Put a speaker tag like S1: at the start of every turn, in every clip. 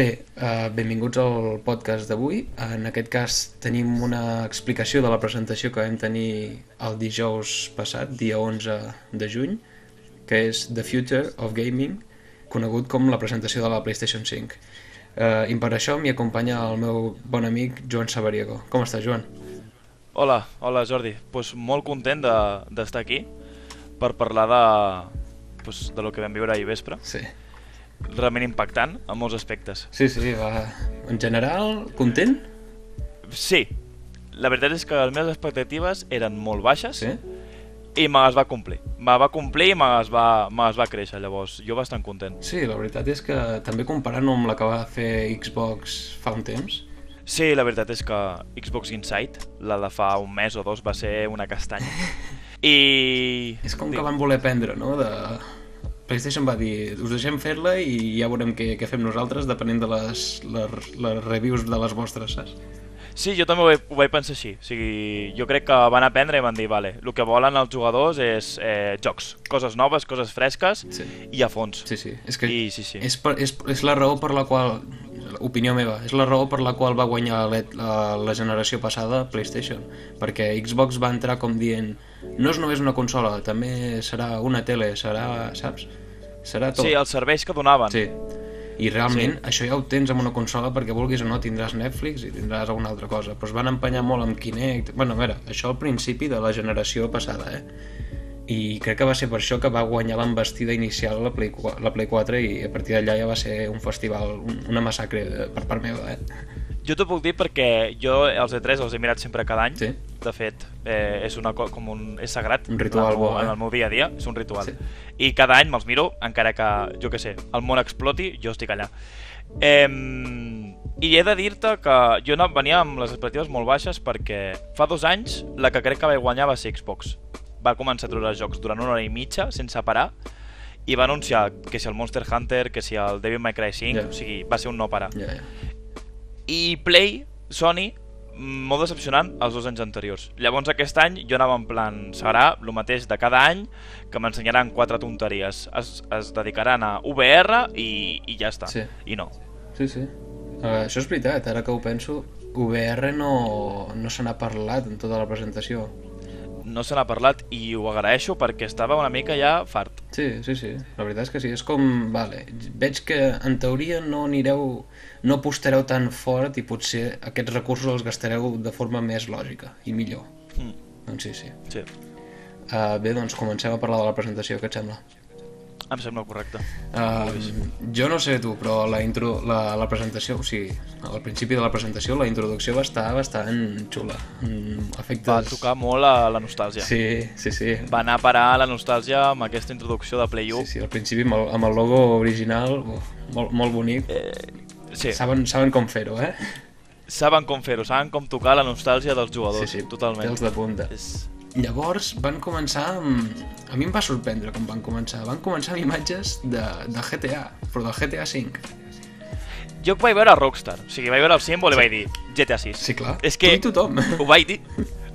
S1: eh, benvinguts al podcast d'avui. En aquest cas tenim una explicació de la presentació que vam tenir el dijous passat, dia 11 de juny, que és The Future of Gaming, conegut com la presentació de la PlayStation 5. Eh, I per això m'hi acompanya el meu bon amic Joan Sabariego. Com estàs, Joan?
S2: Hola, hola Jordi. Pues molt content de- d'estar aquí per parlar de, pues, de lo que vam viure ahir vespre.
S1: Sí.
S2: Realment impactant en molts aspectes.
S1: Sí, sí, va. En general, content?
S2: Sí, la veritat és que les meves expectatives eren molt baixes
S1: Sí?
S2: i me les va complir. Me va complir i me les va, me les va créixer, llavors jo bastant content.
S1: Sí, la veritat és que també comparant-ho amb la que va fer Xbox fa un temps,
S2: Sí, la veritat és que Xbox Insight, la de fa un mes o dos, va ser una castanya. I...
S1: és com que van voler prendre, no? De... PlayStation va dir, us deixem fer-la i ja veurem què, què fem nosaltres depenent de les, les, les reviews de les vostres, saps?
S2: Sí, jo també ho vaig, ho vaig pensar així. O sigui, jo crec que van aprendre i van dir, vale, el que volen els jugadors és eh, jocs, coses noves, coses fresques
S1: Sí.
S2: i a fons.
S1: Sí, sí, és que
S2: I sí, sí.
S1: És, per, és, és la raó per la qual, opinió meva, és la raó per la qual va guanyar la, la, la generació passada PlayStation, perquè Xbox va entrar com dient, no és només una consola, també serà una tele, serà, saps? Serà tot.
S2: Sí, els serveis que donaven.
S1: Sí. I realment sí. això ja ho tens amb una consola perquè vulguis o no tindràs Netflix i tindràs alguna altra cosa. Però es van empenyar molt amb Kinect. bueno, a veure, això al principi de la generació passada, eh? I crec que va ser per això que va guanyar l'embestida inicial la Play, 4, la Play 4 i a partir d'allà ja va ser un festival, un- una massacre eh, per part meva, eh?
S2: Jo t'ho puc dir perquè jo els E3 els he mirat sempre cada any.
S1: Sí.
S2: De fet, eh, és, una, co- com un, és sagrat.
S1: Un ritual
S2: en, el meu-
S1: bo, eh?
S2: En el meu dia a dia és un ritual.
S1: Sí.
S2: I cada any me'ls miro, encara que, jo que sé, el món exploti, jo estic allà. Eh, I he de dir-te que jo anava- venia amb les expectatives molt baixes perquè fa dos anys la que crec que vaig guanyar va ser Xbox. Va començar a treure jocs durant una hora i mitja, sense parar, i va anunciar que si el Monster Hunter, que si el Devil May Cry 5,
S1: Ja.
S2: o sigui, va ser un no parar.
S1: Ja, ja.
S2: I Play, Sony, mm, molt decepcionant els dos anys anteriors. Llavors aquest any jo anava en plan, serà el mateix de cada any, que m'ensenyaran quatre tonteries. Es, es dedicaran a VR i, i ja està.
S1: Sí.
S2: I no.
S1: Sí, sí. Uh, això és veritat, ara que ho penso, VR no, no se n'ha parlat en tota la presentació.
S2: No se n'ha parlat i ho agraeixo perquè estava una mica ja fart.
S1: Sí, sí, sí. La veritat és que sí. És com, vale, veig que en teoria no anireu, no apostareu tan fort i potser aquests recursos els gastareu de forma més lògica i millor.
S2: Mm,
S1: Doncs sí, sí.
S2: sí,
S1: Uh, bé, doncs comencem a parlar de la presentació, què et sembla?
S2: em sembla correcte.
S1: Uh, jo no sé tu, però la, intro, la, la presentació, o sigui, al principi de la presentació la introducció va estar bastant xula. Mm, efectes...
S2: Va tocar molt a la nostàlgia.
S1: Sí, sí, sí.
S2: Va anar a parar a la nostàlgia amb aquesta introducció de Play 1.
S1: Sí, sí, al principi amb el, amb el logo original, uf, molt, molt bonic.
S2: Eh, sí.
S1: Saben, saben com fer-ho, eh?
S2: Saben com fer-ho, saben com tocar la nostàlgia dels jugadors. totalment.
S1: pèls de punta.
S2: És...
S1: Llavors van començar amb... A mi em va sorprendre com van començar. Van començar amb imatges de, de GTA, però del GTA 5.
S2: Jo vaig veure Rockstar, o sigui, vaig veure el símbol i vaig dir GTA 6.
S1: Sí, clar.
S2: És que
S1: Tu i tothom.
S2: ho vaig dir,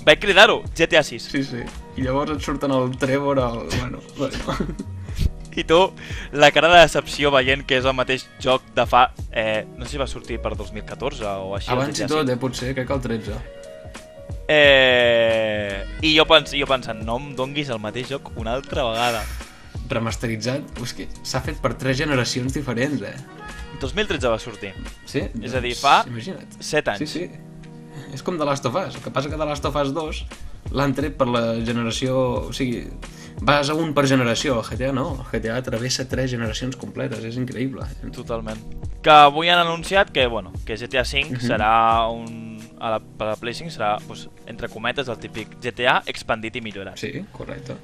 S2: vaig cridar-ho, GTA 6.
S1: Sí, sí. I llavors et surten el Trevor, el... Bueno, bueno.
S2: I tu, la cara de decepció veient que és el mateix joc de fa... Eh, no sé si va sortir per 2014 o així. el
S1: Abans i
S2: GTA
S1: tot, eh, potser, crec que el 13.
S2: VI. Eh, I jo, pens, jo pensant, no em donguis el mateix joc una altra vegada.
S1: Remasteritzat, és que s'ha fet per tres generacions diferents, eh?
S2: 2013 va sortir.
S1: Sí? Doncs
S2: És a dir, fa
S1: Imagina't.
S2: set anys.
S1: Sí, sí. És com The Last of Us. El que passa que The Last of Us 2 l'han tret per la generació... O sigui, vas a un per generació. El GTA no. El GTA travessa tres generacions completes. És increïble.
S2: Totalment. Que avui han anunciat que, bueno, que GTA V serà un... A la, per la Play 5 serà, doncs, entre cometes, el típic GTA expandit i millorat.
S1: Sí, correcte.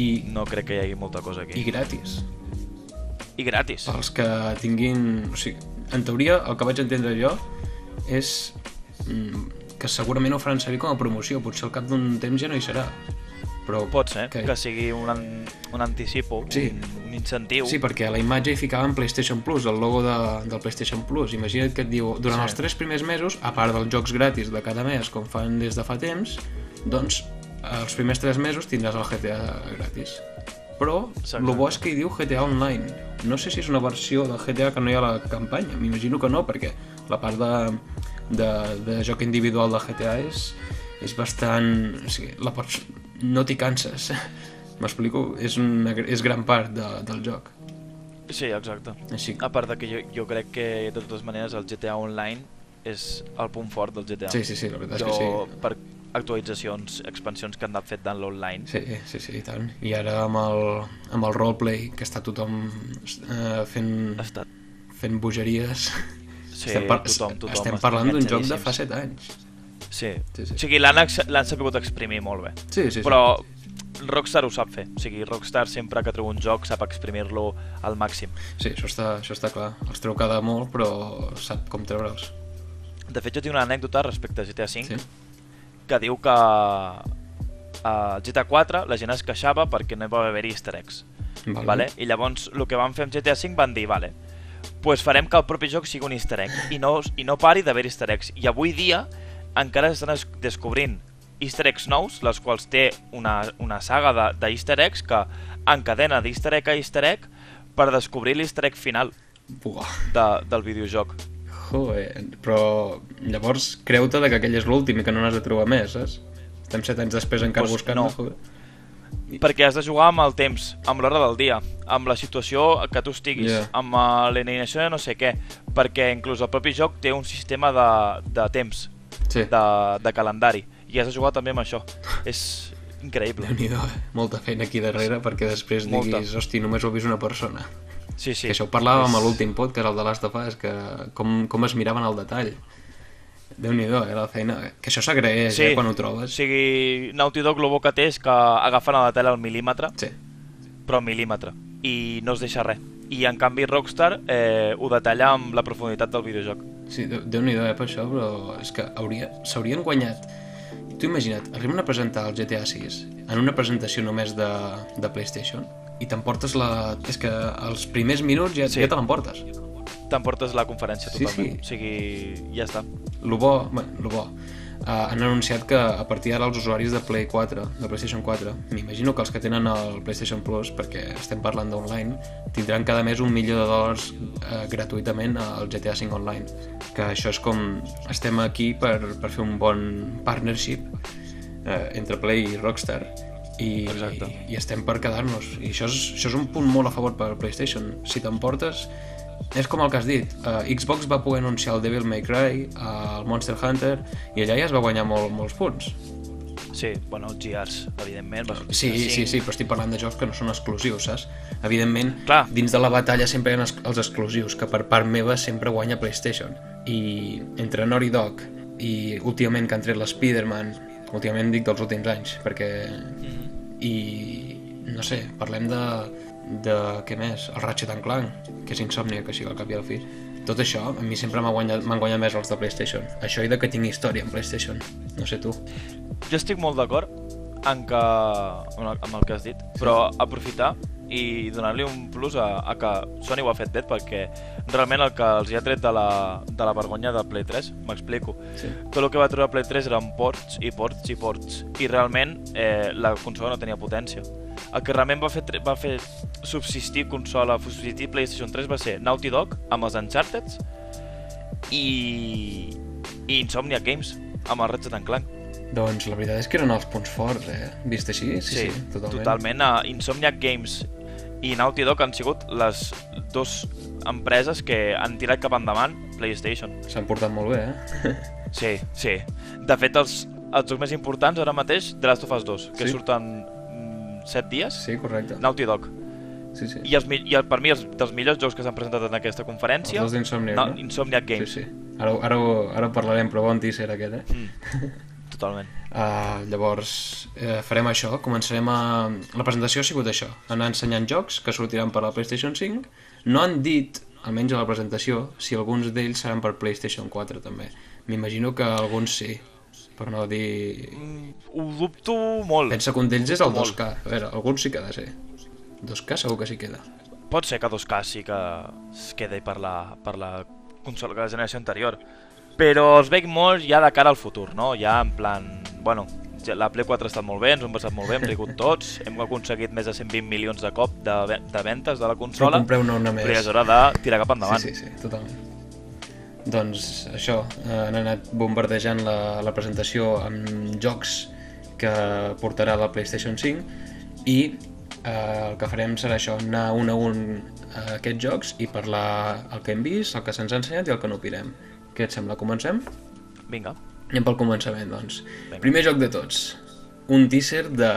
S1: I,
S2: No crec que hi hagi molta cosa
S1: i
S2: aquí.
S1: gratis.
S2: I, I gratis.
S1: Pels que tinguin... O sigui, en teoria, el que vaig entendre jo és mm, que segurament ho faran servir com a promoció. Potser al cap d'un temps ja no hi serà. Però
S2: Pot ser
S1: que-
S2: que, que sigui un, an, un anticipo,
S1: Sí.
S2: un, un incentiu.
S1: Sí, perquè a la imatge hi ficaven PlayStation Plus, el logo de, del PlayStation Plus. Imagina't que et diu, durant sí. els tres primers mesos, a part dels jocs gratis de cada mes, com fan des de fa temps, doncs els primers tres mesos tindràs el GTA gratis. Però
S2: Exacte.
S1: el bo és que hi diu GTA Online. No sé si és una versió de GTA que no hi ha la campanya, m'imagino que no, perquè la part de, de, de joc individual de GTA és, és bastant... O sigui, la pots... no t'hi canses. M'explico? És, una, és gran part de, del joc.
S2: Sí, exacte.
S1: Així que...
S2: A part de que jo, jo crec que, de totes maneres, el GTA Online és el punt fort del GTA.
S1: Sí, sí, sí, la veritat és
S2: jo,
S1: que sí.
S2: per actualitzacions, expansions que han anat fent en l'online,
S1: Sí, sí, sí, i tant. I ara amb el, amb el roleplay, que està tothom eh, fent,
S2: ha estat...
S1: fent bogeries,
S2: Sí,
S1: estem, par
S2: tothom, tothom
S1: estem
S2: està
S1: parlant d'un joc de
S2: enganxadíssim.
S1: fa 7 anys.
S2: Sí.
S1: Sí,
S2: sí,
S1: sí.
S2: sí. O sigui, l'han ex- l'han sabut exprimir molt bé.
S1: Sí, sí, sí.
S2: Però Rockstar ho sap fer. O sigui, Rockstar sempre que treu un joc sap exprimir-lo al màxim.
S1: Sí, això està, això està clar. Els treu cada molt, però sap com treure'ls.
S2: De fet, jo tinc una anècdota respecte a GTA V
S1: Sí?
S2: sí. que diu que eh, al GTA 4 la gent es queixava perquè no hi va haver easter eggs.
S1: Vale.
S2: Vale. Vale? I llavors el que van fer amb GTA V van dir, vale, pues farem que el propi joc sigui un easter egg i no, i no pari d'haver easter eggs. I avui dia encara estan es- descobrint easter eggs nous, les quals té una, una saga de- d'easter de, eggs que encadena d'easter egg a easter egg per descobrir l'easter egg final
S1: Buah,
S2: de, del videojoc.
S1: joder. Però llavors creu-te de que aquell és l'últim i que no n'has de trobar més, saps? Estem 7 anys després encara
S2: Pues
S1: buscant.
S2: no.
S1: Joder.
S2: Perquè has de jugar amb el temps, amb l'hora del dia, amb la situació que tu estiguis,
S1: Ja.
S2: yeah. amb eh, l'alineació de no sé què, perquè inclús el propi joc té un sistema de, de temps,
S1: Sí, de...
S2: de, de calendari. I has de jugar també amb això. És increïble.
S1: déu nhi eh? Molta feina aquí darrere perquè després
S2: Molta.
S1: diguis, hosti, només ho ha vist una persona.
S2: Sí, sí.
S1: Que això ho parlàvem a l'últim podcast, el de Last of Us, que com, com es miraven al detall. Déu-n'hi-do, eh, la feina. Que això s'agraeix,
S2: Sí.
S1: eh, quan ho
S2: O
S1: trobes.
S2: sigui, Naughty Dog lo bo que té és que agafen a la tela al mil·límetre,
S1: Sí.
S2: però al mil·límetre, i no es deixa res. I en canvi Rockstar eh, ho detalla amb la profunditat del videojoc.
S1: Sí, Déu- Déu-n'hi-do, eh, per això, però és que hauria- s'haurien guanyat. Tu imagina't, arriben a presentar el GTA 6 en una presentació només de, de PlayStation i t'emportes la... És que els primers minuts ja, sí.
S2: Sí.
S1: ja te l'emportes.
S2: T'emportes la conferència
S1: Sí, sí.
S2: totalment. O sigui, ja està.
S1: Lo bo, bé, lo bo. Uh, han anunciat que a partir d'ara els usuaris de Play 4, de PlayStation 4, m'imagino que els que tenen el PlayStation Plus, perquè estem parlant d'online, tindran cada mes un milió de dòlars uh, gratuïtament al GTA 5 Online. Que això és com... Estem aquí per, per fer un bon partnership uh, entre Play i Rockstar. I,
S2: Exacte.
S1: i, i estem per quedar-nos. I això és, això és un punt molt a favor per PlayStation. Si t'emportes... És com el que has dit, uh, Xbox va poder anunciar el Devil May Cry, uh, el Monster Hunter, i allà ja es va guanyar molt, molts punts.
S2: Sí, bueno, els GRs, evidentment. Va sortir
S1: Sí,
S2: GTA
S1: sí, sí,
S2: V.
S1: però estic parlant de jocs que no són exclusius, saps? Evidentment,
S2: Clar.
S1: dins de la batalla sempre hi ha els- els exclusius, que per part meva sempre guanya PlayStation. I entre Naughty Dog i últimament que han tret l'Spider-Man, últimament dic dels últims anys, perquè... I... no sé, parlem de... de... què més? El Ratchet and Clank, que és Insomnia, que així al cap i al fi. Tot això, a mi sempre m'ha guanyat, m'han guanyat més els de PlayStation. Això i de que tinc història en PlayStation. No sé tu.
S2: Jo estic molt d'acord en que, amb el, amb el que has dit, però aprofitar i donar-li un plus a, a que Sony ho ha fet bé perquè realment el que els hi ha tret de la, de la vergonya de Play 3, m'explico.
S1: Sí.
S2: Tot el que va treure Play 3 eren ports i ports i ports i realment eh, la consola no tenia potència. El que realment va fer, tre- va fer subsistir consola, subsistir PlayStation 3 va ser Naughty Dog amb els Uncharted i, i Insomnia Games amb el Ratchet and Clank.
S1: Doncs la veritat és que eren els punts forts, eh? Vist així? Sí, sí, sí totalment.
S2: totalment. Uh, Insomniac Games i Naughty Dog han sigut les dues empreses que han tirat cap endavant PlayStation.
S1: S'han portat molt bé, eh?
S2: Sí, sí. De fet, els, els jocs més importants ara mateix, The Last of Us 2, que
S1: Sí.
S2: sí. surten 7 dies,
S1: Sí, correcte.
S2: Naughty Dog.
S1: Sí, sí.
S2: I, els, mi- i el, per mi, els, dels millors jocs que s'han presentat en aquesta
S1: Els
S2: conferència,
S1: dos d'Insomniac,
S2: Na-
S1: no?
S2: Insomniac
S1: Sí,
S2: Games.
S1: sí. Ara, ho- ara, ho- ara ho parlarem, però bon teaser aquest, eh?
S2: Mm. Totalment.
S1: Uh, llavors, eh, farem això, començarem a... La presentació ha sigut això, anar ensenyant jocs que sortiran per la PlayStation 5. No han dit, almenys a la presentació, si alguns d'ells seran per PlayStation 4 també. M'imagino que alguns sí, per no dir...
S2: Mm, Ho dubto molt.
S1: Pensa que un d'ells és el 2K. A veure, alguns sí que ha de ser. 2K segur que sí queda.
S2: Pot ser que 2K sí que es quedi per la, per la consola de la generació anterior, però els veig molt ja de cara al futur, no? Ja en plan, bueno, ja la Play 4 ha estat molt bé, ens ho hem passat molt bé, hem rigut tots, hem aconseguit més de 120 milions de cop de, ve- de ventes de la
S1: Però
S2: consola,
S1: compreu-ne una més.
S2: però ja és hora de tirar cap endavant.
S1: Sí, sí, sí, totalment. Doncs això, eh, han anat bombardejant la, la presentació amb jocs que portarà la PlayStation 5 i eh, el que farem serà això, anar un a un a aquests jocs i parlar el que hem vist, el que se'ns ha ensenyat i el que no opinem. Què et sembla? Comencem?
S2: Vinga,
S1: Anem pel començament, doncs. Primer joc de tots, un teaser de,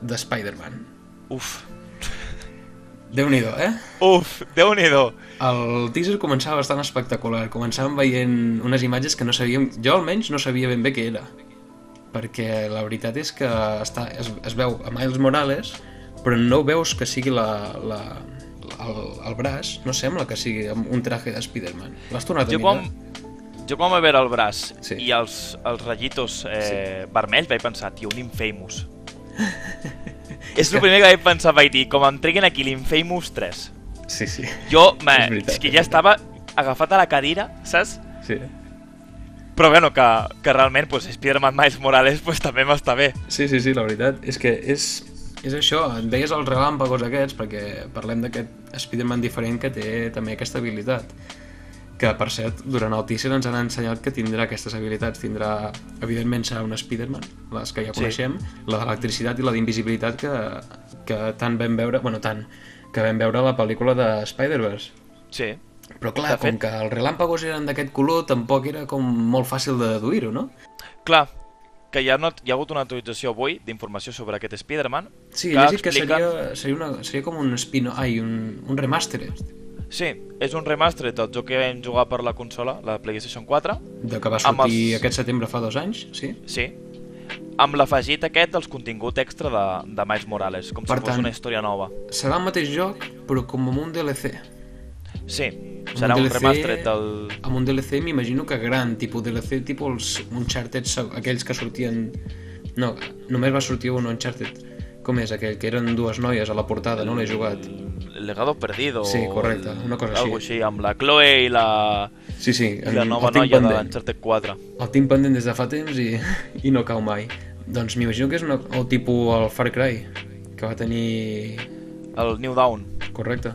S1: de Spider-Man.
S2: uf,
S1: Déu-n'hi-do, eh?
S2: uf, Déu-n'hi-do.
S1: El teaser començava bastant espectacular. Començàvem veient unes imatges que no sabíem... Jo almenys no sabia ben bé què era. Perquè la veritat és que està, es, es veu a Miles Morales, però no veus que sigui la, la, el, el braç, no sembla que sigui amb un traje de Spider-Man. L'has tornat a
S2: Jo
S1: mirar?
S2: quan, jo quan vaig veure el braç
S1: Sí.
S2: sí. i els, els ratllitos eh, sí. vermells vaig pensar, tio, un Infamous. és el primer que vaig pensar, vaig dir, com em treguin aquí l'Infamous 3.
S1: Sí, sí.
S2: Jo, me,
S1: És
S2: és,
S1: veritat,
S2: que
S1: és
S2: ja estava agafat a la cadira, saps?
S1: Sí,
S2: Però bueno, que, que realment pues, Spider-Man Miles Morales pues, també m'està bé.
S1: sí, sí, sí la veritat. És que és, és això, et deies els relàmpagos aquests, perquè parlem d'aquest Spider-Man diferent que té també aquesta habilitat. que per cert, durant el teaser ens han ensenyat que tindrà aquestes habilitats, tindrà evidentment serà un Spider-Man, les que ja
S2: Sí.
S1: coneixem la d'electricitat i la d'invisibilitat que, que tant vam veure, bueno tant que vam veure a la pel·lícula de Spider-Verse
S2: Sí.
S1: però clar,
S2: De fet-
S1: com que els relàmpagos eren d'aquest color, tampoc era com molt fàcil de deduir-ho, no?
S2: Clar, que hi ha, una, hi ha hagut una actualització avui d'informació sobre aquest Spider-Man.
S1: Sí, he
S2: que
S1: llegit que
S2: explica-
S1: seria, seria, una, seria com un spin ai, un, un remaster
S2: Sí, és un remaster del joc que vam jugar per la consola, la PlayStation 4,
S1: de que va
S2: Amb
S1: sortir
S2: els-
S1: aquest setembre fa dos anys, sí?
S2: sí, amb l'afegit aquest dels contingut extra de, de Miles Morales, com
S1: Per
S2: si fos
S1: tant-
S2: una història nova.
S1: Serà el mateix joc, però com amb un DLC.
S2: Sí, serà
S1: un
S2: un,
S1: DLC
S2: remaster del...
S1: amb un DLC m'imagino que gran, tipus DLC, tipus els Uncharted, seg- aquells que sortien... No, només va sortir un Uncharted. Com és aquell? Que eren dues noies a la portada, no l'he jugat.
S2: El legado perdido.
S1: Sí, correcte,
S2: o
S1: una cosa
S2: algo
S1: així.
S2: així, amb la Chloe i la,
S1: Sí, sí,
S2: i la nova
S1: tinc
S2: noia de
S1: pendent.
S2: l'Uncharted 4.
S1: El tinc pendent des de fa temps i, i no cau mai. Doncs m'imagino que és una, el tipus el Far Cry, que va tenir...
S2: El New Down.
S1: Correcte,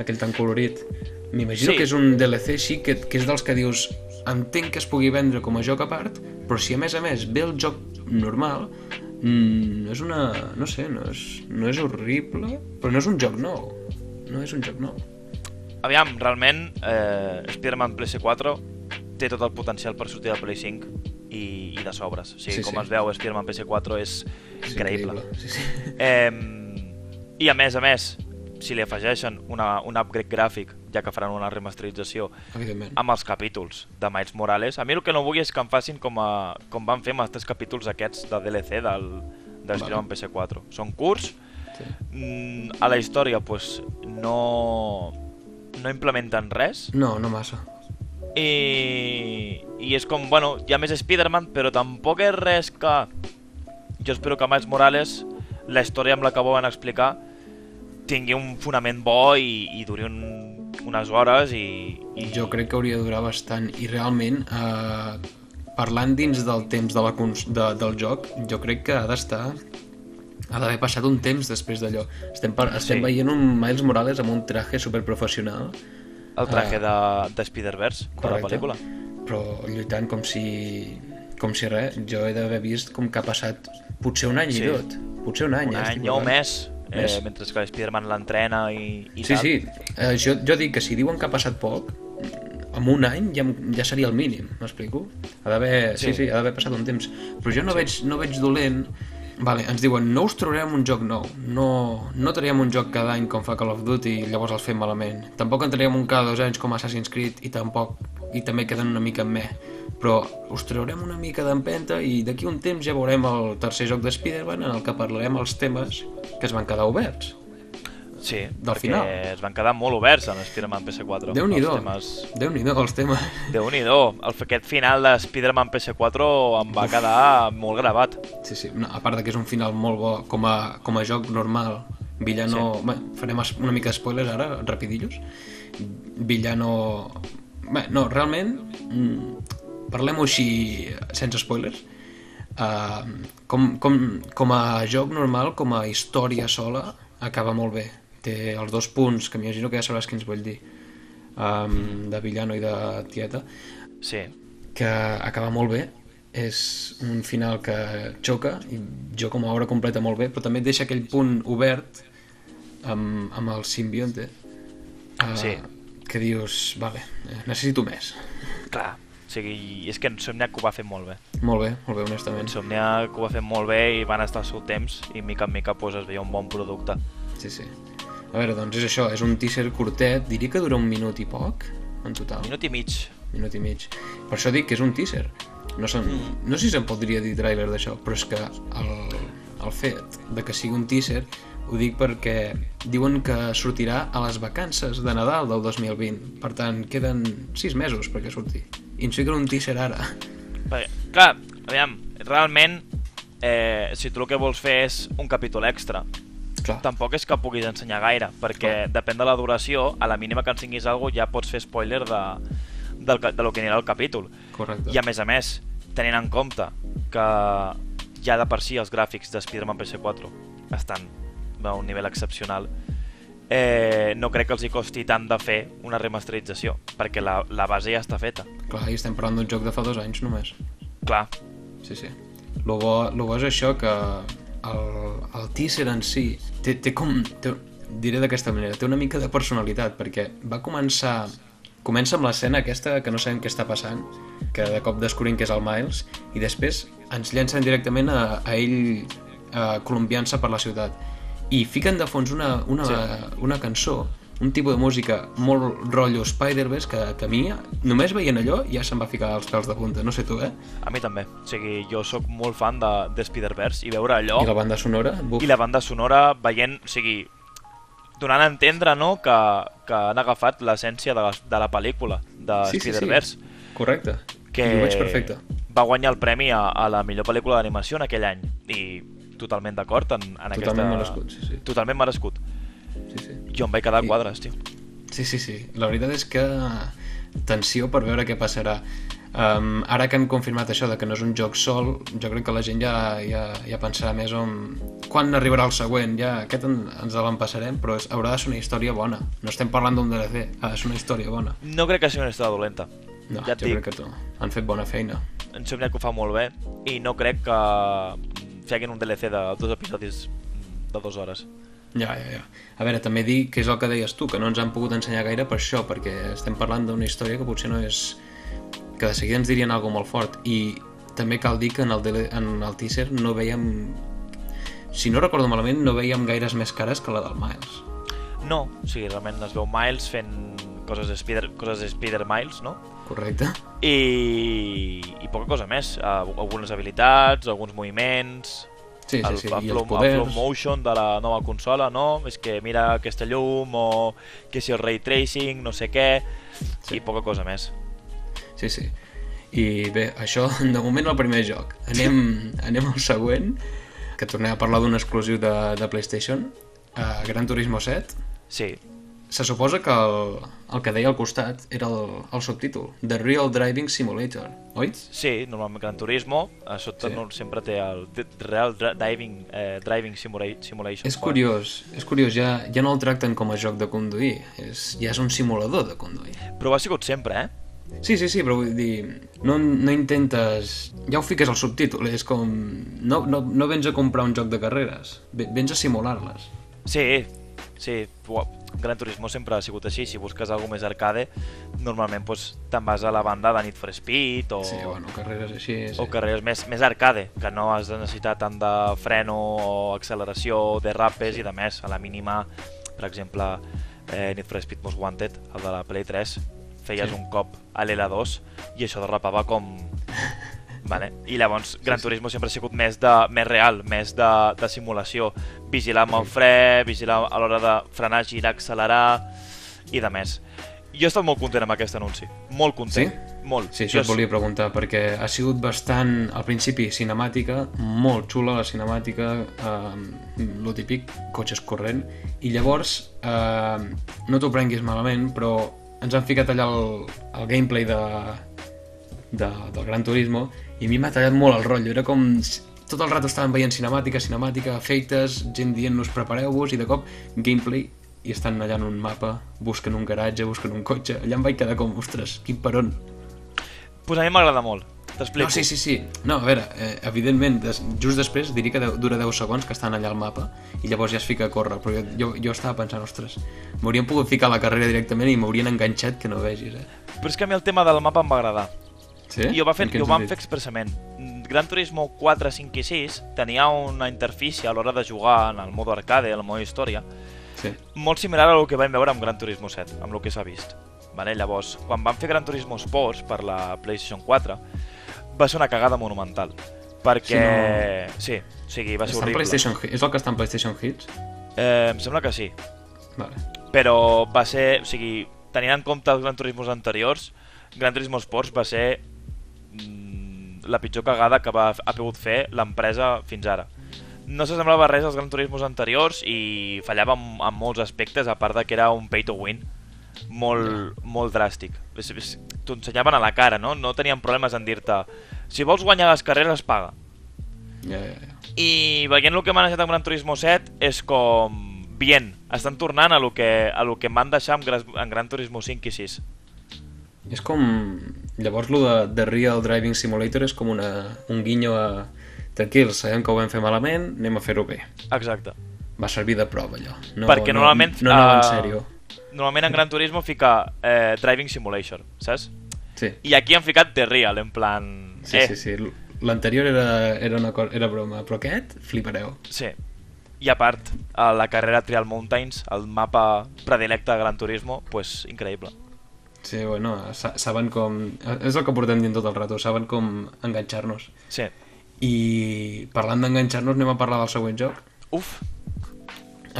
S1: aquell tan colorit. M'imagino
S2: Sí.
S1: que és un DLC així, que, que és dels que dius entenc que es pugui vendre com a joc a part, però si a més a més ve el joc normal, mm, no és una... no sé, no és, no és horrible, però no és un joc nou. No és un joc nou.
S2: Aviam, realment, eh, Spider-Man PS4 té tot el potencial per sortir de Play 5 i, i de sobres. O
S1: Sí,
S2: sigui, sí,
S1: sí.
S2: com sí. es veu, Spider-Man PS4 és
S1: És
S2: increïble.
S1: Sí, sí.
S2: Eh, I a més a més, si li afegeixen una, un upgrade gràfic, ja que faran una remasterització,
S1: Evidentment.
S2: amb els capítols de Miles Morales, a mi el que no vull és que em facin com, a, com van fer amb els tres capítols aquests de DLC del, del Spider-Man PS4. Són curts,
S1: Sí.
S2: mm, a la història pues, no, no implementen res
S1: No, no massa.
S2: i, i és com, bueno, hi ha més Spider-Man però tampoc és res que jo espero que Miles Morales la història amb la que volen explicar tingui un fonament bo i, i duri un, unes hores i, i
S1: Jo crec que hauria de durar bastant i realment, eh, parlant dins del temps de la cons de, del joc, jo crec que ha d'estar ha d'haver passat un temps després d'allò. Estem, par... estem
S2: Sí.
S1: veient un Miles Morales amb un traje superprofessional,
S2: el traje de, de Spider-Verse de la
S1: Ah. Correcte.
S2: pel·lícula
S1: però lluitant com si com si res, jo he d'haver vist com que ha passat potser un any
S2: Sí.
S1: i tot. Potser un any.
S2: un
S1: eh, estic
S2: any o
S1: parlant.
S2: més,
S1: Més.
S2: Eh, mentre que Spider-Man l'entrena i, i
S1: Sí,
S2: tal.
S1: sí. Eh, jo, jo dic que si diuen que ha passat poc, en un any ja, ja seria el mínim, m'explico? Ha d'haver... Sí. sí,
S2: Sí.
S1: sí, ha d'haver passat un temps. Però jo no, veig, no veig dolent... Vale, ens diuen, no us traurem un joc nou, no, no traiem un joc cada any com fa Call of Duty i llavors el fem malament. Tampoc en traiem un cada dos anys com Assassin's Creed i tampoc i també queden una mica en meh. Però us traurem una mica d'empenta i d'aquí un temps ja veurem el tercer joc de Spider-Man en el que parlarem els temes que es van quedar oberts.
S2: sí
S1: del
S2: perquè
S1: final.
S2: es van quedar molt oberts en Spider-Man PS4.
S1: Déu-n'hi-do,
S2: Els temes...
S1: Déu-n'hi-do els temes.
S2: Déu-n'hi-do, el, aquest final de Spider-Man PS4 em va quedar molt gravat.
S1: Sí, sí, no, a part de que és un final molt bo com a, com a joc normal, Villano... Sí. Bé, farem es- una mica spoilers ara, rapidillos. Villano... Bé, no, realment, mm, parlem-ho així, sense spoilers. eh, com, com, com a joc normal, com a història sola, acaba molt bé. Té els dos punts, que m'imagino que ja sabràs quins vull dir, um, de villano i de tieta,
S2: Sí.
S1: que acaba molt bé. És un final que xoca, i jo com a obra completa molt bé, però també et deixa aquell punt obert amb, amb el simbionte, eh,
S2: Sí.
S1: que dius, vale, eh, necessito més.
S2: Clar. O sigui, és que Insomniac ho va fer molt bé.
S1: Molt bé, molt bé, honestament.
S2: Insomniac ho va fer molt bé i van estar al seu temps i mica en mica pues, es veia un bon producte.
S1: Sí, sí. A veure, doncs és això, és un teaser curtet, diria que dura un minut i poc, en total, minut,
S2: Minut i mig.
S1: minut i mig. Per això dic que és un teaser. No, se, no sé si se'n podria dir trailer d'això, però és que el, el fet de que sigui un teaser ho dic perquè diuen que sortirà a les vacances de Nadal del 2020. Per tant, queden 6 mesos perquè surti. I ens fiquen un teaser ara.
S2: Perquè, clar, aviam, realment, eh, si tu el que vols fer és un capítol extra,
S1: Clar,
S2: tampoc és que puguis ensenyar gaire, perquè depèn de la duració, a la mínima que ensenyis alguna cosa ja pots fer spoiler de, del, ca- de lo que anirà el capítol.
S1: correcte.
S2: I a més a més, tenint en compte que ja de per si els gràfics de Spider-Man PS4 estan a un nivell excepcional, eh, no crec que els hi costi tant de fer una remasterització, perquè la, la base ja està feta.
S1: Clar, i estem parlant d'un joc de fa dos anys només.
S2: Clar,
S1: Sí, sí. Lo bo, lo bo és això que el, el teaser en si té, té com... Té, diré d'aquesta manera, té una mica de personalitat perquè va començar... Comença amb l'escena aquesta que no sabem què està passant, que de cop descobrim que és el Miles, i després ens llencen directament a, a ell eh, colombiant-se per la ciutat. I fiquen de fons una, una, sí. una cançó, un tipus de música molt rotllo Spider-Verse que, que a mi, només veient allò, ja se'm va ficar els pèls de punta, no sé tu, eh?
S2: a mi també. O sigui, jo sóc molt fan de, de Spider-Verse i veure allò
S1: I la banda sonora, buf,
S2: i la banda sonora veient, o sigui, donant a entendre no, que, que han agafat l'essència de, la, de la pel·lícula de Spider-Verse.
S1: Sí, sí. Correcte.
S2: que
S1: I ho veig perfecte.
S2: va guanyar el premi a, a la millor pel·lícula d'animació en aquell any i totalment d'acord en, en aquesta...
S1: Totalment merescut, sí, sí.
S2: Totalment merescut.
S1: Sí, sí.
S2: Jo em vaig quedar
S1: I-
S2: a quadres, tio.
S1: Sí, sí, sí. La veritat és que tensió per veure què passarà. Um, ara que hem confirmat això de que no és un joc sol, jo crec que la gent ja, ja, ja pensarà més en quan arribarà el següent, ja aquest en, ens l'empassarem, però és, haurà de ser una història bona. No estem parlant d'un DLC, ha de ser una història bona.
S2: No crec que sigui una història dolenta.
S1: No,
S2: ja et
S1: jo
S2: dic,
S1: crec que no. han fet bona feina.
S2: que... em sembla que ho fa molt bé i no crec que feien un DLC de dos episodis de dues hores.
S1: Ja, ja, ja. A veure, també dir que és el que deies tu, que no ens han pogut ensenyar gaire per això, perquè estem parlant d'una història que potser no és... que de seguida ens dirien alguna molt fort. I també cal dir que en el, dele... en el teaser no veiem... Si no recordo malament, no veiem gaires més cares que la del Miles.
S2: No, o sigui, realment es veu Miles fent coses Spider, coses Spider Miles, no?
S1: Correcte?
S2: I, i poca cosa més. Eh, algunes habilitats, alguns moviments,
S1: Sí, sí,
S2: el,
S1: sí. I
S2: el, flow,
S1: els
S2: el flow
S1: poders...
S2: motion de la nova consola, no? És que mira aquesta llum o que si el ray tracing, no sé què,
S1: Sí.
S2: sí. i poca cosa més.
S1: Sí, sí. I bé, això de moment el primer joc. Anem, anem al següent, que tornem a parlar d'un exclusiu de, de PlayStation, uh, Gran Turismo 7,
S2: Sí,
S1: Se suposa que el, el que deia al costat era el, el subtítol, The Real Driving Simulator, oi?
S2: sí, normalment Gran Turismo, a sota
S1: Sí.
S2: sí. no, sempre té el d- Real Dri- Driving, eh, driving simula Simulation.
S1: És curiós, és curiós, ja, ja no el tracten com a joc de conduir, és, ja és un simulador de conduir.
S2: Però ho ha sigut sempre, eh?
S1: Sí, sí, sí, però vull dir, no, no intentes... Ja ho fiques al subtítol, és com... No, no, no vens a comprar un joc de carreres, ve- vens a simular-les.
S2: Sí, sí, ua, Gran Turismo sempre ha sigut així, si busques alguna més arcade, normalment doncs, te'n vas a la banda de Need for Speed o...
S1: Sí, bueno, carreres així... Sí.
S2: o carrers més, més arcade, que no has de necessitar tant de freno o acceleració, derrapes i de més. A la mínima, per exemple, eh, Need for Speed Most Wanted, el de la Play 3, feies
S1: Sí.
S2: sí. un cop a l'L2 i això derrapava com... Vale. I llavors, Gran Turismo sempre ha sigut més, de, més real, més de, de simulació. Vigilar amb el fre, vigilar a l'hora de frenar, girar, accelerar i de més. Jo he estat molt content amb aquest anunci. Molt content.
S1: Sí?
S2: Molt.
S1: Sí, això
S2: Jo
S1: et volia preguntar, perquè ha sigut bastant, al principi, cinemàtica, molt xula la cinemàtica, eh, lo típic, cotxes corrent, i llavors, eh, no t'ho prenguis malament, però ens han ficat allà el, el gameplay de, de, del Gran Turismo i a mi m'ha tallat molt el rotllo, era com tot el rato estaven veient cinemàtica, cinemàtica, efectes, gent dient-nos prepareu-vos i de cop gameplay i estan allà en un mapa, busquen un garatge, busquen un cotxe, allà em vaig quedar com, ostres, quin peron.
S2: Pues a mi m'agrada molt, t'explico.
S1: No, sí, sí, sí. No, a veure, eh, evidentment, des, just després diria que deu, dura 10 segons que estan allà al mapa i llavors ja es fica a córrer, però jo, jo, jo estava pensant, ostres, m'haurien pogut ficar a la carrera directament i m'haurien enganxat que no vegis, eh?
S2: Però és que a mi el tema del mapa em va agradar.
S1: Sí?
S2: I ho, va fer,
S1: En què
S2: i ho
S1: ens
S2: van
S1: has
S2: fer
S1: dit?
S2: expressament. Gran Turismo 4, 5 i 6 tenia una interfície a l'hora de jugar en el modo arcade, en el modo història,
S1: Sí.
S2: molt similar al que vam veure amb Gran Turismo 7, amb el que s'ha vist. Vale, llavors, quan van fer Gran Turismo Sports per la PlayStation 4, va ser una cagada monumental. Perquè... Sí, no... sí o sigui, va ser
S1: Està en
S2: horrible.
S1: PlayStation, Hits- és el que està en PlayStation Hits?
S2: Eh, em sembla que sí.
S1: Vale.
S2: però va ser, o sigui, tenint en compte els Gran Turismos anteriors, Gran Turismo Sports va ser mm, la pitjor cagada que va, ha pogut fer l'empresa fins ara. No s'assemblava res als Gran Turismos anteriors i fallava en, en molts aspectes, a part de que era un pay to win molt, molt dràstic. És- és- T'ho ensenyaven a la cara, no? No tenien problemes en dir-te si vols guanyar les carreres, paga.
S1: Ja, ja, ja.
S2: I veient el que m'han deixat amb Gran Turismo 7 és com... Bien, estan tornant a lo que, a lo que em van deixar amb Gran, en Gran Turismo 5 i 6.
S1: És com... Llavors, lo de, de Real Driving Simulator és com una, un guinyo a... Tranquils, sabem que ho vam fer malament, anem a fer-ho bé.
S2: Exacte.
S1: Va servir de prova, allò. No,
S2: Perquè
S1: no,
S2: normalment...
S1: No, no anava en
S2: eh,
S1: sèrio.
S2: Normalment en Gran Turismo fica eh, Driving Simulator, saps?
S1: Sí,
S2: I aquí han ficat The Real, en plan...
S1: sí,
S2: eh,
S1: sí. sí. L'anterior era, era, una cosa, era broma, però aquest, flipareu.
S2: Sí. I a part, a la carrera Trial Mountains, el mapa predilecte de Gran Turismo, pues increïble.
S1: Sí, bueno, sa- saben com... eh, És el que portem dient tot el rato, saben com enganxar-nos.
S2: Sí.
S1: I parlant d'enganxar-nos, anem a parlar del següent joc.
S2: Uf,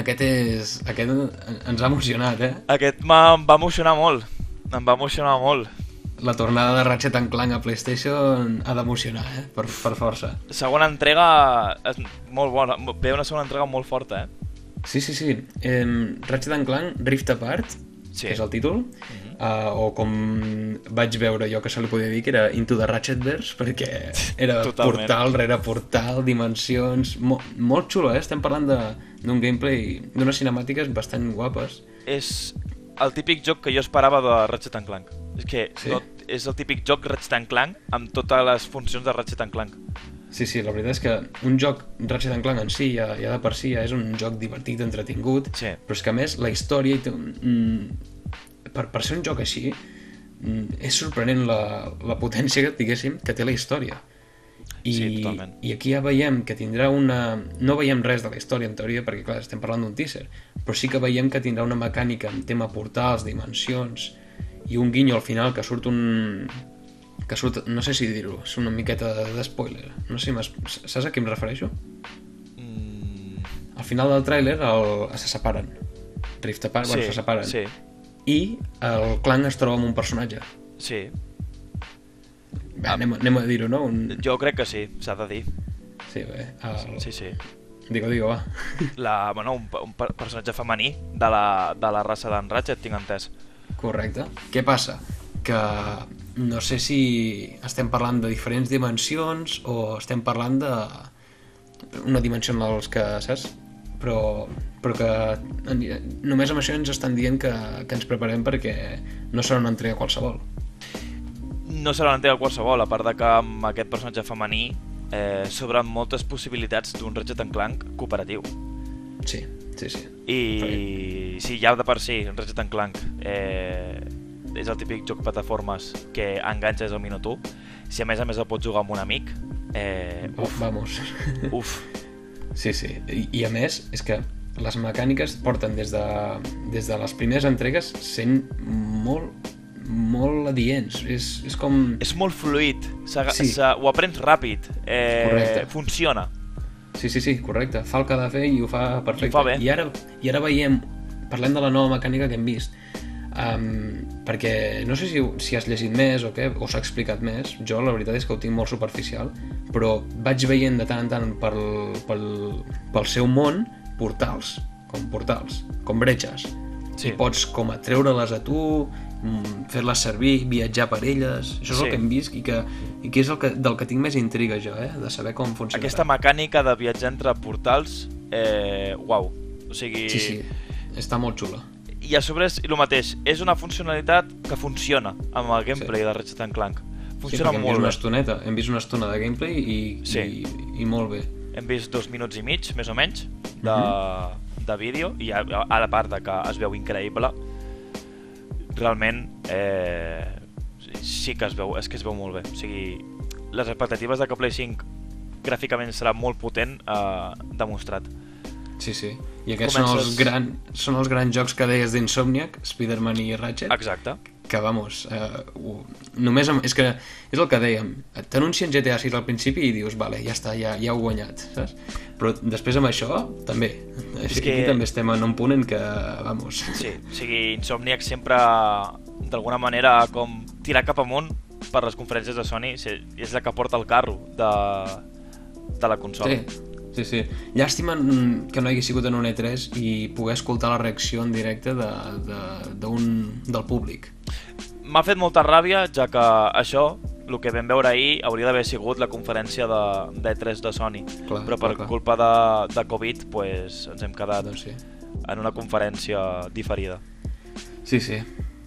S1: Aquest és... Aquest en- ens ha emocionat, eh?
S2: aquest m'ha- em va emocionar molt. Em va emocionar molt.
S1: La tornada de Ratchet and Clank a PlayStation ha d'emocionar, eh? Per, per força.
S2: Segona entrega és molt bona, mo- ve una segona entrega molt forta, eh?
S1: Sí, sí, sí. Eh, Ratchet and Clank Rift Apart,
S2: Sí. Mhm.
S1: que és el títol, uh, o com vaig veure jo que se li podia dir, que era Into the Ratchetverse, perquè era
S2: Totalment.
S1: portal rere portal, dimensions... Mo molt xulo, eh? Estem parlant de- d'un gameplay, d'unes cinemàtiques bastant guapes.
S2: És el típic joc que jo esperava de Ratchet and Clank. És que
S1: Sí?
S2: no, és el típic joc Ratchet and Clank amb totes les funcions de Ratchet and Clank.
S1: Sí, sí, la veritat és que un joc Ratchet and Clank en si ja, ja de per si ja és un joc divertit, entretingut,
S2: Sí.
S1: però és que a més la història... i tot, Mm, per, per ser un joc així, mm, és sorprenent la, la potència que, diguéssim, que té la història. I,
S2: Sí, totalment.
S1: I aquí ja veiem que tindrà una... No veiem res de la història, en teoria, perquè, clar, estem parlant d'un teaser, però sí que veiem que tindrà una mecànica en tema portals, dimensions, i un guinyo al final que surt un... que surt... no sé si dir-ho, és una miqueta de- de spoiler. No sé si m'es- Saps a què em refereixo?
S2: Mm,
S1: Al final del tràiler el... se separen. Rift apart, sí,
S2: Sí,
S1: Ah, bueno, se separen.
S2: sí.
S1: I el clan es troba amb un personatge.
S2: sí,
S1: Bé, anem, anem a dir-ho, no? Un...
S2: Ah. jo crec que sí, s'ha de dir.
S1: Sí, bé. El...
S2: Sí, sí.
S1: Digo, digo, va.
S2: La, bueno, un, pe- un per- personatge femení de la, de la raça d'en Ratchet, tinc entès.
S1: Correcte. Què passa? Que no sé si estem parlant de diferents dimensions o estem parlant de una dimensió en els que, saps? Però, però que en- només amb això ens estan dient que, que ens preparem perquè no serà una entrega qualsevol.
S2: no serà una entrega qualsevol, a part de que amb aquest personatge femení eh, s'obren moltes possibilitats d'un Ratchet and Clank cooperatiu.
S1: Sí, sí, sí.
S2: I sí, ja de per si, un Ratchet and Clank eh, és el típic joc plataformes que enganxes al minut 1. Si a més a més el pots jugar amb un amic, eh,
S1: Uf. Vamos.
S2: uf,
S1: Sí, sí. I, I a més, és que les mecàniques porten des de, des de les primeres entregues sent molt, molt adients. És, és com...
S2: és molt fluid,
S1: Sí.
S2: sí. ho aprens ràpid, eh,
S1: Correcte.
S2: funciona.
S1: Sí, sí, sí, correcte. Fa el que ha de fer i ho fa perfecte.
S2: I ho fa bé.
S1: I ara, I ara veiem, parlem de la nova mecànica que hem vist. Um, perquè no sé si, ho- si has llegit més o què, o s'ha explicat més. Jo la veritat és que ho tinc molt superficial, però vaig veient de tant en tant pel, pel, pel seu món portals, com portals, com bretxes. I
S2: Sí.
S1: pots com atreure-les a tu mm, fer-les servir, viatjar per elles, això és
S2: Sí.
S1: el que hem vist i que, i que és el que, del que tinc més intriga jo, eh? de saber com funciona.
S2: Aquesta mecànica de viatjar entre portals, eh, uau. O sigui,
S1: Sí, sí, està molt xula.
S2: i a sobre és el mateix, és una funcionalitat que funciona amb el gameplay sí. de Ratchet and Clank. Funciona
S1: sí, perquè hem
S2: molt
S1: vist
S2: bé.
S1: una estoneta, hem vist una estona de gameplay i,
S2: Sí.
S1: i, i molt bé.
S2: Hem vist dos minuts i mig, més o menys, de,
S1: Mhm.
S2: de vídeo, i a, a la part de que es veu increïble, realment eh, sí que es veu, és que es veu molt bé. O sigui, les expectatives de que Play 5 gràficament serà molt potent eh, demostrat.
S1: Sí, sí. I aquests són,
S2: Comences-
S1: els gran, són els grans jocs que deies d'Insomniac, Spider-Man i Ratchet,
S2: Exacte.
S1: que, vamos, eh, ho- només... Amb, és que és el que dèiem. T'anuncien GTA 6 al principi i dius, vale, ja està, ja, ja ho he guanyat, saps? Però després amb això, també. Així que...
S2: que-
S1: Aquí també estem en un punt en què, vamos...
S2: Sí, o sigui, Insomniac sempre, d'alguna manera, com tirar cap amunt per les conferències de Sony, sí, és la que porta el carro de, de la consola.
S1: Sí, sí, sí. Llàstima mm, que no hagués sigut en un E3 i poder escoltar la reacció en directe de, de, d'un, del públic.
S2: M'ha fet molta ràbia, ja que això, el que vam veure ahir, hauria d'haver sigut la conferència de, de 3 de Sony.
S1: Clar,
S2: Però per
S1: clar, clar.
S2: culpa de, de Covid pues, ens hem quedat
S1: Doncs sí.
S2: en una conferència diferida.
S1: Sí, sí.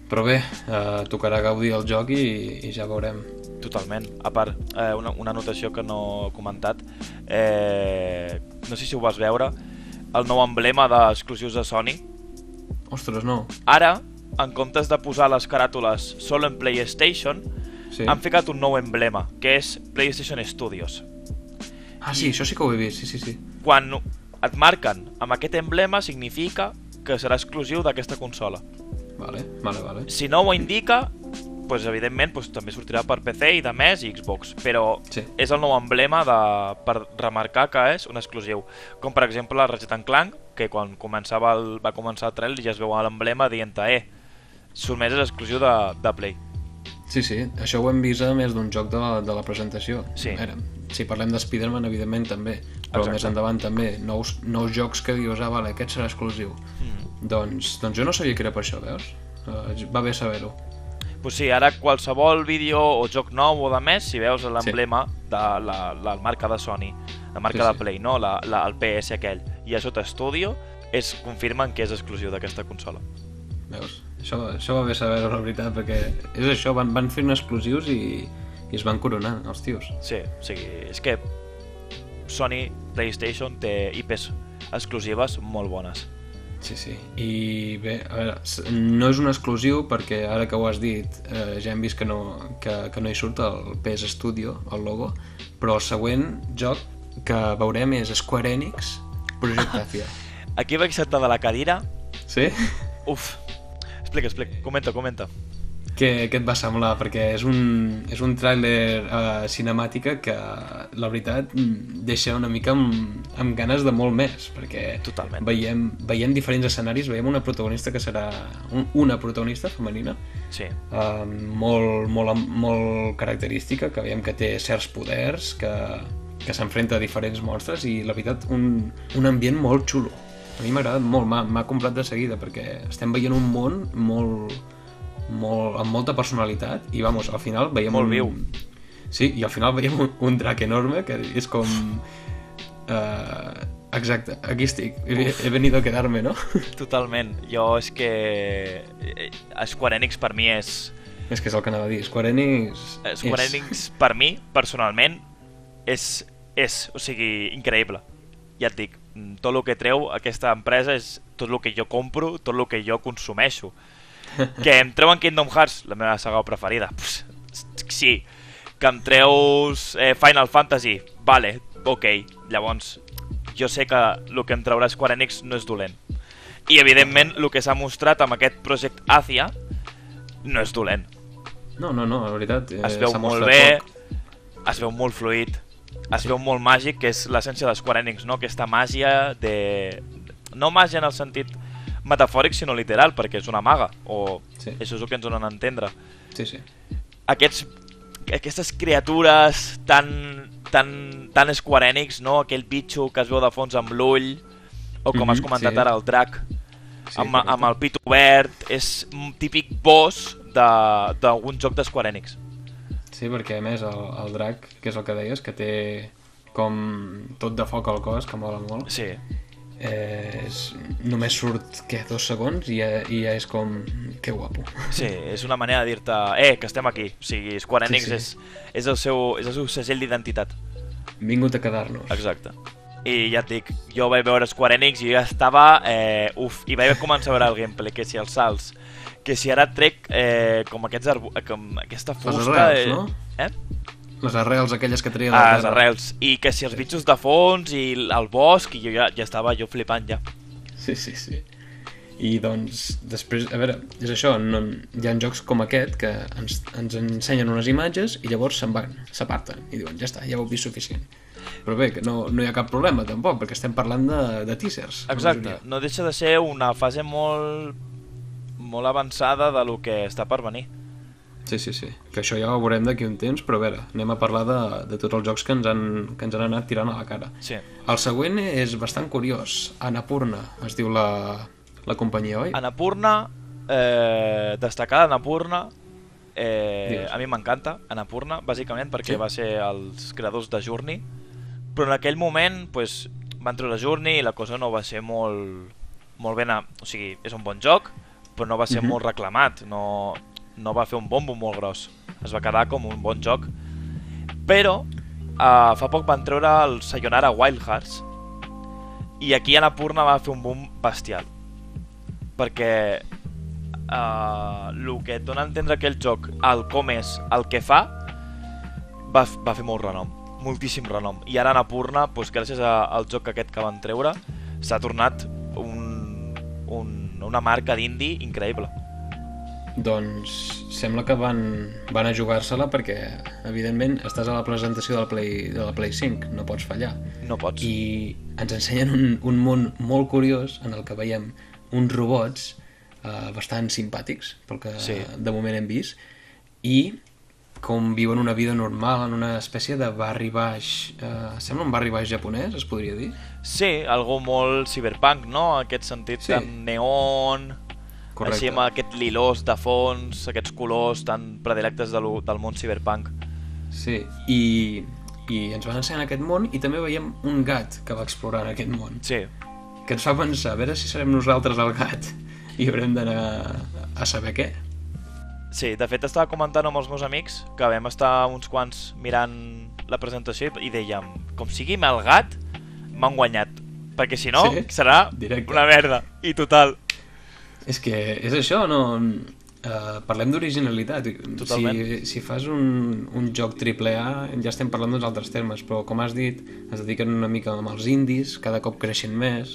S1: Però bé, eh, tocarà gaudir el joc i, i ja veurem.
S2: Totalment. A part, eh, una, una anotació que no he comentat. Eh, no sé si ho vas veure, el nou emblema d'exclusius de Sony.
S1: Ostres, no.
S2: Ara, en comptes de posar les caràtules solo en PlayStation,
S1: Sí.
S2: han ficat un nou emblema, que és PlayStation Studios.
S1: Ah, sí, això sí que ho he vist, sí, sí, sí.
S2: Quan et marquen amb aquest emblema significa que serà exclusiu d'aquesta consola.
S1: Vale, vale, vale.
S2: Si no ho indica, doncs, evidentment doncs, també sortirà per PC i de més i Xbox, però
S1: Sí.
S2: és el nou emblema de, per remarcar que és un exclusiu. Com per exemple Ratchet and Clank, que quan començava el, va començar el trailer ja es veu l'emblema dient eh, sotmès és exclusiu de, de Play.
S1: Sí, sí, això ho hem vist a més d'un joc de la, de la presentació.
S2: Sí.
S1: A veure, si parlem de Spider-Man, evidentment també, però
S2: Exacte.
S1: Exacte. més endavant també, nous, nous jocs que dius, ah, vale, aquest serà exclusiu. Mm. Doncs, doncs jo no sabia que era per això, veus? Uh, va bé saber-ho.
S2: Pues sí, ara qualsevol vídeo o joc nou o de més, si veus l'emblema de la, la marca de Sony, la marca
S1: Sí,
S2: sí, sí.
S1: sí.
S2: de Play, no? La, la, el PS aquell, i a sota Studio, es confirmen que és exclusiu d'aquesta consola.
S1: Veus? Això, això va bé saber-ho, la veritat, perquè és això, van, van fent exclusius i, i es van coronar, els tios.
S2: Sí, o sigui, és que Sony PlayStation té IPs exclusives molt bones.
S1: Sí, sí. I bé, a veure, s- no és un exclusiu perquè ara que ho has dit eh, ja hem vist que no, que, que no hi surt el PS Studio, el logo, però el següent joc que veurem és Square Enix Project Afia.
S2: Aquí vaig saltar de la cadira.
S1: Sí?
S2: Uf. Explica, explica. Comenta, comenta.
S1: Què, què et va semblar? Perquè és un, és un tràiler eh, cinemàtica que, la veritat, mm, deixa una mica amb, amb ganes de molt més, perquè
S2: Totalment.
S1: veiem, veiem diferents escenaris, veiem una protagonista que serà un, una protagonista femenina,
S2: Sí.
S1: eh, molt, molt, molt característica, que veiem que té certs poders, que, que s'enfrenta a diferents monstres i, la veritat, un, un ambient molt xulo. A mi m'ha agradat molt, m'ha- m'ha comprat de seguida, perquè estem veient un món molt, molt, amb molta personalitat i, vamos, al final veiem... un...
S2: Molt viu.
S1: Sí, i al final veiem un, un drac enorme que és com... Uh, exacte, aquí estic. He, he venido a quedarme, no?
S2: Totalment. Jo és que... eh, Square Enix per mi és...
S1: és que és el que anava a dir. Square Enix... és-
S2: Eh, Square Enix per mi, personalment, és, és, o sigui, increïble. Ja et dic, mm, tot el que treu aquesta empresa és tot el que jo compro, tot el que jo consumeixo. Que em treuen Kingdom Hearts, la meva saga preferida, pues, sí. Que em treus eh, Final Fantasy, vale, ok. Llavors, jo sé que el que em traurà Square Enix no és dolent. I, evidentment, el que s'ha mostrat amb aquest Project Asia no és dolent
S1: No, no, no, la veritat. eh,
S2: es veu
S1: s'ha
S2: molt
S1: mostrat
S2: bé,
S1: poc.
S2: es veu molt fluid, es veu molt màgic, que és l'essència de Square Enix, no? Aquesta màgia de... No màgia en el sentit metafòric, sinó literal, perquè és una maga, o
S1: Sí.
S2: sí. això és el que ens donen a entendre.
S1: Sí, sí.
S2: Aquests, aquestes criatures tan, tan, tan Square Enix, no? Aquell bitxo que es veu de fons amb l'ull, o com
S1: Mhm,
S2: has comentat
S1: sí.
S2: ara, el drac,
S1: sí
S2: sí, amb, amb el pit obert, és un típic boss de- d'algun joc d'Square Enix.
S1: Sí, perquè a més el, el drac, que és el que deies, que té com tot de foc al cos, que mola molt,
S2: Sí,
S1: eh, és, només surt, què, dos segons i ja, i ja és com, que guapo.
S2: sí, és una manera de dir-te, eh, que estem aquí. O sigui, Square
S1: Sí,
S2: Enix
S1: sí.
S2: És, és, el seu, és el seu segell d'identitat.
S1: Hem vingut a quedar-nos.
S2: Exacte. I ja et dic, jo vaig veure Square Enix i ja estava... Eh, uf, i vaig començar a veure el gameplay, que si els salts, que si ara trec eh, com, aquests arbu com aquesta
S1: Les
S2: fusta...
S1: arrels, no?
S2: Eh?
S1: Les arrels aquelles que treia de
S2: Ah,
S1: la
S2: les
S1: terra.
S2: arrels. I que si els bitxos de fons i el bosc, i jo ja, ja estava jo flipant ja.
S1: Sí, sí, sí. I doncs, després, a veure, és això, no, hi ha jocs com aquest que ens, ens ensenyen unes imatges i llavors se'n van, s'aparten i diuen, ja està, ja ho heu vist suficient. Però bé, que no, no hi ha cap problema tampoc, perquè estem parlant de, de teasers. la
S2: Exacte.
S1: majoria.
S2: No deixa de ser una fase molt molt avançada de lo que està per venir.
S1: Sí, sí, sí. Que això ja ho veurem d'aquí un temps, però a veure, anem a parlar de, de tots els jocs que ens, han, que ens han anat tirant a la cara.
S2: Sí.
S1: El següent és bastant curiós. Anapurna, es diu la, la companyia, oi?
S2: Anapurna, eh, destacada Anapurna, eh,
S1: Digues.
S2: a mi m'encanta Anapurna, bàsicament perquè
S1: Sí?
S2: sí? va ser els creadors de Journey, però en aquell moment pues, van treure Journey i la cosa no va ser molt, molt ben... A... O sigui, és un bon joc, però no va ser
S1: Mhm.
S2: molt reclamat, no, no va fer un bombo molt gros, es va quedar com un bon joc. Però eh, fa poc van treure el Sayonara Wild Hearts i aquí Anapurna va fer un boom bestial perquè uh, el que et dona a entendre aquell joc, el com és, el que fa, va, f- va fer molt renom, moltíssim renom. I ara Anapurna, doncs, gràcies a, al joc aquest que van treure, s'ha tornat un, un, una marca d'indi increïble.
S1: Doncs sembla que van, van a jugar-se-la perquè, evidentment, estàs a la presentació del Play, de la Play 5, no pots fallar.
S2: No pots.
S1: I ens ensenyen un, un món molt curiós en el que veiem uns robots eh, bastant simpàtics, pel que
S2: Sí.
S1: de moment hem vist, i com viuen una vida normal en una espècie de barri baix... Eh, sembla un barri baix japonès, es podria dir?
S2: Sí, algú molt cyberpunk, no? Aquest sentit
S1: Sí.
S2: sí. tan neon,
S1: Correcte.
S2: així amb aquest lilós de fons, aquests colors tan predilectes de lo, del món cyberpunk.
S1: Sí, i, i ens van ensenyar aquest món i també veiem un gat que va explorar en aquest món.
S2: Sí,
S1: que ens fa pensar, a veure si serem nosaltres el gat i haurem d'anar a saber què.
S2: Sí, de fet estava comentant amb els meus amics que vam estar uns quants mirant la presentació i i dèiem com sigui el gat, m'han guanyat perquè si no,
S1: Sí,
S2: sí, serà
S1: directe.
S2: una merda i total
S1: És que és això, no... Uh, parlem d'originalitat. Si,
S2: Totalment.
S1: si fas un, un joc triple A ja estem parlant d'uns altres termes, però com has dit, es dediquen una mica amb els indis, cada cop creixen més.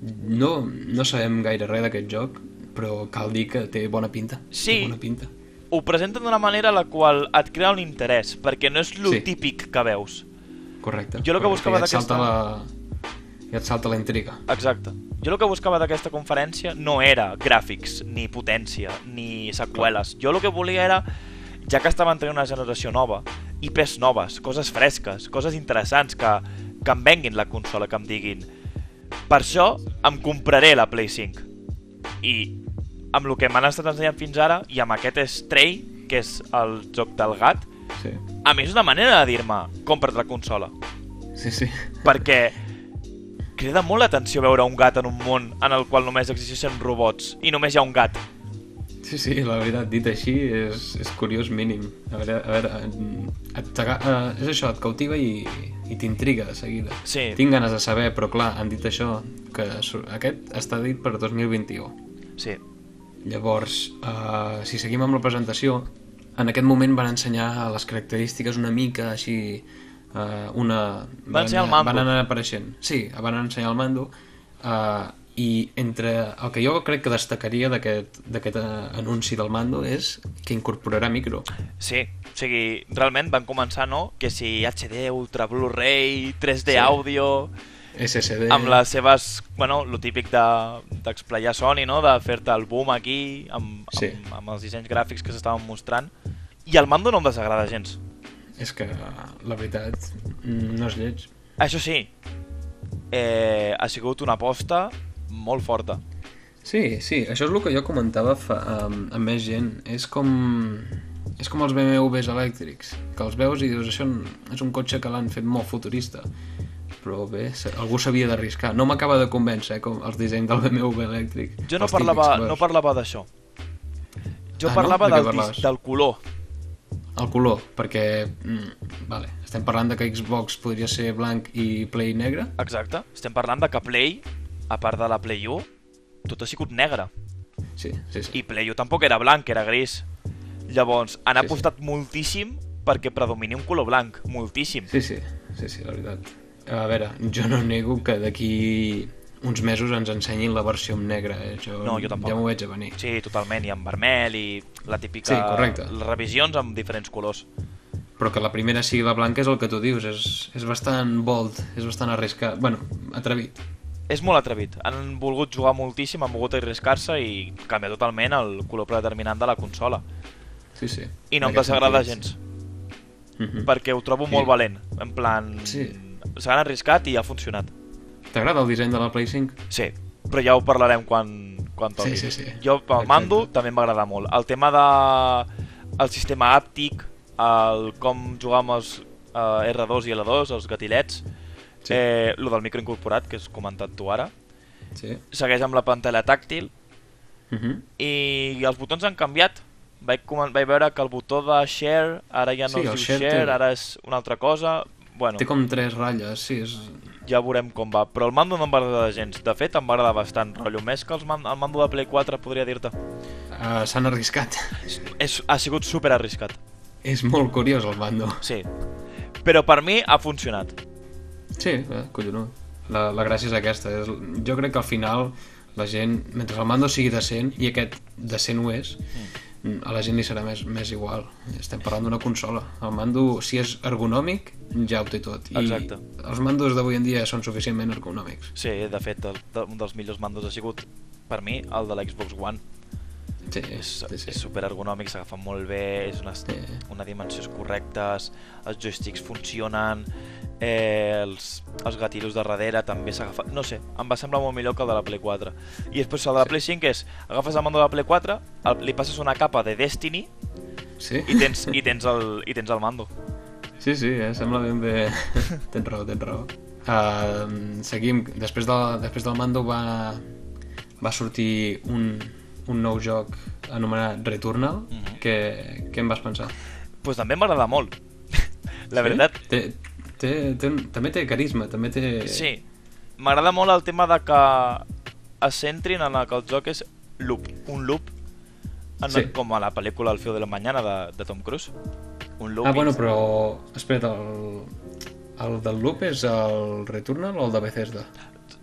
S1: No, no sabem gaire res d'aquest joc, però cal dir que té bona pinta. Té
S2: Sí.
S1: bona pinta.
S2: ho presenten d'una manera la qual et crea un interès perquè no és lo
S1: Sí.
S2: sí. típic que veus
S1: Correcte.
S2: Jo lo que
S1: Correcte,
S2: buscava
S1: ja et salta La... Ja et salta la intriga.
S2: Exacte. Jo el que buscava d'aquesta conferència no era gràfics, ni potència, ni seqüeles. Jo el que volia era, ja que estava entrant una generació nova, IPs noves, coses fresques, coses interessants que, que em venguin la consola, que em diguin per això em compraré la Play 5. I amb el que m'han estat ensenyant fins ara, i amb aquest Stray, que és el joc del gat,
S1: Sí,
S2: a mi és una manera de dir-me compra't la consola
S1: sí, sí.
S2: perquè crida molt l'atenció veure un gat en un món en el qual només existeixen robots i només hi ha un gat.
S1: Sí, sí, la veritat, dit així, és, és curiós mínim. A veure, a veure et, et, uh, és això, et cautiva i, i t'intriga de seguida.
S2: Sí.
S1: Tinc ganes de saber, però clar, han dit això, que sur- aquest està dit per 2021.
S2: Sí,
S1: Llavors, uh, si seguim amb la presentació, en aquest moment van ensenyar les característiques una mica així... Uh, una...
S2: Van ensenyar el
S1: anar-
S2: mando.
S1: Van anar apareixent. Sí, van ensenyar el mando. Uh, I entre el que jo crec que destacaria d'aquest d'aquest, eh, anunci del mando és que incorporarà micro.
S2: sí. O sigui, realment van començar, no?, que si HD, Ultra Blu-ray, 3D
S1: Sí.
S2: sí. àudio,
S1: SSD...
S2: amb les seves... Bueno, lo típic de- d'explayar de, Sony, no?, de fer-te el boom aquí, amb,
S1: Sí.
S2: amb, amb els dissenys gràfics que s'estaven mostrant. I el mando no em desagrada gens.
S1: És que, la veritat, mm, no és lleig.
S2: Això sí, eh, ha sigut una aposta molt forta.
S1: Sí, sí, això és el que jo comentava fa, amb, amb més gent. És com, és com els BMWs elèctrics, que els veus i dius, això és un cotxe que l'han fet molt futurista. Però bé, se- algú s'havia d'arriscar. No m'acaba de convèncer, eh, com els dissenys del BMW elèctric.
S2: Jo no
S1: Els
S2: parlava,
S1: típics,
S2: no
S1: veus?
S2: parlava d'això. Jo
S1: Ah, no?
S2: parlava
S1: De què
S2: del,
S1: parlaves?
S2: dis- del color.
S1: El color, perquè... Mm, vale, estem parlant de que Xbox podria ser blanc i Play negre?
S2: Exacte. Estem parlant de que Play, a part de la Play 1, tot ha sigut negre.
S1: Sí, sí, sí.
S2: I Play 1 tampoc era blanc, era gris. Llavors, han
S1: Sí, sí.
S2: apostat moltíssim perquè predomini un color blanc. Moltíssim.
S1: Sí, sí, sí, sí, la veritat. A veure, jo no nego que d'aquí uns mesos ens ensenyin la versió en negre. Eh? Jo,
S2: No, jo tampoc.
S1: Ja m'ho veig a venir.
S2: Sí, totalment, i en vermell, i la típica...
S1: Sí, correcte.
S2: Les revisions amb diferents colors.
S1: Però que la primera sigui la blanca és el que tu dius, és, és bastant bold, és bastant arriscat, bueno, atrevit.
S2: És molt atrevit. Han volgut jugar moltíssim, han volgut arriscar-se i canviar totalment el color predeterminant de la consola.
S1: Sí, sí.
S2: I no
S1: En
S2: em
S1: aquest
S2: desagrada
S1: sentit.
S2: gens,
S1: Mhm.
S2: perquè ho trobo
S1: Sí.
S2: molt valent. En plan,
S1: Sí.
S2: s'han arriscat i ha funcionat.
S1: T'agrada el disseny de la Play 5?
S2: Sí, però ja ho parlarem quan, quan toqui.
S1: Sí, sí, sí.
S2: Jo, el
S1: Exacte.
S2: mando, també em va agradar molt. El tema de... el sistema àptic, el com jugar amb els eh, R2 i L2, els gatillets,
S1: Sí.
S2: eh, lo del micro incorporat, que has comentat tu ara,
S1: Sí.
S2: segueix amb la pantalla tàctil,
S1: Uh -huh.
S2: i els botons han canviat. Vaig, comen- vaig veure que el botó de share ara ja no
S1: Sí,
S2: es
S1: el
S2: diu share,
S1: share té-
S2: ara és una altra cosa. Bueno,
S1: Té com tres ratlles, sí, és...
S2: ja veurem com va. Però el mando no em va agradar gens. De fet, em va agradar bastant. Rotllo més que els man el mando de Play 4, podria dir-te.
S1: Uh, s'han arriscat.
S2: És, ha sigut super arriscat.
S1: és molt curiós el bando.
S2: Sí. Però per mi ha funcionat.
S1: Sí, eh, collonut. La, la gràcia és aquesta. És, jo crec que al final la gent, mentre el mando sigui decent, i aquest decent ho és, mm. a la gent li serà més, més igual. Estem parlant d'una consola. El mando, si és ergonòmic, ja ho té tot. I
S2: Exacte.
S1: els mandos d'avui en dia són suficientment ergonòmics.
S2: Sí, de fet, el, de, un dels millors mandos ha sigut, per mi, el de l'Xbox One.
S1: Sí,
S2: És,
S1: sí, sí.
S2: és super ergonòmic, s'agafa molt bé, és unes,
S1: Sí.
S2: una dimensions correctes, els joysticks funcionen, eh, els, els gatillos de darrere també s'agafa... No sé, em va semblar molt millor que el de la Play 4. I després el de la Play 5 és, agafes el mando de la Play 4, el, li passes una capa de Destiny
S1: Sí,
S2: i tens, i tens, el, i tens el mando.
S1: sí, sí eh? sembla ben bé... tens raó, tens raó. Uh, seguim. Després, de, després del mando va, va sortir un, un nou joc anomenat Returnal. Mm
S2: Mhm.
S1: -hmm. que, què en vas pensar?
S2: pues Doncs també m'agrada molt. La veritat,
S1: Sí? Té, té, té, un- també té carisma, també té... Ah,
S2: sí. M'agrada molt el tema de que es centrin en el que el joc és loop, un loop, en
S1: Sí.
S2: com a la pel·lícula El feu de la mañana de, de Tom Cruise. Un loop.
S1: Ah, bueno, però... Espera't, el, el del Loop és el Returnal o el de Bethesda?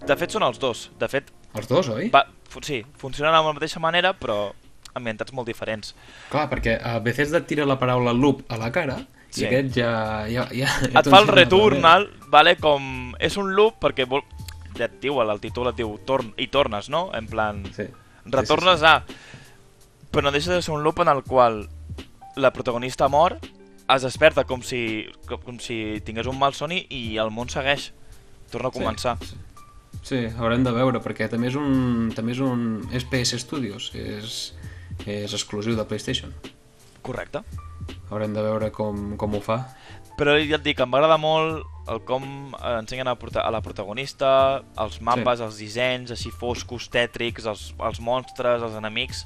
S2: De fet, són els dos. De fet,
S1: Els dos, oi?
S2: va, fu- sí, funcionen de la mateixa manera, però ambientats molt diferents.
S1: Clar, perquè a Bethesda tira la paraula loop a la cara
S2: Sí.
S1: i aquest ja... ja, ja, ja
S2: Et fa el
S1: t'ensenya la manera.
S2: returnal, vale, com... És un loop perquè vol... ja et diu, el títol et diu torn, i tornes, no? En plan,
S1: Sí.
S2: Retornes
S1: Sí,
S2: a... Però no deixa de ser un loop en el qual la protagonista mor, es desperta com si, com, com si tingués un mal somni i el món segueix. Torna a
S1: Sí.
S2: començar. Sí.
S1: sí, sí. sí, haurem de veure, perquè també és un... També és un... És PS Studios, és, és exclusiu de PlayStation.
S2: Correcte.
S1: Haurem de veure com, com ho fa.
S2: Però ja et dic, em va agradar molt el com eh, ensenyen a, prota- a la protagonista, els mapes, sí. els dissenys, així foscos, tètrics, els, els monstres, els enemics...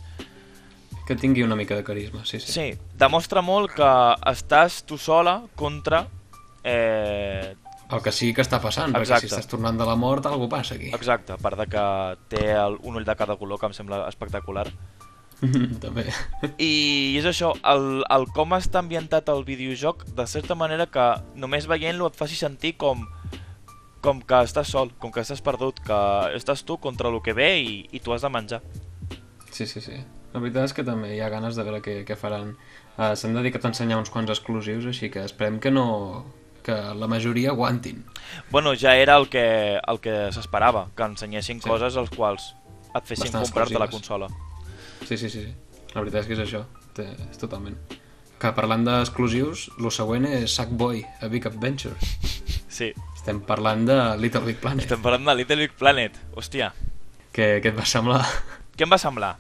S1: Que tingui una mica de carisma, sí, sí.
S2: Sí, demostra molt que estàs tu sola contra eh,
S1: El que sigui que està passant, perquè
S2: Exacte.
S1: si estàs tornant de la mort, alguna passa aquí.
S2: Exacte, a part de que té el, un ull de cada color, que em sembla espectacular.
S1: també.
S2: I és això, el, el com està ambientat el videojoc, de certa manera que només veient-lo et faci sentir com com que estàs sol, com que estàs perdut, que estàs tu contra el que ve i, i tu has de menjar.
S1: Sí, sí, sí. La veritat és que també hi ha ganes de veure què, què faran. Uh, S'han dedicat a ensenyar uns quants exclusius, així que esperem que no... que la majoria aguantin.
S2: Bueno, ja era el que, el que s'esperava, que ensenyessin
S1: Sí.
S2: sí. coses als quals et fessin
S1: Bastant
S2: comprar-te la
S1: exclusives.
S2: consola.
S1: Sí, sí, sí, sí. La veritat és que és això. Té- És totalment. Que parlant d'exclusius, el següent és Sackboy, a Big Adventure.
S2: Sí,
S1: Estem parlant de Little Big Planet.
S2: estem parlant de Little Big Planet, hòstia.
S1: Que, que et va semblar?
S2: Què em va semblar?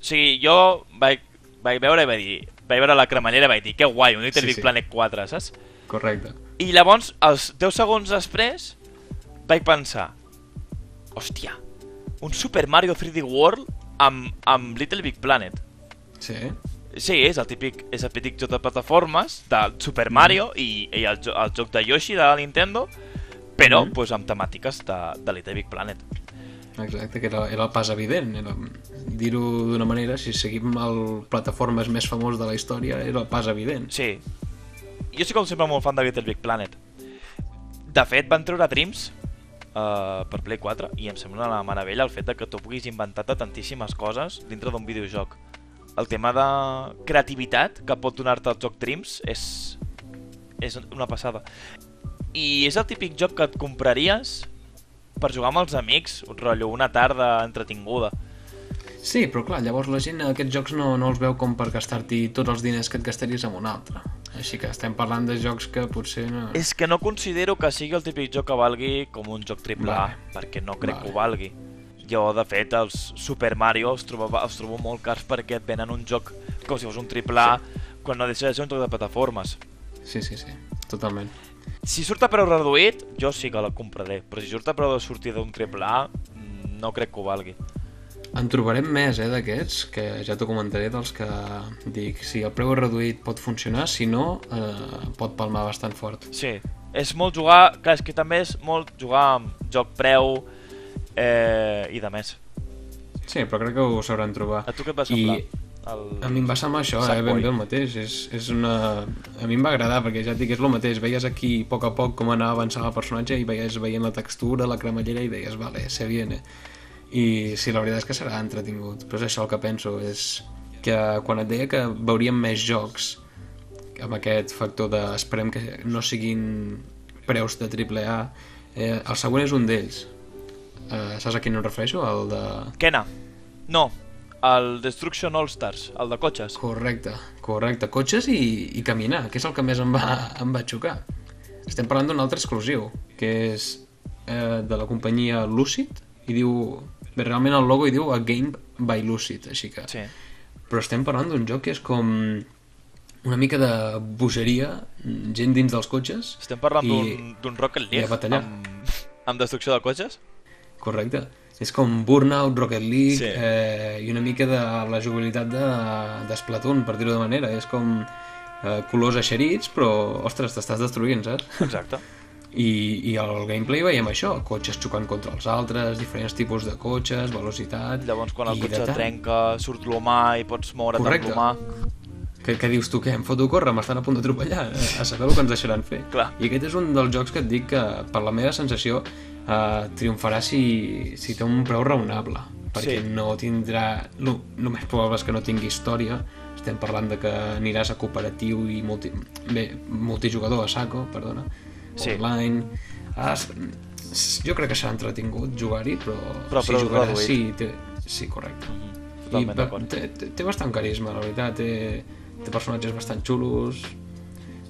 S2: O sigui, jo vaig, vaig veure i vaig dir... Vaig veure la cremallera i vaig dir, que guai, un Little
S1: Sí,
S2: Big
S1: sí.
S2: Planet 4, saps?
S1: Correcte.
S2: I llavors, els 10 segons després, vaig pensar... Hòstia, un Super Mario 3D World amb, amb Little Big Planet.
S1: Sí.
S2: Sí, és el típic, és el típic joc de plataformes del Super Mario
S1: Mm.
S2: i, i el, jo- el joc de Yoshi de la Nintendo, però
S1: Mhm.
S2: pues, amb temàtiques de, de Little Big Planet.
S1: Exacte, que era, era el pas evident. Era... Dir-ho d'una manera, si seguim el plataformes més famós de la història, era el pas evident.
S2: Sí. Jo sí com sempre molt fan de Little Big Planet. De fet, van treure Dreams uh, per Play 4 i em sembla una meravella el fet de que tu puguis inventar te tantíssimes coses dintre d'un videojoc. El tema de creativitat que pot donar-te el joc Dreams és, és una passada. I és el típic joc que et compraries per jugar amb els amics, un rotllo, una tarda entretinguda.
S1: Sí, però clar, llavors la gent aquests jocs no, no els veu com per gastar-t'hi tots els diners que et gastaries amb un altre. Així que estem parlant de jocs que potser no...
S2: És que no considero que sigui el típic joc que valgui com un joc triple A,
S1: Vale.
S2: perquè no crec
S1: Vale.
S2: que ho valgui. Jo, de fet, els Super Mario els trobo, els trobo molt cars perquè et venen un joc com si fos un triple A, quan no deixa de ser un joc de plataformes.
S1: Sí, sí, sí, totalment.
S2: Si surt a preu reduït, jo sí que la compraré, però si surt a preu de sortida d'un triple A, mm, no crec que ho valgui.
S1: En trobarem més, eh, d'aquests, que ja t'ho comentaré, dels que dic, si el preu és reduït pot funcionar, si no, eh, pot palmar bastant fort.
S2: Sí, és molt jugar... Clar, és que també és molt jugar amb joc preu eh, i de més.
S1: Sí, però crec que ho sabran trobar.
S2: A tu què et va semblar?
S1: I
S2: El...
S1: A mi em va semblar això, eh,
S2: Sackboy.
S1: ben bé el mateix. És, és una... A mi em va agradar, perquè ja et dic, és el mateix. Veies aquí a poc a poc com anava avançant el personatge i veies veient la textura, la cremallera i deies, vale, se viene. I sí, la veritat és que serà entretingut. Però és això el que penso, és que quan et deia que veuríem més jocs amb aquest factor de esperem que no siguin preus de triple A, eh, el següent és un d'ells. Eh, saps a quin em refereixo? El de...
S2: Kena. No, el Destruction All-Stars, el de cotxes.
S1: Correcte, correcte. Cotxes i, i caminar, que és el que més em va, em va xocar. Estem parlant d'un altre exclusiu, que és eh, de la companyia Lucid, i diu... Bé, realment el logo hi diu A Game by Lucid, així que...
S2: Sí.
S1: Però estem parlant d'un joc que és com una mica de bogeria, gent dins dels cotxes...
S2: Estem parlant
S1: i-
S2: d'un- d'un
S1: i
S2: Rocket
S1: a
S2: League
S1: batallar.
S2: amb, amb destrucció de cotxes?
S1: Correcte. És com Burnout, Rocket League sí.
S2: Sí.
S1: eh, i una mica de la jugabilitat de- d'Splatoon, de, per dir-ho de manera. És com eh, colors eixerits, però, ostres, t'estàs destruint, saps?
S2: Exacte.
S1: I, I al gameplay veiem això, cotxes xocant contra els altres, diferents tipus de cotxes, velocitat...
S2: Llavors quan el
S1: i
S2: cotxe
S1: de tant.
S2: trenca, surt l'humà i pots moure't
S1: Correcte.
S2: amb l'humà.
S1: Que, que dius tu, què, em foto a córrer, m'estan a punt d'atropellar, a saber el que ens deixaran fer.
S2: Clar.
S1: I aquest és un dels jocs que et dic que, per la meva sensació, eh, triomfarà si, si té un preu raonable, perquè
S2: Sí.
S1: no tindrà... El, el més probable és que no tingui història, estem parlant de que aniràs a cooperatiu i multi, bé, multijugador a saco, perdona,
S2: Sí.
S1: online... Ah, s- s- jo crec que serà entretingut jugar-hi, però,
S2: Però
S1: si
S2: preu
S1: jugaràs...
S2: reduït.
S1: Sí, té, sí, correcte.
S2: Totalment
S1: I va-
S2: d'acord.
S1: té, té, té bastant carisma, la veritat, té, té personatges bastant xulos...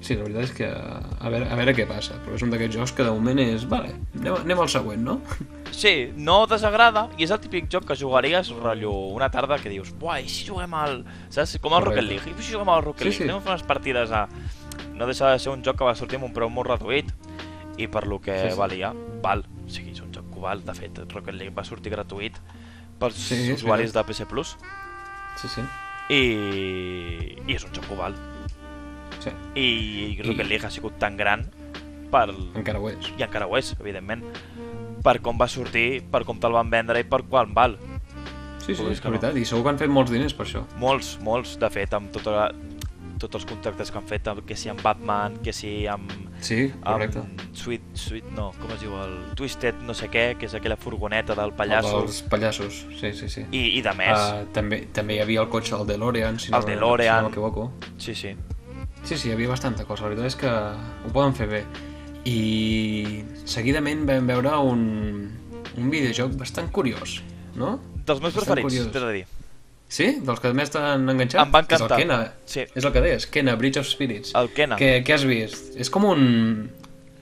S1: Sí, la veritat és que... A veure, a veure què passa, però és un d'aquests jocs que de moment és... Vale, anem, anem al següent, no?
S2: Sí, no desagrada i és el típic joc que jugaries rotllo una tarda que dius Buah, i si juguem al... Saps? Com al Rocket
S1: Correcte.
S2: League. I si juguem al Rocket
S1: Sí, sí.
S2: League. Anem a fer unes partides a... No deixa de ser un joc que va sortir amb un preu molt reduït i per lo que
S1: Sí, sí.
S2: valia, val. O sigui, és un joc que val. De fet, Rocket League va sortir gratuït pels
S1: Sí, és
S2: usuaris de PC Plus
S1: Sí, sí.
S2: i, i és un joc que val.
S1: sí
S2: I, I Rocket
S1: I-
S2: League ha sigut tan gran per,
S1: encara ho és.
S2: i encara ho és, evidentment, per com va sortir, per com te'l van vendre i per quan val.
S1: Sí, sí,
S2: Ui,
S1: és
S2: que no.
S1: veritat, i segur que han fet molts diners per això.
S2: Molts, molts, de fet, amb tota la, tots els contractes que han fet, amb- que si amb Batman, que si amb...
S1: Sí, correcte.
S2: amb Sweet, Sweet, no, com es diu, el Twisted no sé què, que és aquella furgoneta del
S1: El
S2: pallasso,
S1: dels pallassos, sí, sí, sí.
S2: i, i de més,
S1: Uh, també, també hi havia el cotxe del DeLorean, si no,
S2: El
S1: si
S2: DeLorean.
S1: no m'equivoco.
S2: sí, sí.
S1: Sí, sí, hi havia bastanta cosa. La veritat és que ho poden fer bé. I seguidament vam veure un, un videojoc bastant curiós, no?
S2: Dels meus
S1: Estan
S2: preferits,
S1: curiosos.
S2: t'he de dir.
S1: Sí? Dels que més t'han enganxat?
S2: Em va encantar.
S1: És el Kena.
S2: Sí.
S1: És el que deies, Kena, Bridge of Spirits.
S2: El Kena.
S1: Què, què has vist? És com un...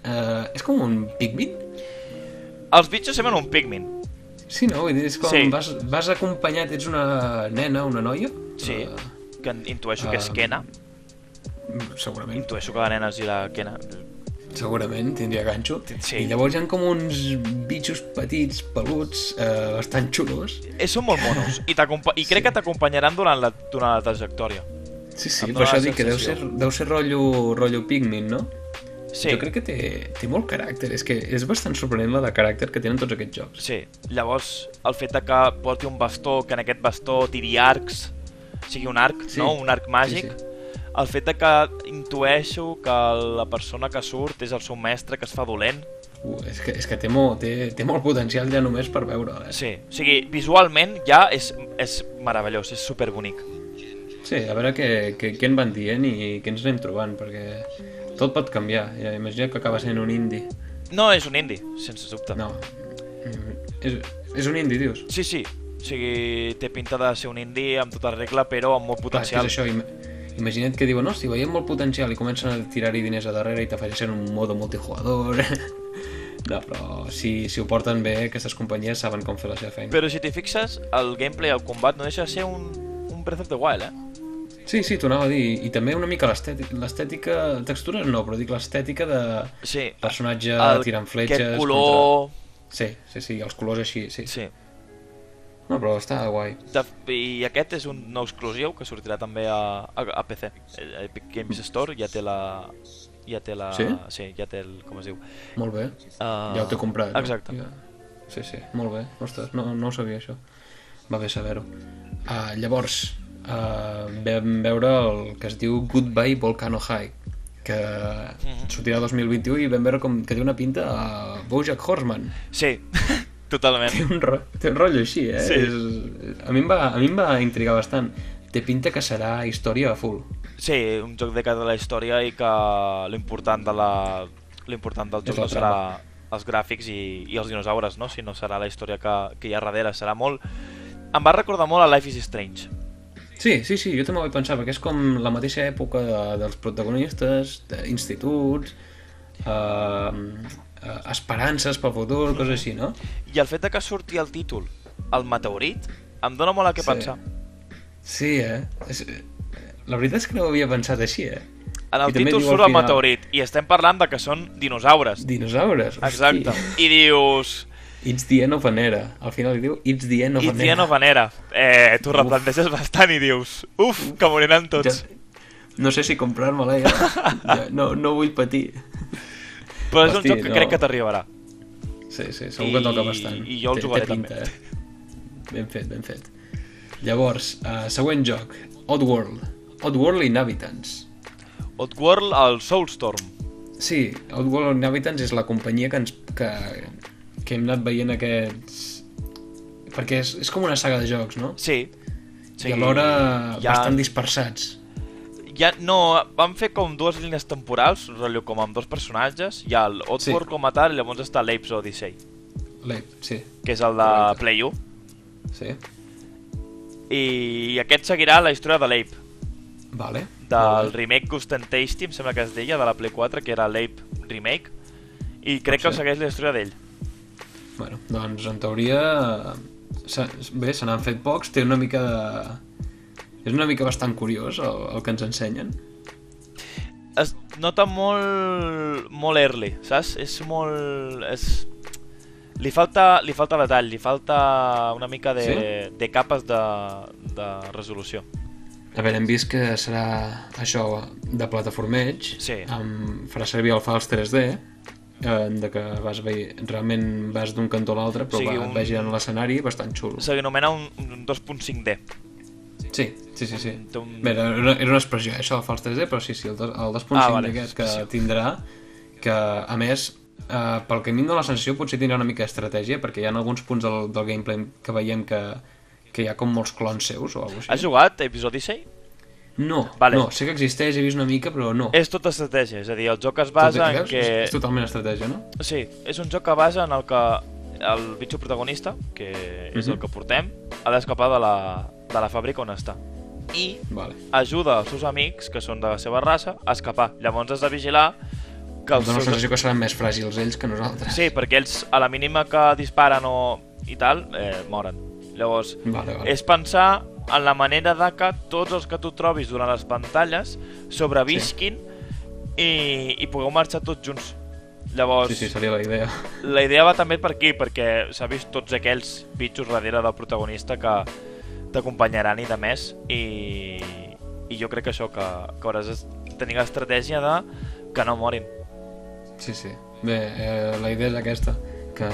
S1: Uh, és com un Pikmin?
S2: Els bitxos semblen un Pikmin.
S1: Sí, no? Vull dir, és com
S2: Sí.
S1: vas, vas acompanyat, ets una nena, una noia? Eh,
S2: Sí, que intueixo que és
S1: Ah.
S2: Kena.
S1: Eh, segurament.
S2: Intueixo que la nena es dirà Kena.
S1: Segurament, tindria ganxo.
S2: Sí.
S1: I llavors hi ha com uns bitxos petits, peluts, eh, bastant xulos.
S2: Eh, són molt monos i, t'acompa- i crec que t'acompanyaran durant, la, durant la trajectòria.
S1: Sí, sí,
S2: Em
S1: per
S2: dóna
S1: això
S2: la
S1: dic que deu ser,
S2: sensació.
S1: deu ser rotllo, rotllo Pikmin, no?
S2: Sí,
S1: Jo crec que té, té molt caràcter, és que és bastant sorprenent la de caràcter que tenen tots aquests jocs.
S2: sí. Llavors, el fet de que porti un bastó, que en aquest bastó tiri arcs, sigui un arc,
S1: Sí.
S2: no? Un arc màgic.
S1: Sí,
S2: El fet de que intueixo que la persona que surt és el seu mestre, que es fa dolent.
S1: Uh, és que, és que té, molt, té, té molt potencial ja només per veure'l, eh?
S2: Sí, o sigui, visualment ja és, és meravellós, és superbonic.
S1: Sí, a veure què, què, què en van dient i què ens anem trobant, perquè tot pot canviar. Ja, imagina que acaba sent un indi.
S2: No és un indie, sense dubte.
S1: No, Mm, és, és un indi, dius?
S2: Sí, sí, o sigui, té pinta de ser un indie amb tota regla, però amb molt
S1: Clar, és que
S2: potencial.
S1: és això, im imagina't que diuen, hòstia, veiem molt potencial i comencen a tirar-hi diners a darrere i t'afegeixen un modo multijugador... no, però si, si ho porten bé, aquestes companyies saben com fer la seva feina.
S2: Però si t'hi fixes, el gameplay, el combat, no deixa de ser un, un Breath of the Wild, eh?
S1: Sí, sí, t'ho anava a dir. I també una mica l'estètica, l'estètica, textures no, però dic l'estètica de
S2: Sí.
S1: personatge tirant fletxes...
S2: Aquest color...
S1: Contra... Sí, sí, sí, els colors així, sí.
S2: Sí.
S1: No, però està guai.
S2: De... I aquest és un nou exclusiu que sortirà també a, a, a PC. El Epic Games Store ja té la... Ja té la...
S1: Sí?
S2: sí ja té el... Com es diu?
S1: Molt bé.
S2: Ah,
S1: ja ho t'he comprat. no?
S2: exacte.
S1: Ja. Sí, sí, molt bé. Ostres, no, no ho sabia això. Va bé saber-ho. Uh, llavors, uh, vam veure el que es diu Goodbye Volcano High, que
S2: Mhm.
S1: sortirà 2021 i vam veure com que té una pinta a Bojack Horseman.
S2: Sí, totalment.
S1: Té un, ro té un rotllo així, eh?
S2: Sí.
S1: És... A, mi em va, a mi em va intrigar bastant. Té pinta que serà història a full.
S2: Sí, un joc de cara a la història i que l'important de la... L'important del
S1: És
S2: joc
S1: la
S2: no serà els gràfics i, i els dinosaures, no? Sinó serà la història que, que hi ha darrere. Serà molt... Em va recordar molt a Life is Strange.
S1: Sí, sí, sí, jo també ho vaig pensar, perquè és com la mateixa època de, dels protagonistes, d'instituts, eh, eh, esperances pel futur, coses així, no?
S2: I el fet de que surti el títol, el meteorit, em dóna molt a què
S1: Sí.
S2: sí. pensar.
S1: Sí, eh? És, la veritat és que no ho havia pensat així, eh?
S2: En el
S1: I també
S2: títol
S1: diu al
S2: surt el
S1: final-
S2: meteorit i estem parlant de que són dinosaures.
S1: Dinosaures. hosti.
S2: Exacte. I dius...
S1: It's the end of an era. Al final li diu It's the end of
S2: It's
S1: an
S2: the
S1: era.
S2: end of an era. Eh, T'ho replanteges bastant i dius... Uf, que moriran tots.
S1: Ja- No sé si comprar-me-la, ja. ja. No, no vull patir.
S2: Però és un
S1: Hosti,
S2: joc que
S1: no.
S2: crec que t'arribarà.
S1: Sí, sí, segur que toca bastant.
S2: I- i jo el jugaré també.
S1: Eh? Ben fet, ben fet. Llavors, uh, següent joc, Oddworld. Oddworld Inhabitants.
S2: Oddworld al Soulstorm.
S1: Sí, Oddworld Inhabitants és la companyia que, ens, que, que hem anat veient aquests... Perquè és, és com una saga de jocs, no?
S2: Sí. sí.
S1: I alhora
S2: hi ha-
S1: bastant dispersats.
S2: Ja, no, van fer com dues línies temporals, rotllo com amb dos personatges. Hi ha el Oddworld
S1: Sí.
S2: sí. com a tal i llavors està l'Apes Odyssey,
S1: L'he- Sí,
S2: que és el de
S1: Correcte.
S2: Play 1.
S1: sí.
S2: I aquest seguirà la història de l'Ape,
S1: Vale.
S2: del remake Ghost and Tasty, em sembla que es deia, de la Play 4, que era l'Ape Remake. I crec que
S1: ser.
S2: segueix la història d'ell.
S1: Bueno, doncs en teoria... se- Bé, se n'han fet pocs, té una mica de... És una mica bastant curiós el, el que ens ensenyen.
S2: Es nota molt... molt early, saps? És molt... És... Li falta, li falta detall, li falta una mica de,
S1: Sí?
S2: de capes de, de resolució.
S1: A veure, hem vist que serà això de plataformeig,
S2: Sí.
S1: amb, farà servir el fals 3D, eh, de que vas ve... realment vas d'un cantó a l'altre, però
S2: O
S1: sí,
S2: sigui,
S1: va,
S2: un-
S1: un... vas girant l'escenari bastant xulo.
S2: Se l'anomena un, un 2.5D.
S1: Sí, sí, sí. sí.
S2: Té un-
S1: Bé, era una, era una expressió, eh, això del fals 3D, però sí, sí, el, dos- el 2.5
S2: Ah,
S1: ah,
S2: vale.
S1: vale. aquest que tindrà, que a més, eh, pel que a mi em dóna la sensació, potser tindrà una mica d'estratègia, perquè hi ha alguns punts del, del gameplay que veiem que, que hi ha com molts clones seus o alguna cosa
S2: Has jugat a Episodi 6?
S1: No,
S2: Vale.
S1: vale. no, sé que existeix, he vist una mica, però no.
S2: És tota estratègia, és a dir, el joc es
S1: Tot i
S2: basa
S1: que
S2: en
S1: veus,
S2: que...
S1: és, és totalment estratègia, no?
S2: Sí, és un joc que basa en el que el bitxo protagonista, que és el
S1: Mhm.
S2: que portem, ha d'escapar de la, de la fàbrica on està. I
S1: Vale.
S2: ajuda els seus amics, que són de la seva raça, a escapar. Llavors has de vigilar que
S1: Em
S2: els
S1: dóna la
S2: seus...
S1: sensació que seran més fràgils ells que nosaltres.
S2: Sí, perquè ells, a la mínima que disparen o i tal, eh, moren. Llavors,
S1: Vale, vale.
S2: és pensar en la manera de que tots els que tu trobis durant les pantalles sobrevisquin i, i pugueu marxar tots junts. Llavors,
S1: Sí, sí, seria la idea.
S2: la idea va també per aquí, perquè s'ha vist tots aquells bitxos darrere del protagonista que t'acompanyaran i de més, i, i jo crec que això, que, que hauràs de tenir l'estratègia de que no morin.
S1: Sí, sí. Bé, eh, la idea és aquesta, que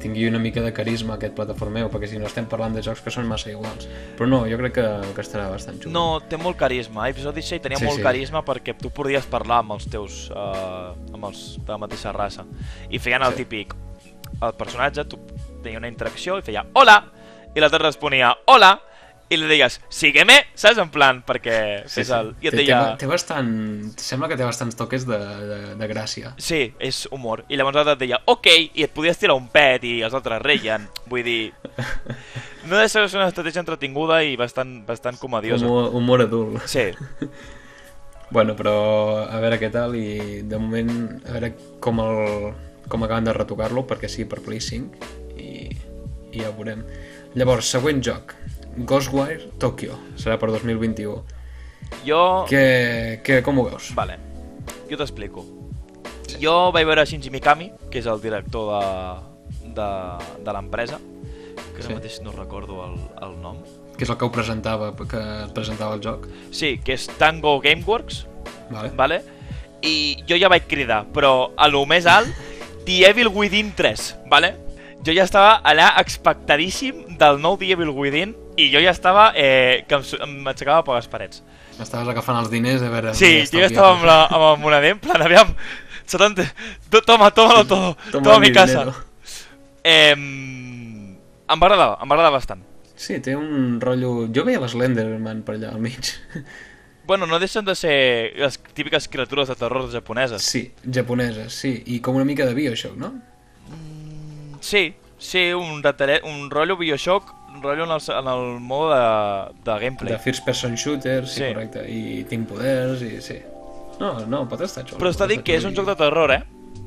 S1: tingui una mica de carisma aquest plataformeu, perquè si no estem parlant de jocs que són massa iguals. Però no, jo crec que, que estarà bastant xulo.
S2: No, té molt carisma, eh? Episodi 6 tenia
S1: Sí,
S2: sí, molt
S1: sí.
S2: sí. carisma perquè tu podies parlar amb els teus, eh, amb els de la mateixa raça, i feien el
S1: Sí.
S2: típic, el personatge, tu tenia una interacció i feia hola, i l'altre responia hola, i li deies, sígueme, saps? En plan, perquè fes el... I et
S1: Té-
S2: deia...
S1: Té, ba- té bastant... Sembla que té bastants toques de, de, de gràcia.
S2: Sí, és humor. I llavors l'altre et deia, ok, i et podies tirar un pet i els altres reien. Vull dir... No deixa de ser una estratègia entretinguda i bastant, bastant comediosa.
S1: Humor, humor adult.
S2: Sí,
S1: Bueno, però a veure què tal i de moment a veure com, el, com acaben de retocar-lo perquè sí, per Play 5 i, i ja ho veurem. Llavors, següent joc, Ghostwire Tokyo, serà per 2021.
S2: jo...
S1: Que, que, com ho veus?
S2: Vale, jo t'explico. Jo vaig veure Shinji Mikami, que és el director de, de, de l'empresa, que ara
S1: Sí.
S2: mateix no recordo el, el nom.
S1: Que és el que ho presentava, que presentava el joc.
S2: Sí, que és Tango Gameworks,
S1: Vale?
S2: vale? I jo ja vaig cridar, però a lo més alt, The Evil Within 3, vale? Jo ja estava allà expectadíssim del nou The Evil Within i jo ja estava eh, que em su- em aixecava per les parets.
S1: Estaves agafant els diners, a veure...
S2: Sí,
S1: on
S2: jo ja estava amb, la, amb el monader, en plan, aviam, 70, to- toma, tómalo todo,
S1: Toma
S2: toma, toma mi
S1: mi
S2: casa.
S1: dinero.
S2: Eh, em va agradar, em va agradar bastant.
S1: Sí, té un rotllo... Jo veia l'Slenderman per allà al mig.
S2: Bueno, no deixen de ser les típiques criatures de terror japoneses.
S1: Sí, japonesa, sí. I com una mica de Bioshock, no?
S2: Sí, sí, un, retare... un rotllo Bioshock, un rotllo en el, en el mode de, de gameplay.
S1: De first person shooter, sí,
S2: Sí.
S1: sí, correcte. I tinc poders, i sí. No, no, pot estar xulo.
S2: Però està
S1: pot
S2: dit
S1: estar
S2: que és
S1: xulo
S2: un
S1: i-
S2: joc de terror, eh?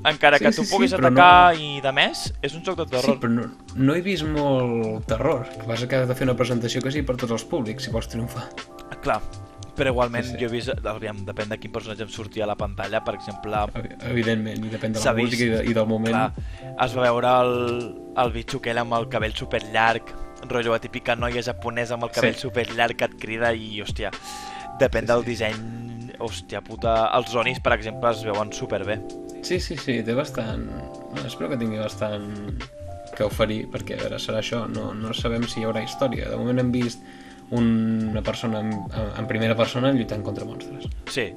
S2: Encara
S1: Sí,
S2: que
S1: sí,
S2: tu
S1: sí,
S2: puguis
S1: però
S2: atacar i de més, és un joc de
S1: Sí,
S2: terror.
S1: però no, no he vist molt terror. El que passa que has de fer una presentació que sí per tots els públics, si vols triomfar.
S2: Ah, Clar, però igualment
S1: Sí, sí.
S2: jo he vist, aviam, depèn de quin personatge em sortia a la pantalla, per exemple,
S1: Evi- Evidentment, i depèn de
S2: S'ha
S1: la
S2: vist.
S1: música i, de, i del moment.
S2: clar, es va veure el, el bitxo aquell amb el cabell super llarg, rotllo la típica noia japonesa amb el cabell
S1: Sí.
S2: sí. super llarg que et crida i, hòstia, depèn sí, del disseny, hòstia puta, els zonis, per exemple, es veuen super bé.
S1: Sí, sí, sí, té bastant... Bueno, espero que tingui bastant que oferir, perquè a veure, serà això, no, no sabem si hi haurà història. De moment hem vist un- una persona en, en primera persona lluitant contra monstres.
S2: Sí,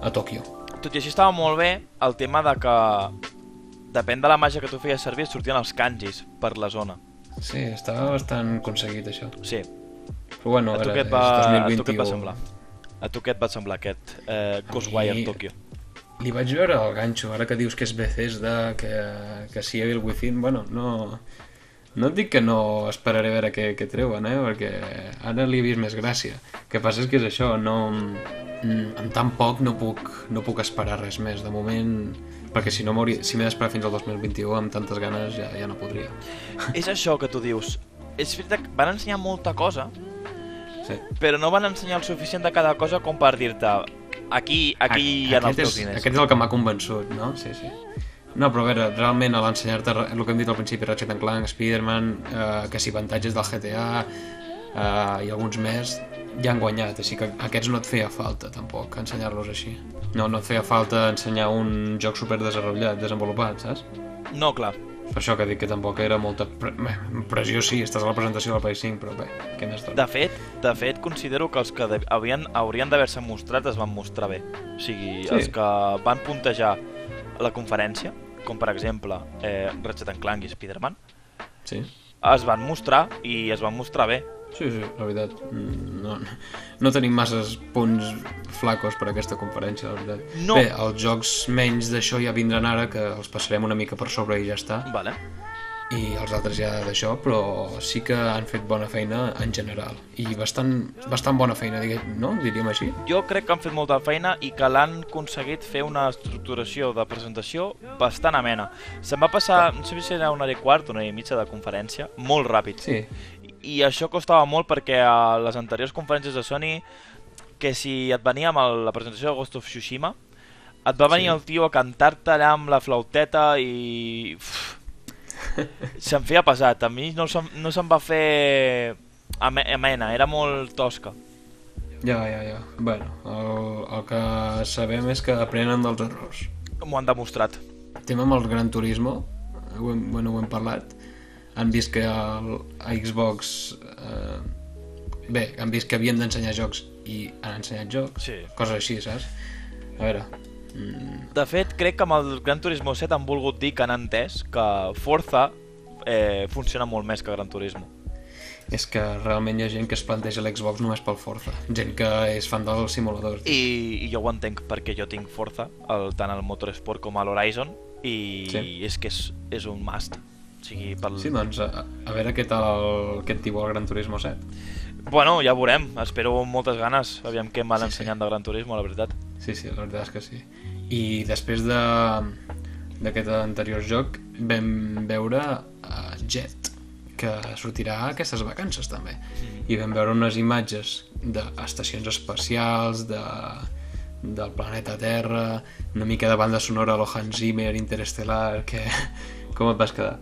S1: A Tòquio.
S2: tot i així estava molt bé el tema de que depèn de la màgia que tu feies servir sortien els kanjis per la zona.
S1: Sí, estava bastant aconseguit, això.
S2: Sí,
S1: Però bueno,
S2: a tu
S1: ara
S2: què
S1: és
S2: et va, a tu
S1: 2021.
S2: què et va semblar? A tu què et va semblar aquest eh, Ghostwire
S1: mi-
S2: Tokyo?
S1: Li vaig veure el ganxo, ara que dius que és Bethesda, que, que si Evil Within, bueno, no... No et dic que no esperaré a veure què, què treuen, eh? Perquè ara li he vist més gràcia. El que passa és que és això, no... mm, Amb tan poc no puc, no puc esperar res més, de moment... Perquè si no m'hauria... Si m'he d'esperar fins al 2021 amb tantes ganes ja, ja no podria.
S2: És això que tu dius. És veritat que van ensenyar molta cosa,
S1: Sí.
S2: però no van ensenyar el suficient de cada cosa com per dir-te aquí, aquí
S1: A-
S2: hi ha els
S1: aquest
S2: teus
S1: és,
S2: diners.
S1: Aquest és el que m'ha convençut, no? Sí, sí. No, però a veure, realment a l'ensenyar-te re- el que hem dit al principi, Ratchet and Clank, Spider-Man, eh, que si avantatges del GTA eh, i alguns més, ja han guanyat, així que aquests no et feia falta tampoc ensenyar-los així. No, no et feia falta ensenyar un joc super desenvolupat, desenvolupat, saps?
S2: No, clar.
S1: Per això que dic que tampoc era molta pre bé, pressió, sí, estàs a la presentació del Play 5, però bé, què més dona?
S2: De fet, de fet considero que els que de- havien, haurien d'haver-se mostrat es van mostrar bé. O sigui,
S1: Sí.
S2: els que van puntejar la conferència, com per exemple eh, Ratchet and Clank i Spider-Man,
S1: Sí?
S2: es van mostrar i es van mostrar bé.
S1: Sí, sí, la veritat. mm, No, no tenim masses punts flacos per aquesta conferència, la veritat.
S2: No.
S1: Bé, els jocs menys d'això ja vindran ara, que els passarem una mica per sobre i ja està.
S2: Vale.
S1: i els altres ja d'això, però sí que han fet bona feina en general i bastant, bastant bona feina, diguem, no? diríem així.
S2: Jo crec que han fet molta feina i que l'han aconseguit fer una estructuració de presentació bastant amena. Se'n va passar, no sé si era una hora i quart, una hora i mitja de conferència, molt ràpid.
S1: Sí.
S2: I això costava molt perquè a les anteriors conferències de Sony, que si et venia amb el- la presentació de Ghost of Tsushima, et va venir
S1: Sí.
S2: el tio a cantar-te allà amb la flauteta i... Uf, se'm feia pesat. A mi no se'm, no se'm va fer ame- amena, era molt tosca.
S1: Ja, ja, ja. bueno, el, el que sabem és que aprenen dels errors.
S2: M'ho han demostrat.
S1: El tema amb el Gran Turismo, ho hem, bueno, ho hem parlat, han vist que el, a Xbox... Eh, bé, han vist que havien d'ensenyar jocs i han ensenyat jocs,
S2: Sí.
S1: coses així, saps? A veure... Mm,
S2: De fet, crec que amb el Gran Turismo 7 han volgut dir que han entès que Forza eh, funciona molt més que Gran Turismo.
S1: És que realment hi ha gent que es planteja l'Xbox només pel Forza. Gent que és fan dels simuladors.
S2: I, i jo ho entenc perquè jo tinc Forza, el, tant al Motorsport com a l'Horizon, i sí.
S1: Sí.
S2: és que és, és un must. O sigui, pel...
S1: Sí, doncs, a, a veure què tal què et diu el Gran Turismo 7.
S2: Bueno, ja ho veurem. Espero amb moltes ganes. Aviam què em van
S1: Sí,
S2: sí,
S1: sí.
S2: ensenyant de Gran Turismo, la veritat.
S1: Sí, sí, la veritat és que sí. I després de d'aquest anterior joc vam veure uh, Jet, que sortirà aquestes vacances també. I vam veure unes imatges d'estacions espacials, de, del planeta Terra, una mica de banda sonora a lo Hans Zimmer, Interestelar, que... com et vas quedar?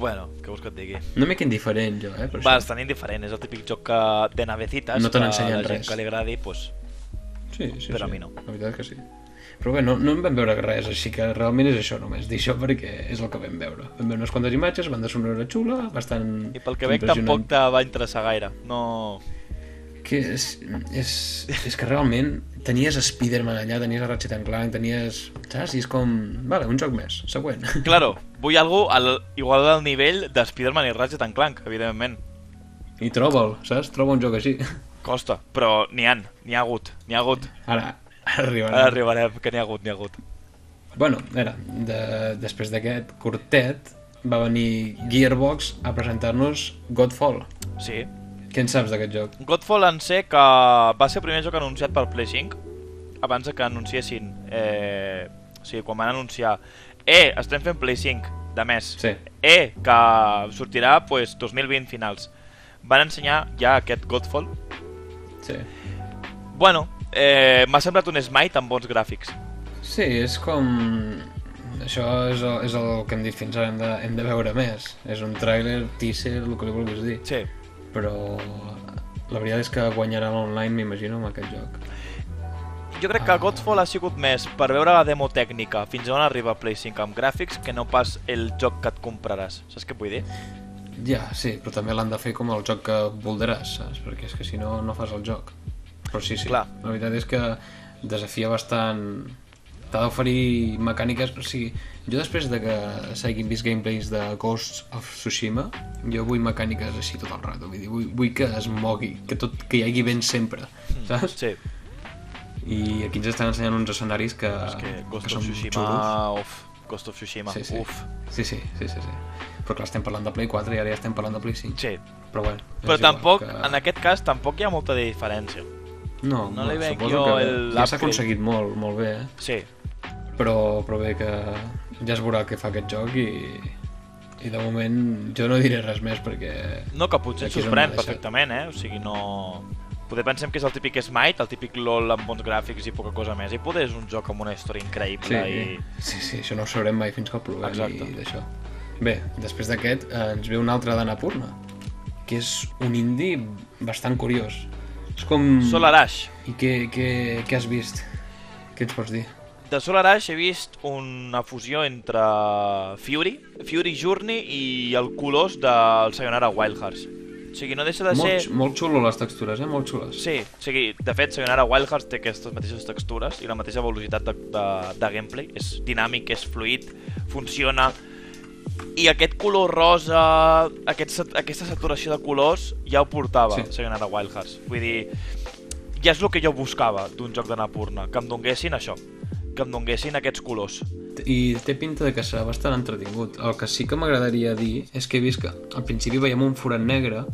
S2: Bueno, què vols que et digui?
S1: Una mica indiferent, jo, eh? Per això.
S2: Bastant indiferent, és el típic joc que de navecites
S1: No te
S2: que a
S1: n'ensenyen
S2: la gent
S1: res.
S2: que li agradi, doncs,
S1: Sí, sí, sí.
S2: però a mi no.
S1: La veritat és que sí. Però bé, no, no en vam veure res, així que realment és això només, dir això perquè és el que vam veure. Vam veure unes quantes imatges, van de sonora xula, bastant
S2: I pel que veig tampoc te va interessar gaire. No...
S1: Que és, és, és que realment tenies Spider-Man allà, tenies a Ratchet and Clank, tenies... Saps? I és com... Vale, un joc més, següent.
S2: Claro, vull algo al, igual al nivell de Spider-Man i Ratchet and Clank, evidentment.
S1: I troba'l, saps? Troba un joc així.
S2: Costa, però n'hi han, n'hi ha hagut, n'hi ha hagut.
S1: Ara, ara arribarà.
S2: Ara arribarem, que n'hi ha hagut, n'hi ha hagut.
S1: Bueno, a veure, de, després d'aquest curtet va venir Gearbox a presentar-nos Godfall.
S2: Sí.
S1: Què en saps d'aquest joc?
S2: Godfall en sé que va ser el primer joc anunciat per Play 5, abans de que anunciessin, eh, o sigui, quan van anunciar, eh, estem fent Play 5, de més,
S1: Sí.
S2: eh, que sortirà, pues, 2020 finals. Van ensenyar ja aquest Godfall.
S1: Sí.
S2: Bueno, eh, m'ha semblat un Smite amb bons gràfics.
S1: Sí, és com... Això és el, és el que hem dit fins ara, hem de, hem de veure més. És un tràiler, teaser, el que li vulguis dir.
S2: Sí.
S1: Però la veritat és que guanyarà l'online, m'imagino, amb aquest joc.
S2: Jo crec que Godfall ha sigut més per veure la demo tècnica fins on arriba Play 5 amb gràfics que no pas el joc que et compraràs. Saps què vull dir?
S1: Ja, sí, però també l'han de fer com el joc que voldràs, saps? Perquè és que si no, no fas el joc. Però sí, sí,
S2: Clar.
S1: la veritat és que desafia bastant... T'ha d'oferir mecàniques... O sigui, jo després de que s'hagin vist gameplays de Ghosts of Tsushima, jo vull mecàniques així tot el rato. Vull dir, vull, vull que es mogui, que, tot, que hi hagi vent sempre,
S2: Mm.
S1: saps?
S2: Sí,
S1: I aquí ens estan ensenyant uns escenaris que,
S2: és que
S1: Ah,
S2: Ghost
S1: que
S2: of
S1: són xulos.
S2: Tsushima... Uf, Ghost of Tsushima,
S1: Sí, sí.
S2: uf.
S1: Sí, sí, sí, sí, sí. Però clar, estem parlant de Play 4 i ara ja estem parlant de Play 5.
S2: Sí.
S1: Però bueno, és
S2: Però
S1: igual,
S2: tampoc,
S1: que...
S2: en aquest cas, tampoc hi ha molta de diferència.
S1: No,
S2: no li veig
S1: suposo
S2: jo
S1: que
S2: el-
S1: Ja s'ha aconseguit molt, molt bé, eh?
S2: Sí,
S1: Però, però bé que ja es veurà què fa aquest joc i, i de moment jo no diré res més perquè...
S2: no que potser et
S1: Aquí és on
S2: sorprèn
S1: m'ha deixat.
S2: perfectament, eh? O sigui, no... Poder pensem que és el típic Smite, el típic LOL amb bons gràfics i poca cosa més. I poder és un joc amb una història
S1: Sí, Mm.
S2: increïble
S1: i...
S2: i...
S1: sí, sí, això no ho sabrem mai fins que el provem
S2: Exacte.
S1: i d'això. Bé, després d'aquest eh, ens ve un altre d'Anapurna, que és un indie bastant curiós. És com...
S2: Solar Ash.
S1: I què, què, què has vist? Què ens pots dir?
S2: De Solar Ash he vist una fusió entre Fury, Fury Journey i el colós del Sayonara Wild Hearts. O sigui, no deixa de ser...
S1: Molt, molt xulo les textures, eh? Molt xules.
S2: Sí, o sigui, de fet, Sayonara Wild Hearts té aquestes mateixes textures i la mateixa velocitat de, de, de gameplay. És dinàmic, és fluid, funciona... I aquest color rosa, aquest, sat- aquesta saturació de colors, ja ho portava
S1: Sí.
S2: sí. Sayonara Wild Hearts. Vull dir, ja és el que jo buscava d'un joc d'Anapurna, que em donguessin això, que em donguessin aquests colors.
S1: i té pinta de que serà bastant entretingut. El que sí que m'agradaria dir és que he vist que al principi veiem un forat negre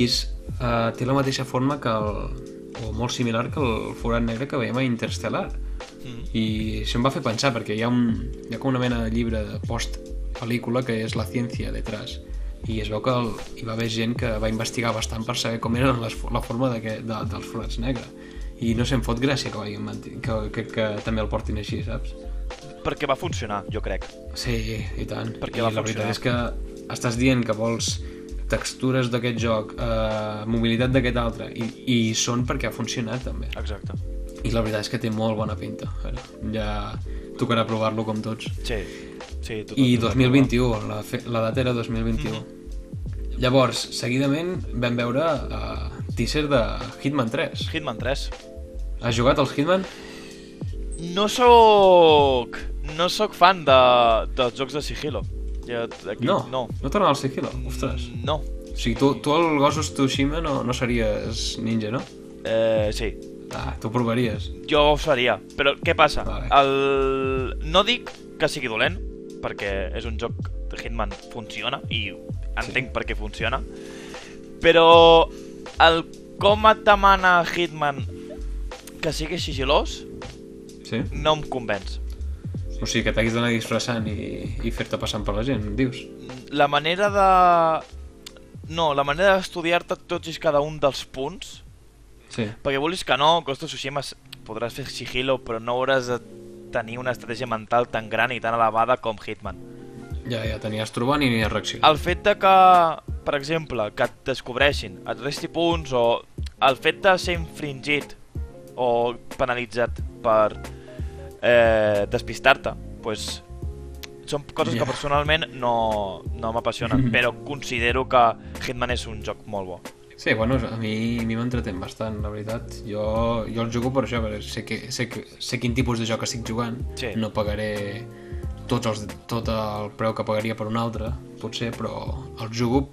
S1: i és, eh, té la mateixa forma que el, o molt similar que el forat negre que veiem a Interstellar. Mm. I això em va fer pensar, perquè hi ha, un, hi ha com una mena de llibre de post-pel·lícula que és la ciència detrás i es veu que el, hi va haver gent que va investigar bastant per saber com era les, la forma de, que, de, dels forats negres i no se'n fot gràcia que, vagin, manti- que, que, que també el portin així, saps?
S2: Perquè va funcionar, jo crec.
S1: Sí, i tant.
S2: Perquè
S1: I
S2: va
S1: la veritat
S2: funcionar.
S1: és que estàs dient que vols textures d'aquest joc, eh, mobilitat d'aquest altre, i, i són perquè ha funcionat també.
S2: Exacte.
S1: I la veritat és que té molt bona pinta. A veure, Ja tocarà provar-lo com tots.
S2: Sí, sí, tot,
S1: I 2021, la, fe, la data era 2021.
S2: Mm-hmm.
S1: Llavors, seguidament vam veure uh, teaser de Hitman 3.
S2: Hitman 3.
S1: Has jugat al Hitman?
S2: No sóc... No sóc fan de, dels jocs de sigilo. Ja, aquí,
S1: No,
S2: No.
S1: no torna al sigilo, ostres.
S2: No.
S1: O sigui, tu, tu el Ghost of Tsushima no, no series ninja, no?
S2: Eh, sí,
S1: Ah, tu provaries.
S2: jo ho faria. Però què passa?
S1: Vale.
S2: El... No dic que sigui dolent, perquè és un joc de Hitman funciona i entenc sí. per què funciona, però el com et demana Hitman que sigui sigilós
S1: Sí?
S2: no em convenç.
S1: O sigui, que t'haguis d'anar disfressant i, i fer-te passant per la gent, dius?
S2: la manera de... No, la manera d'estudiar-te tots i cada un dels punts,
S1: Sí.
S2: perquè vulguis que no, Ghost of Tsushima s- podràs fer sigilo, però no hauràs de tenir una estratègia mental tan gran i tan elevada com Hitman.
S1: Ja, ja tenies trobant i anies reaccionant.
S2: El fet de que, per exemple, que et descobreixin, et resti punts, o el fet de ser infringit o penalitzat per eh, despistar-te, pues, són coses
S1: Ja.
S2: que personalment no, no m'apassionen,
S1: Mm-hmm.
S2: però considero que Hitman és un joc molt bo.
S1: Sí, bueno, a mi a mi m'entretén bastant, la veritat. Jo, jo el jugo per això, perquè sé, que, sé, que, sé quin tipus de joc estic jugant.
S2: Sí.
S1: No pagaré tots els, tot el preu que pagaria per un altre, potser, però el jugo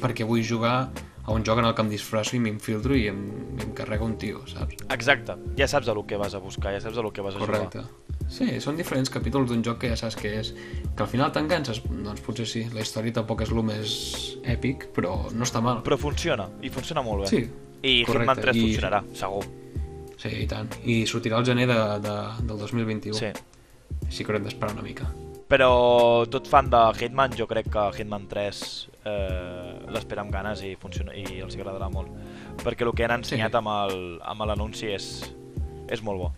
S1: perquè vull jugar a un joc en el que em disfresso i m'infiltro i em, i em carrega un tio, saps?
S2: Exacte, ja saps el que vas a buscar, ja saps el que vas a
S1: Correcte. Sí, són diferents capítols d'un joc que ja saps què és. Que al final te'n canses? Doncs potser sí. La història tampoc és el més èpic, però no està mal.
S2: jugar. Però funciona, i funciona molt bé.
S1: Sí,
S2: I
S1: correcte,
S2: Hitman 3
S1: i-
S2: funcionarà, segur.
S1: Sí, i tant. I sortirà al gener de, de, del 2021.
S2: Sí.
S1: Així que haurem d'esperar una mica.
S2: Però tot fan de Hitman, jo crec que Hitman 3 eh, l'espera amb ganes i, funciona, i els agradarà molt. Perquè el que han ensenyat
S1: Sí.
S2: amb el- amb l'anunci és, és molt bo.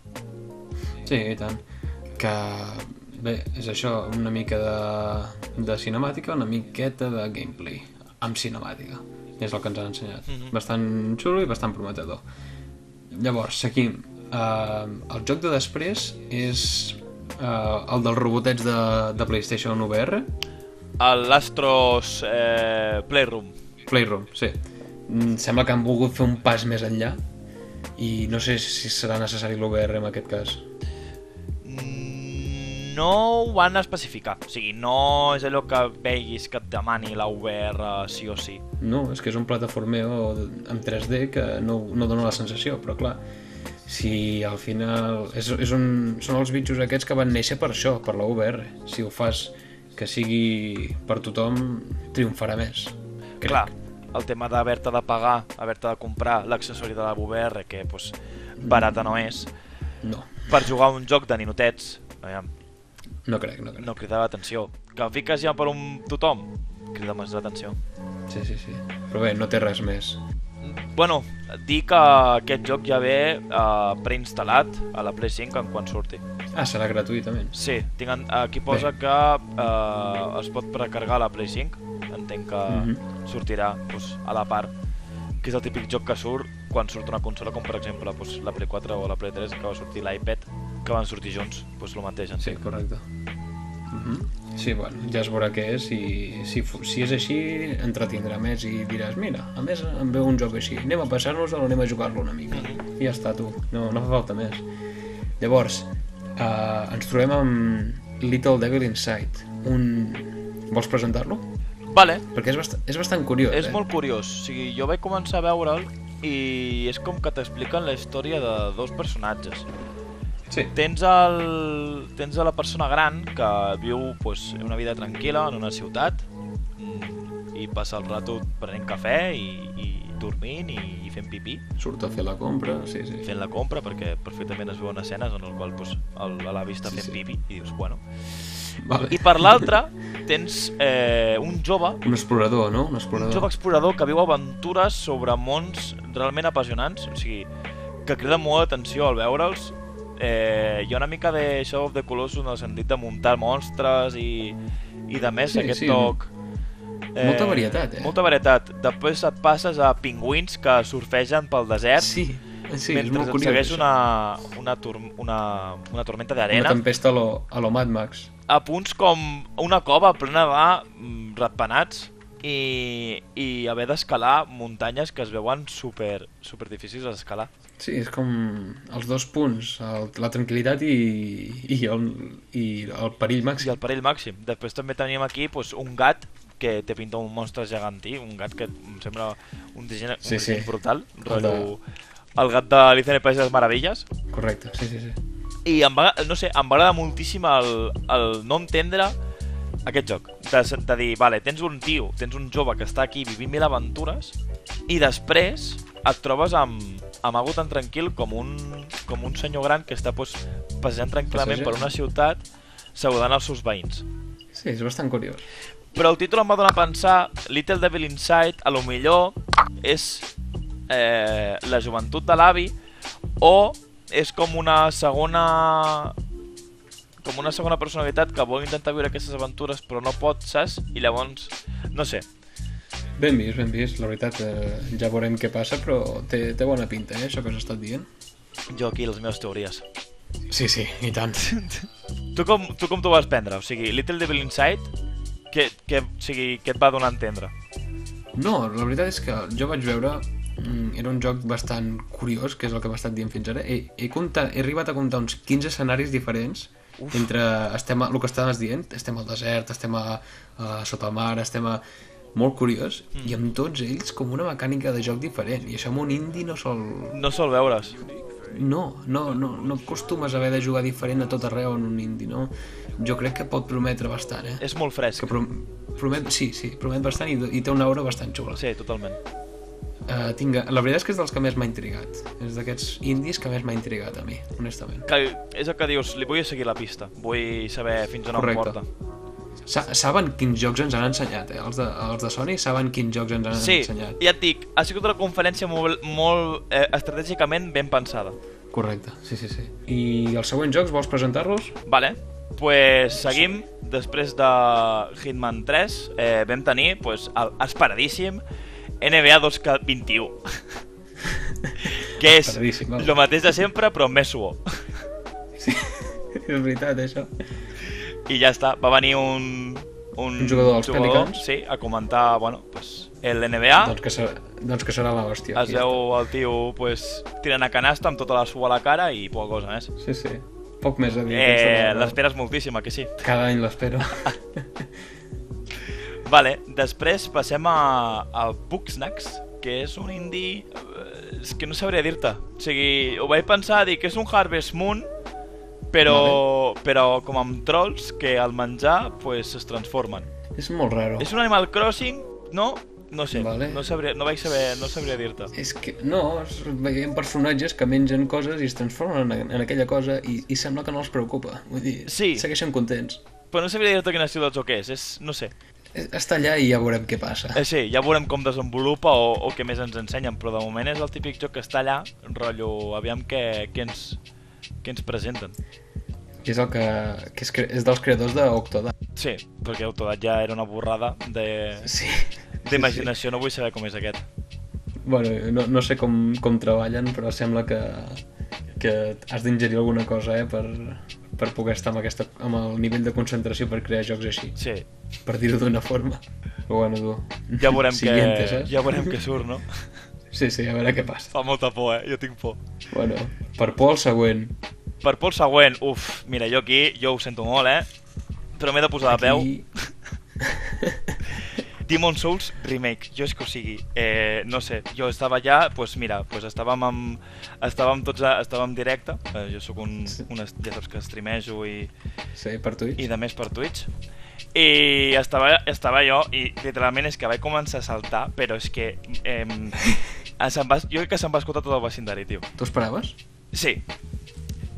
S1: Sí, i tant. Que... Bé, és això, una mica de, de cinemàtica, una miqueta de gameplay amb cinemàtica. És el que ens han ensenyat. Mm -hmm. Bastant xulo i bastant prometedor. Llavors, seguim. Uh, el joc de després és uh, el dels robotets de, de PlayStation VR.
S2: L'Astros eh, Playroom.
S1: Playroom, sí. Mm, Sembla que han volgut fer un pas més enllà i no sé si serà necessari l'OVR en aquest cas.
S2: Mm, No ho van especificar. O sigui, no és allò que veguis que et demani la VR sí o sí.
S1: No, és que és un plataformer en 3D que no, no dona la sensació, però clar, si al final... És, és un, són els bitxos aquests que van néixer per això, per la VR. Si ho fas que sigui per tothom, triomfarà més. crec.
S2: Clar, el tema d'haver-te de pagar, haver-te de comprar l'accessori de la VR, que pues, barata no és,
S1: No,
S2: per jugar a un joc de ninotets, aviam,
S1: no crec, no crec.
S2: no cridava l'atenció. Que fiques ja per un tothom, crida més l'atenció.
S1: Sí, sí, sí. Però bé, no té res més. Mm.
S2: Bueno, dir que aquest joc ja ve eh, preinstal·lat a la Play 5 en quan surti.
S1: Ah, serà gratuïtament.
S2: Sí, tinc, en- aquí posa
S1: Bé.
S2: que eh, es pot precarregar a la Play 5. Entenc que
S1: Mhm.
S2: sortirà pues, a la part que és el típic joc que surt quan surt una consola, com per exemple pues, la Play 4 o la Play 3, que va sortir l'iPad, que van sortir junts, doncs el mateix.
S1: Sí,
S2: entenc.
S1: correcte. Mm -hmm. Sí, bueno, ja es veurà què és i si, fu- si és així entretindrà més i diràs, mira, a més em veu un joc així, anem a passar-nos o anem a jugar-lo una mica. I ja està, tu, no, no fa falta més. Llavors, eh, ens trobem amb Little Devil Inside, un... Vols presentar-lo?
S2: Vale,
S1: Perquè és, bast és bastant curiós,
S2: És
S1: eh?
S2: molt curiós, o sigui, jo vaig començar a veure'l i és com que t'expliquen la història de dos personatges
S1: Sí.
S2: Tens, el, tens a la persona gran que viu pues, una vida tranquil·la en una ciutat mm, i passa el rato prenent cafè i, i dormint i, i fent pipí,
S1: Surt a fer la compra, sí, sí.
S2: fent la compra, perquè perfectament es veuen escenes en el qual pues, el- l'avi està
S1: Sí,
S2: fent
S1: sí.
S2: pipi i dius, bueno.
S1: Vale.
S2: I per l'altra tens eh, un jove
S1: Un explorador, no? Un
S2: un
S1: explorador.
S2: jove explorador que viu aventures sobre mons realment apassionants, o sigui, que crida molt l'atenció al veure'ls. Eh, hi ha una mica de Shadow of the Colossus en el sentit de muntar monstres i, i de més
S1: Sí,
S2: sí, aquest
S1: sí.
S2: sí. toc.
S1: Molta varietat, eh?
S2: Molta varietat. Després et passes a pingüins que surfegen pel desert
S1: Sí, sí, és
S2: mentre
S1: molt
S2: et
S1: curiós.
S2: segueix
S1: això.
S2: una, una, tor una, una tormenta
S1: una
S2: d'arena
S1: tempesta a lo, a lo Mad Max.
S2: a punts com una cova plena de mm, ratpenats i, i haver d'escalar muntanyes que es veuen super, super difícils d'escalar.
S1: Sí, és com els dos punts, el, la tranquil·litat i, i, el, i el perill
S2: I
S1: màxim.
S2: el perill màxim. Després també tenim aquí doncs, un gat que té pinta un monstre gegantí, un gat que em sembla un disseny,
S1: Sí,
S2: un disseny
S1: sí.
S2: brutal,
S1: El
S2: rotllo, el gat de l'Alicia en el País de les Meravelles.
S1: Correcte, sí, sí, sí.
S2: I em va, no sé, em va agradar moltíssim el, el no entendre aquest joc. De, de dir, vale, tens un tio, tens un jove que està aquí vivint mil aventures i després et trobes amb, amb algú tan tranquil com un, com un senyor gran que està pues, passejant tranquil·lament per
S1: Passejant.
S2: una ciutat saludant els seus veïns.
S1: Sí, és bastant curiós.
S2: Però el títol em va donar a pensar Little Devil Inside, a lo millor és eh, la joventut de l'avi o és com una segona com una segona personalitat que vol intentar viure aquestes aventures però no pot, saps? I llavors, no sé,
S1: Ben vist, ben vist. La veritat, eh, ja veurem què passa, però té, té bona pinta, eh, això que has estat dient.
S2: jo aquí les meves teories.
S1: Sí, sí, i tant.
S2: Tu com, tu com t'ho vas prendre? O sigui, Little Devil Inside, què, què, o sigui, què et va donar a entendre?
S1: No, la veritat és que jo vaig veure... mm, Era un joc bastant curiós, que és el que m'ha estat dient fins ara. He, he, comptat, he arribat a comptar uns 15 escenaris diferents Uf. entre estem a, el que estàs dient, estem al desert, estem a, a sota el mar, estem a... Molt curiós, mm. i amb tots ells com una mecànica de joc diferent, i això amb un indie no sol...
S2: No sol veure's.
S1: No, no, no, no acostumes a haver de jugar diferent a tot arreu en un indie, no? Jo crec que pot prometre bastant, eh?
S2: És molt
S1: Que
S2: fresc.
S1: prom promet, sí, sí, promet bastant i, i té una aura bastant xula.
S2: Sí, totalment.
S1: Uh, tinga... La veritat és que és dels que més m'ha intrigat. És d'aquests indis que més m'ha intrigat a mi, honestament.
S2: que és el que dius, li vull seguir la pista, vull saber fins on em
S1: Correcte.
S2: porta.
S1: Sa saben quins jocs ens han ensenyat, eh? Els de, els de Sony saben quins jocs ens han
S2: Sí,
S1: ensenyat.
S2: ja et dic, ha sigut una conferència molt, molt eh, estratègicament ben pensada.
S1: Correcte, sí, sí, sí. I els següents jocs, vols presentar-los?
S2: Vale, pues seguim. Després de Hitman 3 eh, vam tenir pues, el esperadíssim NBA 2K21. que és
S1: Esperadíssim, vale.
S2: el mateix de sempre, però amb més suor.
S1: Sí, és veritat, això.
S2: I ja està, va venir un... Un,
S1: Un jugador dels Pelicans.
S2: Sí, a comentar, bueno, pues, el NBA.
S1: Doncs, que serà, doncs que serà la hòstia.
S2: Es veu el tio pues, tirant a canasta amb tota la sua a la cara i poca cosa més.
S1: Sí, sí. Poc més a dir. aquesta
S2: Eh,
S1: vegada.
S2: L'esperes moltíssim, eh que sí.
S1: Cada any l'espero.
S2: Vale, després passem a, a Booksnacks, que és un indie... eh, És que no sabré dir-te. O sigui, ho vaig pensar, dic, és un Harvest Moon, però, però com amb trolls que al menjar pues, es transformen.
S1: és molt raro.
S2: És un Animal Crossing, no? No sé,
S1: Oh. Vale.
S2: no, sabré, no vaig saber, no sabria dir-te.
S1: És que, no, és- veiem personatges que mengen coses i es transformen en, en aquella cosa i, i sembla que no els preocupa. Vull dir,
S2: Sí.
S1: segueixen contents.
S2: Però no sabria dir-te quina ciutat o què és, és, no sé.
S1: Eh, Està allà i ja veurem què passa.
S2: Eh, sí, ja veurem com desenvolupa o, o què més ens ensenyen, però de moment és el típic joc que està allà, rotllo, aviam què, què, ens, què ens presenten.
S1: Que és el que, que és, cre- és dels creadors d'Octodad.
S2: Sí, perquè Autodat ja era una borrada de-
S1: Sí.
S2: d'imaginació, no vull saber com és aquest.
S1: Bueno, no, no sé com, com treballen, però sembla que, que has d'ingerir alguna cosa eh, per, per poder estar amb, aquesta, amb el nivell de concentració per crear jocs així,
S2: Sí,
S1: per dir-ho d'una forma. Però bueno, tu...
S2: ja veurem,
S1: Siguiente,
S2: que,
S1: saps?
S2: ja veurem que surt, no?
S1: Sí, sí, a veure què passa.
S2: Fa molta por, eh? Jo tinc por.
S1: Bueno, per por al següent.
S2: Per por el següent, uf, mira, jo aquí, jo ho sento molt, eh? Però m'he de posar de peu.
S1: Aquí...
S2: Demon Souls Remake, jo és que o sigui, eh, no sé, jo estava allà, pues mira, pues estàvem, amb, estàvem tots a, estàvem en directe, eh, jo sóc un, un, es- ja saps que streamejo i,
S1: Sí, per Twitch.
S2: i de més per Twitch. I estava, estava jo i literalment és que vaig començar a saltar, però és que... Eh, se'm va, jo crec que se'm va escoltar tot el vecindari, tio.
S1: T'ho esperaves?
S2: Sí.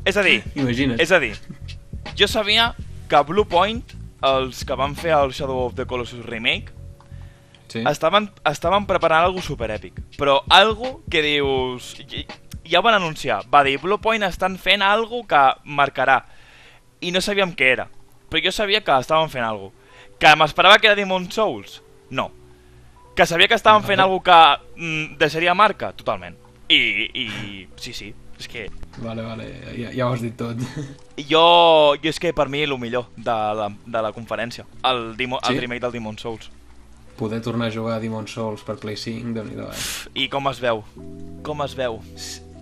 S2: És a dir,
S1: Imagina't.
S2: és a dir, jo sabia que Blue Point, els que van fer el Shadow of the Colossus Remake,
S1: Sí.
S2: estaven, estaven preparant algo super èpic, però algo que dius... i- Ja ho van anunciar, va dir, Blue Point estan fent algo que marcarà, i no sabíem què era, però jo sabia que estaven fent algo. Que m'esperava que era Demon Souls? No. Que sabia que estaven fent algo que mm, deixaria marca? Totalment. I, i sí, sí, és que
S1: Vale, vale, ja, ja ho has dit tot.
S2: jo, jo és que per mi el millor de la, de la conferència, el, Dimo,
S1: Sí?
S2: el remake del Demon Souls.
S1: Poder tornar a jugar a Demon Souls per Play 5, déu nhi eh?
S2: I com es veu? Com es veu?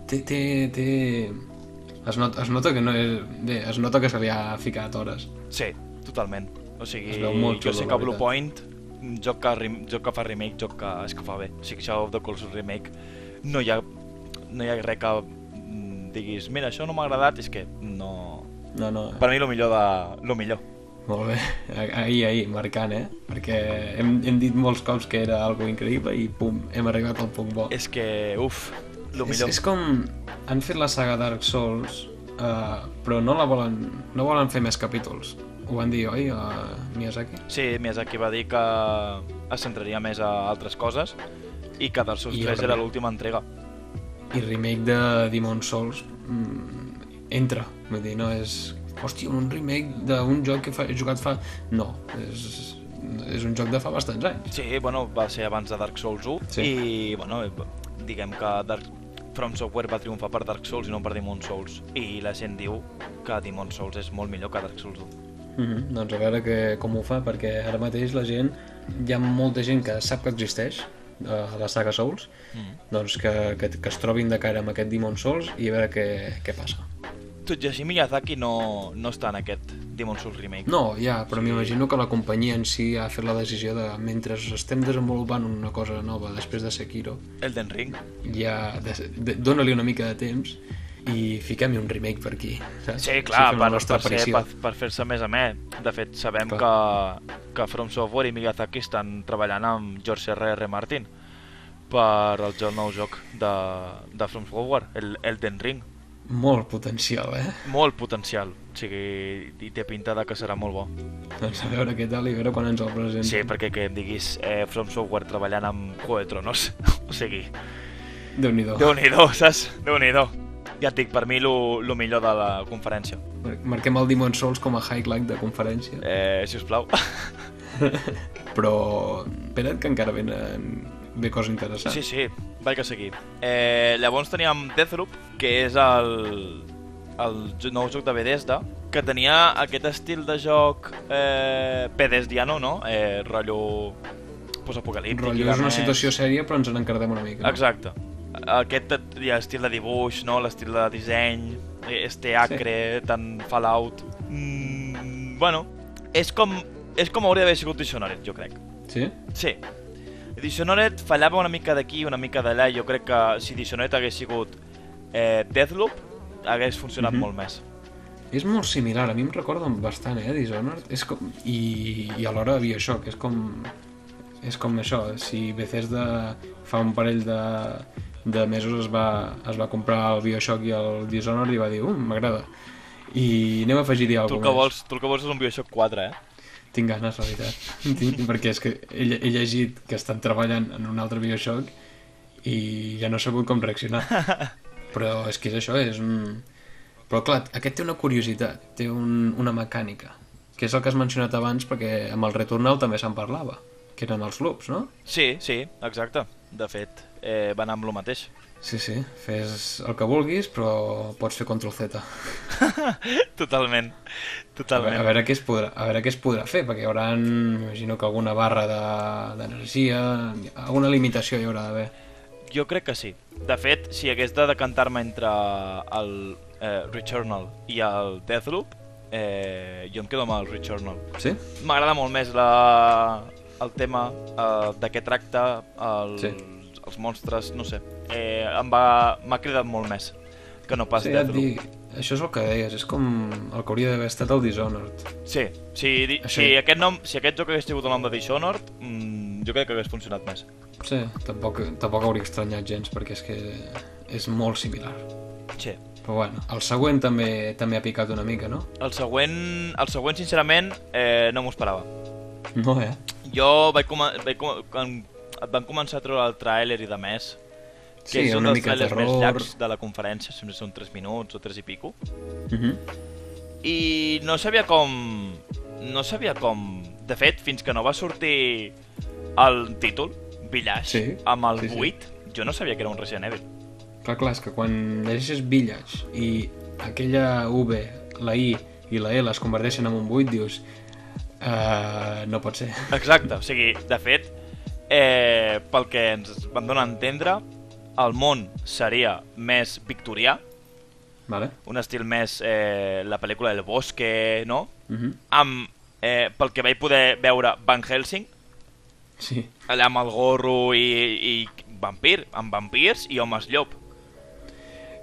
S1: Té, té, té... Es nota, es nota que no és... Bé, es nota que se li ha ficat hores.
S2: Sí, totalment. O sigui,
S1: Es veu molt
S2: jo
S1: xulo,
S2: sé
S1: la
S2: que Blue
S1: veritat.
S2: Point, un joc que, rem, joc que fa remake, joc que és que fa bé. O sigui, Shadow of the Colossus remake, no hi ha, no hi ha res que mm, diguis, mira, això no m'ha agradat, és que no...
S1: No, no, eh.
S2: Per mi, el millor de... Lo millor.
S1: molt bé. Ah- Ahir, ahir, marcant, eh? Perquè hem, hem dit molts cops que era algo increïble i pum, hem arribat al punt bo.
S2: És que, uf, lo
S1: és,
S2: millor.
S1: és com... Han fet la saga Dark Souls, eh, però no la volen... No volen fer més capítols. Ho van dir, oi, a Miyazaki?
S2: Sí, Miyazaki va dir que es centraria més a altres coses i que Dark Souls
S1: I
S2: 3
S1: el
S2: era
S1: remake.
S2: l'última entrega.
S1: I remake de Demon Souls mm, entra. Vull dir, no és... Hòstia, un remake d'un joc que fa, he jugat fa... No, és, és un joc de fa bastants anys.
S2: Sí, bueno, va ser abans de Dark Souls 1
S1: Sí.
S2: i, bueno, eh, diguem que Dark... From Software va triomfar per Dark Souls i no per Demon Souls i la gent diu que Demon Souls és molt millor que Dark Souls 1.
S1: Mm -hmm. Doncs a veure que, com ho fa, perquè ara mateix la gent... Hi ha molta gent que sap que existeix eh, la saga Souls,
S2: Mm.
S1: doncs que, que, que es trobin de cara amb aquest Demon Souls i a veure què, què passa.
S2: Tot i així, Miyazaki no, no està en aquest Demon Souls remake.
S1: No, ja, però m'imagino que la companyia en si ha fet la decisió de, mentre estem desenvolupant una cosa nova després de Sekiro,
S2: Elden Ring.
S1: ja de- de- dóna-li una mica de temps i fiquem-hi un remake per aquí saps?
S2: Sí, clar,
S1: fem
S2: per,
S1: la nostra
S2: per, ser,
S1: aparició
S2: per, per fer-se més a més. De fet, sabem que, que From Software i Miyazaki estan treballant amb George R.R. R. Martin per el jo- nou joc de, de From Software, el Elden Ring.
S1: molt potencial eh?
S2: Molt potencial, o sigui, i té pinta de que serà molt bo.
S1: doncs a veure què tal i a veure quan ens el presenten
S2: Sí, perquè que em diguis eh, From Software treballant amb Juego de Tronos, o sigui,
S1: Déu-n'hi-do
S2: Déu-n'hi-do, saps? Déu-n'hi-do. Ja et dic, per mi, el millor de la conferència.
S1: Mar- marquem el Demon Souls com a highlight de conferència
S2: Eh, si us plau.
S1: però espera't que encara venen ve cosa interessant
S2: Sí, sí, vaig a seguir. Eh, llavors teníem Deathloop, que és el, el jo- nou joc de Bethesda, que tenia aquest estil de joc eh, Bethesdiano, no? Eh, rotllo
S1: Un
S2: postapocalíptic.
S1: rotllo,
S2: i
S1: és una
S2: demés.
S1: situació sèria però ens n'encardem una mica no?
S2: Exacte. Aquest et- hi ha estil de dibuix, no? l'estil de disseny, eh, este acre, sí. tan Fallout... Mm, bueno, és com, és com hauria d'haver sigut Dishonored, jo crec.
S1: sí?
S2: Sí. Dishonored fallava una mica d'aquí i una mica d'allà. Jo crec que si Dishonored hagués sigut eh, Deathloop, hagués funcionat
S1: Mhm.
S2: molt més.
S1: És molt similar, a mi em recorda bastant, eh, Dishonored. És com... I, I alhora havia això, que és com... És com això, si Bethesda fa un parell de, de mesos es va, es va comprar el Bioshock i el Dishonored i va dir, uh, m'agrada. I anem a afegir-hi
S2: Tu el,
S1: alguna
S2: que vols, tu el que vols és un Bioshock 4, eh?
S1: Tinc ganes, la veritat. Tinc, perquè és que he, lle- he llegit que estan treballant en un altre Bioshock i ja no he sabut com reaccionar. Però és que és això, és un... Però clar, aquest té una curiositat, té un, una mecànica, que és el que has mencionat abans perquè amb el Returnal també se'n parlava, que eren els loops, no?
S2: Sí, sí, exacte. De fet, eh, va anar amb lo mateix.
S1: Sí, sí, fes el que vulguis, però pots fer Ctrl-Z.
S2: Totalment.
S1: A veure, a
S2: Totalment.
S1: veure què es podrà, a veure què es podrà fer, perquè hi haurà, imagino que alguna barra de- d'energia, alguna limitació hi haurà d'haver.
S2: Jo crec que sí. De fet, si hagués de decantar-me entre el eh, Returnal i el Deathloop, eh, jo em quedo amb el Returnal.
S1: Sí?
S2: M'agrada molt més la... el tema, eh, de què tracta, el, sí.
S1: Sí.
S2: els monstres, no sé. Eh, em va... m'ha cridat molt més que no pas
S1: Sí, ja et
S2: Deathloop.
S1: dic, això és el que deies, és com el que hauria d'haver estat el Dishonored.
S2: Ah, Sí, si, di-
S1: Això-
S2: si, aquest nom, si aquest joc hagués tingut el nom de Dishonored, mmm, jo crec que hagués funcionat més.
S1: Sí, tampoc, tampoc hauria estranyat gens, perquè és que és molt similar.
S2: Sí.
S1: Però bueno, el següent també també ha picat una mica, no?
S2: El següent, el següent sincerament, eh, no m'ho esperava.
S1: No, eh?
S2: Jo vaig, coma, vaig coma, quan et van començar a treure el tràiler i de més,
S1: Sí,
S2: que és un
S1: una
S2: dels
S1: mica de
S2: trailers més
S1: terror.
S2: llargs de la conferència, sempre són 3 minuts o 3 i pico,
S1: Uh -huh.
S2: i no sabia com... No sabia com... De fet, fins que no va sortir el títol, Village,
S1: Sí,
S2: amb el
S1: sí, sí.
S2: 8, jo no sabia que era un Resident Evil.
S1: Clar, clar, és que quan llegeixes Village i aquella V, la I i la L es converteixen en un 8, dius... Uh, no pot ser.
S2: Exacte, o sigui, de fet, eh, pel que ens van donar a entendre, el món seria més victorià,
S1: Vale?
S2: un estil més eh, la pel·lícula del bosque, no?
S1: Uh -huh.
S2: Amb, eh, pel que vaig poder veure Van Helsing,
S1: Sí.
S2: allà amb el gorro i, i vampir, amb vampirs i homes llop.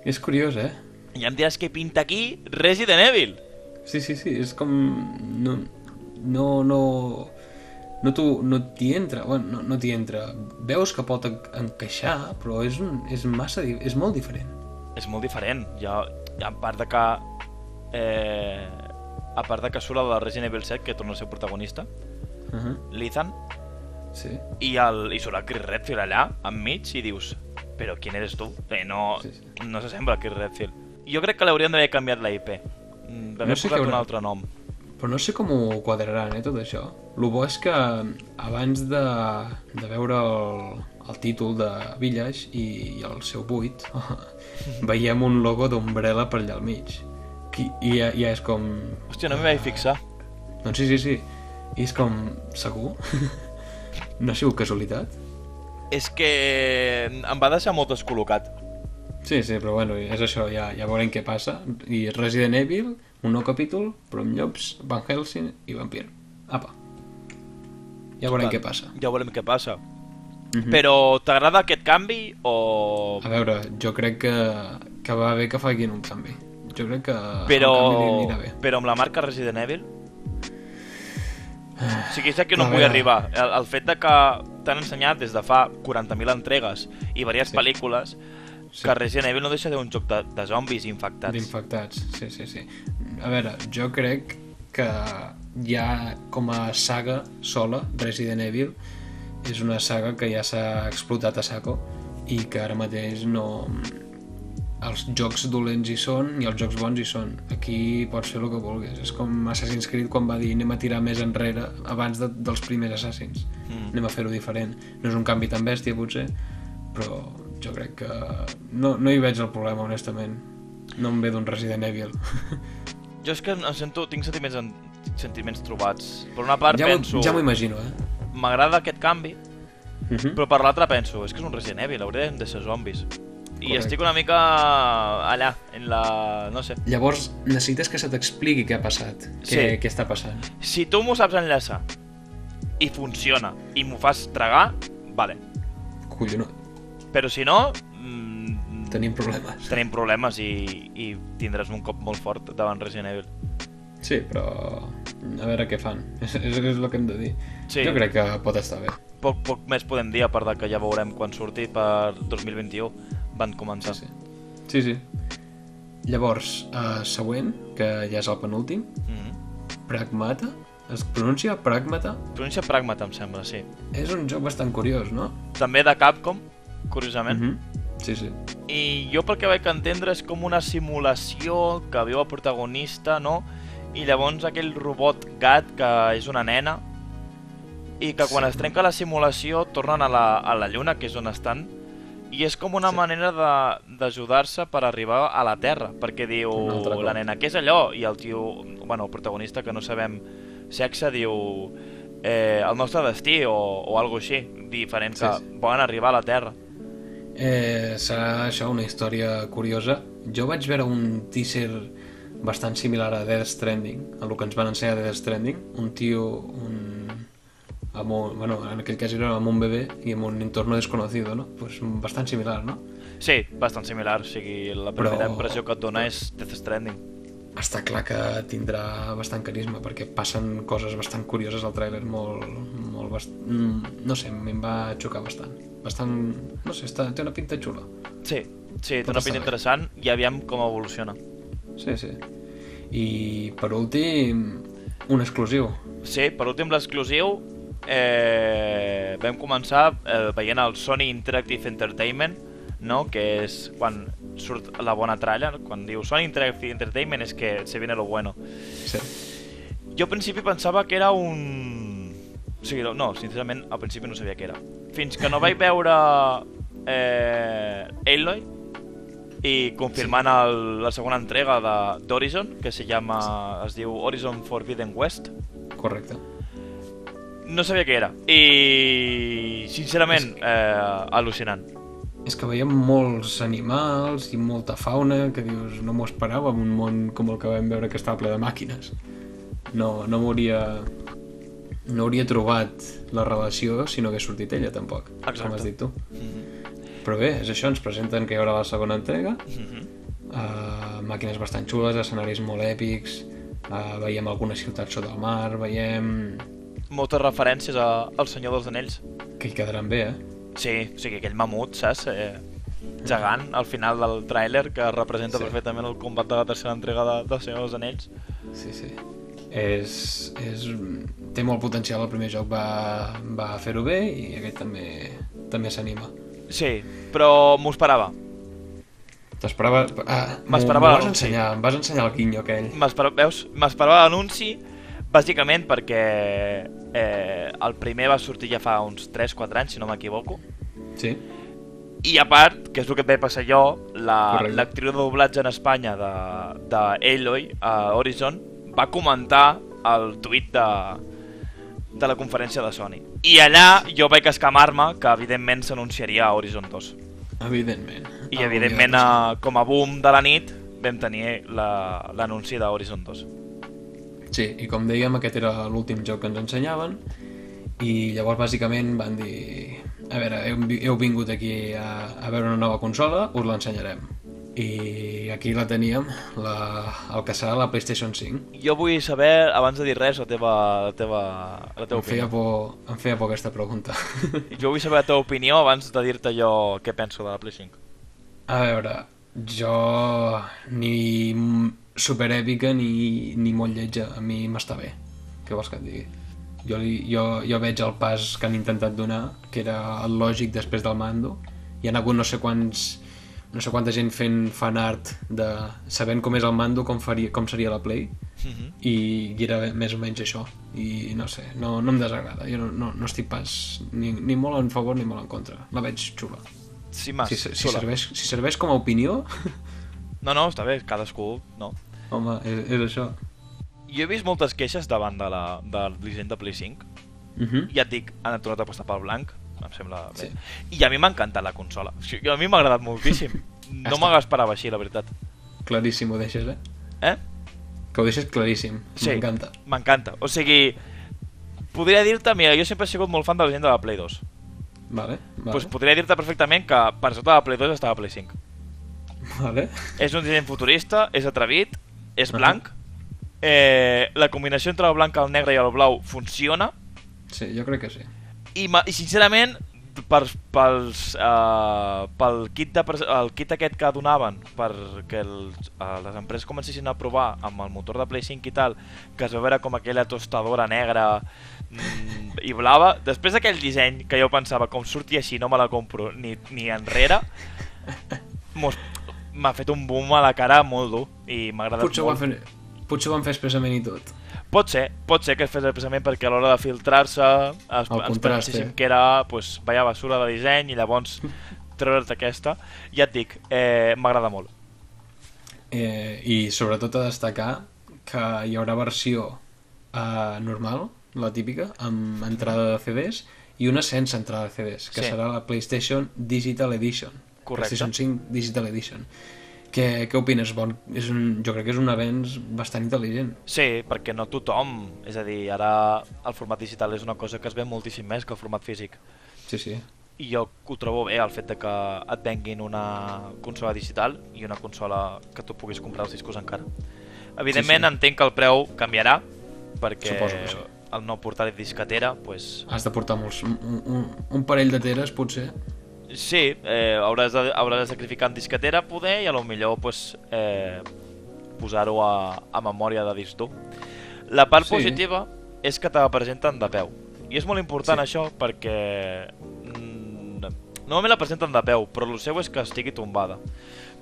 S1: És curiós, eh?
S2: I em diràs que pinta aquí Resident Evil.
S1: Sí, sí, sí, és com... No, no, no, no t'ho- no t'hi entra, bueno, no, no t'hi entra. Veus que pot en- encaixar, però és, un, és, massa, di- és molt diferent.
S2: És molt diferent. Ja, ja a part de que... Eh, a part de que surt el de Resident Evil 7, que torna a ser protagonista,
S1: Uh -huh.
S2: l'Ethan,
S1: Sí,
S2: i, el, i surt el Chris Redfield allà, enmig, i dius, però quin eres tu? Eh, no,
S1: Sí, sí.
S2: no s'assembla a Chris Redfield. Jo crec que l'haurien d'haver canviat la IP. Mm, D'haver
S1: No sé què
S2: posat un
S1: haurà-
S2: altre nom.
S1: però no sé com ho quadraran, eh, tot això. Lo bo és que mm, abans de, de veure el, el títol de Village i, i el seu buit, veiem un logo d'Umbrella per allà al mig. Qui- I ja, ja és com...
S2: Hòstia, no m'hi vaig fixar.
S1: Doncs sí, sí, sí. I és com... Segur? no ha sigut casualitat?
S2: És que em va deixar molt descol·locat.
S1: Sí, sí, però bueno, és això, ja, ja veurem què passa. I Resident Evil, un nou capítol, però amb llops, Van Helsing i Vampir. Apa. Ja veurem
S2: Clar.
S1: què passa. Mhm.
S2: Ja veurem què passa. Però t'agrada aquest canvi o...
S1: A veure, jo crec que, que va bé que facin un canvi. Jo crec que
S2: Però...
S1: el canvi li anirà bé.
S2: Però amb la marca Resident Evil? O sigui, és aquí on
S1: Ah. A
S2: no vull
S1: veure.
S2: arribar. El, el fet de que t'han ensenyat des de fa 40.000 entregues i diverses sí. pel·lícules sí. que Resident Evil no deixa de ser un joc de, de zombis infectats.
S1: D'infectats, sí, sí, sí. A veure, jo crec que ja com a saga sola, Resident Evil, és una saga que ja s'ha explotat a saco i que ara mateix no... Els jocs dolents hi són i els jocs bons hi són. Aquí pots fer el que vulguis. És com Assassin's Creed quan va dir anem a tirar més enrere abans de, dels primers assassins. Mm. Anem a fer-ho diferent. No és un canvi tan bèstia, potser, però jo crec que... No, no hi veig el problema, honestament. No em ve d'un Resident Evil.
S2: Jo és que em sento, tinc sentiments, en, sentiments trobats. Per una part
S1: ja m'ho
S2: penso,
S1: ja m'ho imagino, eh?
S2: m'agrada aquest canvi,
S1: Uh -huh.
S2: Però per l'altra penso, és que és un Resident Evil, hauríem de ser zombis. I
S1: Correcte.
S2: estic una mica allà, en la... no sé.
S1: Llavors, necessites que se t'expliqui què ha passat,
S2: Sí.
S1: què, què està passant.
S2: Si tu m'ho saps enllaçar i funciona i m'ho fas tragar, vale.
S1: Collonó,
S2: Però si no, mm,
S1: tenim problemes.
S2: tenim problemes i, i tindràs un cop molt fort davant Resident Evil.
S1: Sí, però a veure què fan. És, és, és el que hem de dir.
S2: Sí.
S1: Jo crec que pot estar bé.
S2: Poc, poc més podem dir, a part de que ja veurem quan surti per 2021 van començar.
S1: Sí, sí. sí, sí. Llavors, eh, següent, que ja és el penúltim,
S2: Mm -hmm.
S1: Pragmata. Es pronuncia Pragmata?
S2: Pronuncia Pragmata, em sembla, sí.
S1: És un joc bastant curiós, no?
S2: També de Capcom, curiosament.
S1: Mhm. Sí, sí.
S2: I jo pel que vaig entendre és com una simulació que viu el protagonista, no? I llavors aquell robot gat que és una nena i que quan sí. es trenca la simulació tornen a la, a la lluna, que és on estan, i és com una sí. manera de- d'ajudar-se per arribar a la Terra, perquè diu
S1: Un altre cop.
S2: la nena, què és allò? I el tio, bueno, el protagonista, que no sabem sexe, diu eh, el nostre destí o, o algo així, diferent,
S1: Sí,
S2: que
S1: sí.
S2: volen arribar a la Terra.
S1: Eh, serà això una història curiosa. Jo vaig veure un teaser bastant similar a Death Stranding, a lo que ens van ensenyar a Death Stranding. Un tio, un, amb un, bueno, en aquell cas era amb un bebé y en un entorno desconocido, ¿no? Pues bastante similar, ¿no?
S2: Sí, bastant similar, o sigui, la
S1: Però-
S2: primera impressió que et dona és Death Stranding.
S1: Està clar que tindrà bastant carisma perquè passen coses bastant curioses al tràiler, molt, molt bast... mm, no sé, a mi em va xocar bastant. Bastant, no sé, està, té una pinta xula.
S2: Sí, sí, té
S1: Pot
S2: una
S1: estar
S2: pinta
S1: bé.
S2: interessant i aviam com evoluciona.
S1: Sí, sí. I per últim, un exclusiu.
S2: Sí, per últim l'exclusiu eh, vam començar eh, veient el Sony Interactive Entertainment no? que és quan surt la bona tralla, quan diu Sony Interactive Entertainment és que se viene lo bueno.
S1: Sí.
S2: Jo al principi pensava que era un... O sigui, no, sincerament, al principi no sabia què era. Fins que no vaig veure eh, Aloy i confirmant el, la segona entrega de- d'Horizon, que se llama, es diu Horizon Forbidden West,
S1: Correcte.
S2: no sabia què era. I, sincerament, eh, al·lucinant.
S1: És que veiem molts animals i molta fauna que dius, no m'ho esperava en un món com el que vam veure que estava ple de màquines. No, no m'hauria... No hauria trobat la relació si no hagués sortit ella, tampoc. Com
S2: Exacte.
S1: has dit tu.
S2: Mhm.
S1: Però bé, és això, ens presenten que hi haurà la segona entrega,
S2: Mhm.
S1: uh, màquines bastant xules, escenaris molt èpics, uh, veiem algunes ciutats sota el mar, veiem...
S2: Moltes referències a, al Senyor dels Anells.
S1: que hi quedaran bé, eh?
S2: Sí, o sigui, aquell mamut, saps? Eh, gegant al final del tràiler que representa
S1: Sí.
S2: sí. perfectament el combat de la tercera entrega de, de Senyor dels Anells.
S1: Sí, sí. És, és, té molt potencial, el primer joc va, va fer-ho bé i aquest també també s'anima.
S2: Sí, però m'ho esperava.
S1: T'esperava... Ah, m'ho-
S2: eh, M'esperava
S1: m'ho vas
S2: l'anunci.
S1: ensenyar, em vas ensenyar el guinyo aquell.
S2: M'espera- Veus? M'esperava l'anunci bàsicament perquè eh, el primer va sortir ja fa uns 3-4 anys, si no m'equivoco.
S1: Sí?
S2: I a part, que és el que et vaig passar jo, la-
S1: Correcte.
S2: l'actriu la, de doblatge en Espanya de, de Aloy, a Horizon, va comentar el tuit de, de la conferència de Sony. I allà jo vaig escamar-me que evidentment s'anunciaria a Horizon 2.
S1: Evidentment.
S2: I
S1: Algun
S2: evidentment,
S1: dia
S2: a, com a boom de la nit, vam tenir la- l'anunci la, d'Horizon 2.
S1: Sí, i com dèiem, aquest era l'últim joc que ens ensenyaven i llavors bàsicament van dir a veure, heu, vi- heu vingut aquí a, a veure una nova consola, us l'ensenyarem. I aquí la teníem, la, el que serà la PlayStation 5.
S2: Jo vull saber, abans de dir res, la teva, la teva, la teva
S1: Em feia,
S2: opinió.
S1: por, em feia por aquesta pregunta.
S2: Jo vull saber la teva opinió abans de dir-te jo què penso de la Play 5.
S1: a veure, jo ni m- superèpica ni, ni molt lletja, a mi m'està bé. Què vols que et digui? Jo, li, jo, jo veig el pas que han intentat donar, que era el lògic després del mando. Hi ha hagut no sé quants no sé quanta gent fent fanart de sabent com és el mando, com, faria, com seria la Play,
S2: Mhm.
S1: i, i era més o menys això. I no sé, no, no em desagrada. Jo no, no, no estic pas ni, ni molt en favor ni molt en contra. La veig xula.
S2: Sí, mas,
S1: Si, si,
S2: sola.
S1: serveix, si serveix com a opinió,
S2: No, no, està bé, cadascú, no.
S1: home, és, és això.
S2: Jo he vist moltes queixes davant de la, del disseny de Play 5.
S1: Uh -huh.
S2: Ja et dic, han tornat a apostar pel blanc, em sembla bé.
S1: Sí.
S2: Sí. I a mi m'ha encantat la consola. O sigui, a mi m'ha agradat moltíssim. No
S1: Està.
S2: me l'esperava així, la veritat.
S1: Claríssim ho deixes, eh?
S2: Eh?
S1: Que ho deixes claríssim.
S2: Sí.
S1: M'encanta.
S2: M'encanta. O sigui, podria dir-te, mira, jo sempre he sigut molt fan de la gent de la Play 2. Doncs
S1: Vale, vale.
S2: pues podria dir-te perfectament que per sota de la Play 2 estava Play 5.
S1: vale.
S2: És un disseny futurista, és atrevit, és
S1: Ahà.
S2: blanc. Eh, la combinació entre el blanc, el negre i el blau funciona.
S1: Sí, jo crec que sí.
S2: I, ma- i sincerament, per, pels, uh, pel kit, de, pres- el kit aquest que donaven perquè els, uh, les empreses comencessin a provar amb el motor de Play 5 i tal, que es va veure com aquella tostadora negra mm, i blava, després d'aquell disseny que jo pensava, com surti així no me la compro ni, ni enrere, mos- m'ha fet un boom a la cara molt dur i m'ha agradat
S1: Potser ho, van
S2: molt.
S1: fer, potser ho van fer expressament i tot.
S2: Pot ser, pot ser que es fes precisament perquè a l'hora de filtrar-se es,
S1: El
S2: ens
S1: contrast,
S2: penséssim
S1: eh?
S2: que era pues, veia basura de disseny i llavors treure't aquesta. Ja et dic, eh, m'agrada molt.
S1: Eh, I sobretot a destacar que hi haurà versió eh, normal, la típica, amb entrada de CDs, i una sense entrada de CDs, que
S2: Sí.
S1: serà la PlayStation Digital Edition.
S2: Correcte.
S1: PlayStation 5 Digital Edition. Què, què opines? Bon, és un, jo crec que és un avenç bastant intel·ligent.
S2: Sí, perquè no tothom, és a dir, ara el format digital és una cosa que es ve moltíssim més que el format físic.
S1: Sí, sí.
S2: I jo ho trobo bé, el fet de que et venguin una consola digital i una consola que tu puguis comprar els discos encara. Evidentment,
S1: Sí,
S2: sí,
S1: sí.
S2: sí. entenc que el preu canviarà, perquè
S1: Suposo que sí.
S2: el nou portal de discatera, pues,
S1: Has de portar molts, un, un, un parell de teres, potser.
S2: sí, eh, hauràs, de, hauràs de sacrificar en discatera poder i a lo millor pues, eh, posar-ho a, a memòria de disc dur. La part
S1: Sí.
S2: sí. positiva és que te la presenten de peu. I és molt important
S1: Sí.
S2: sí. això perquè... Mm, normalment la presenten de peu, però el seu és que estigui tombada.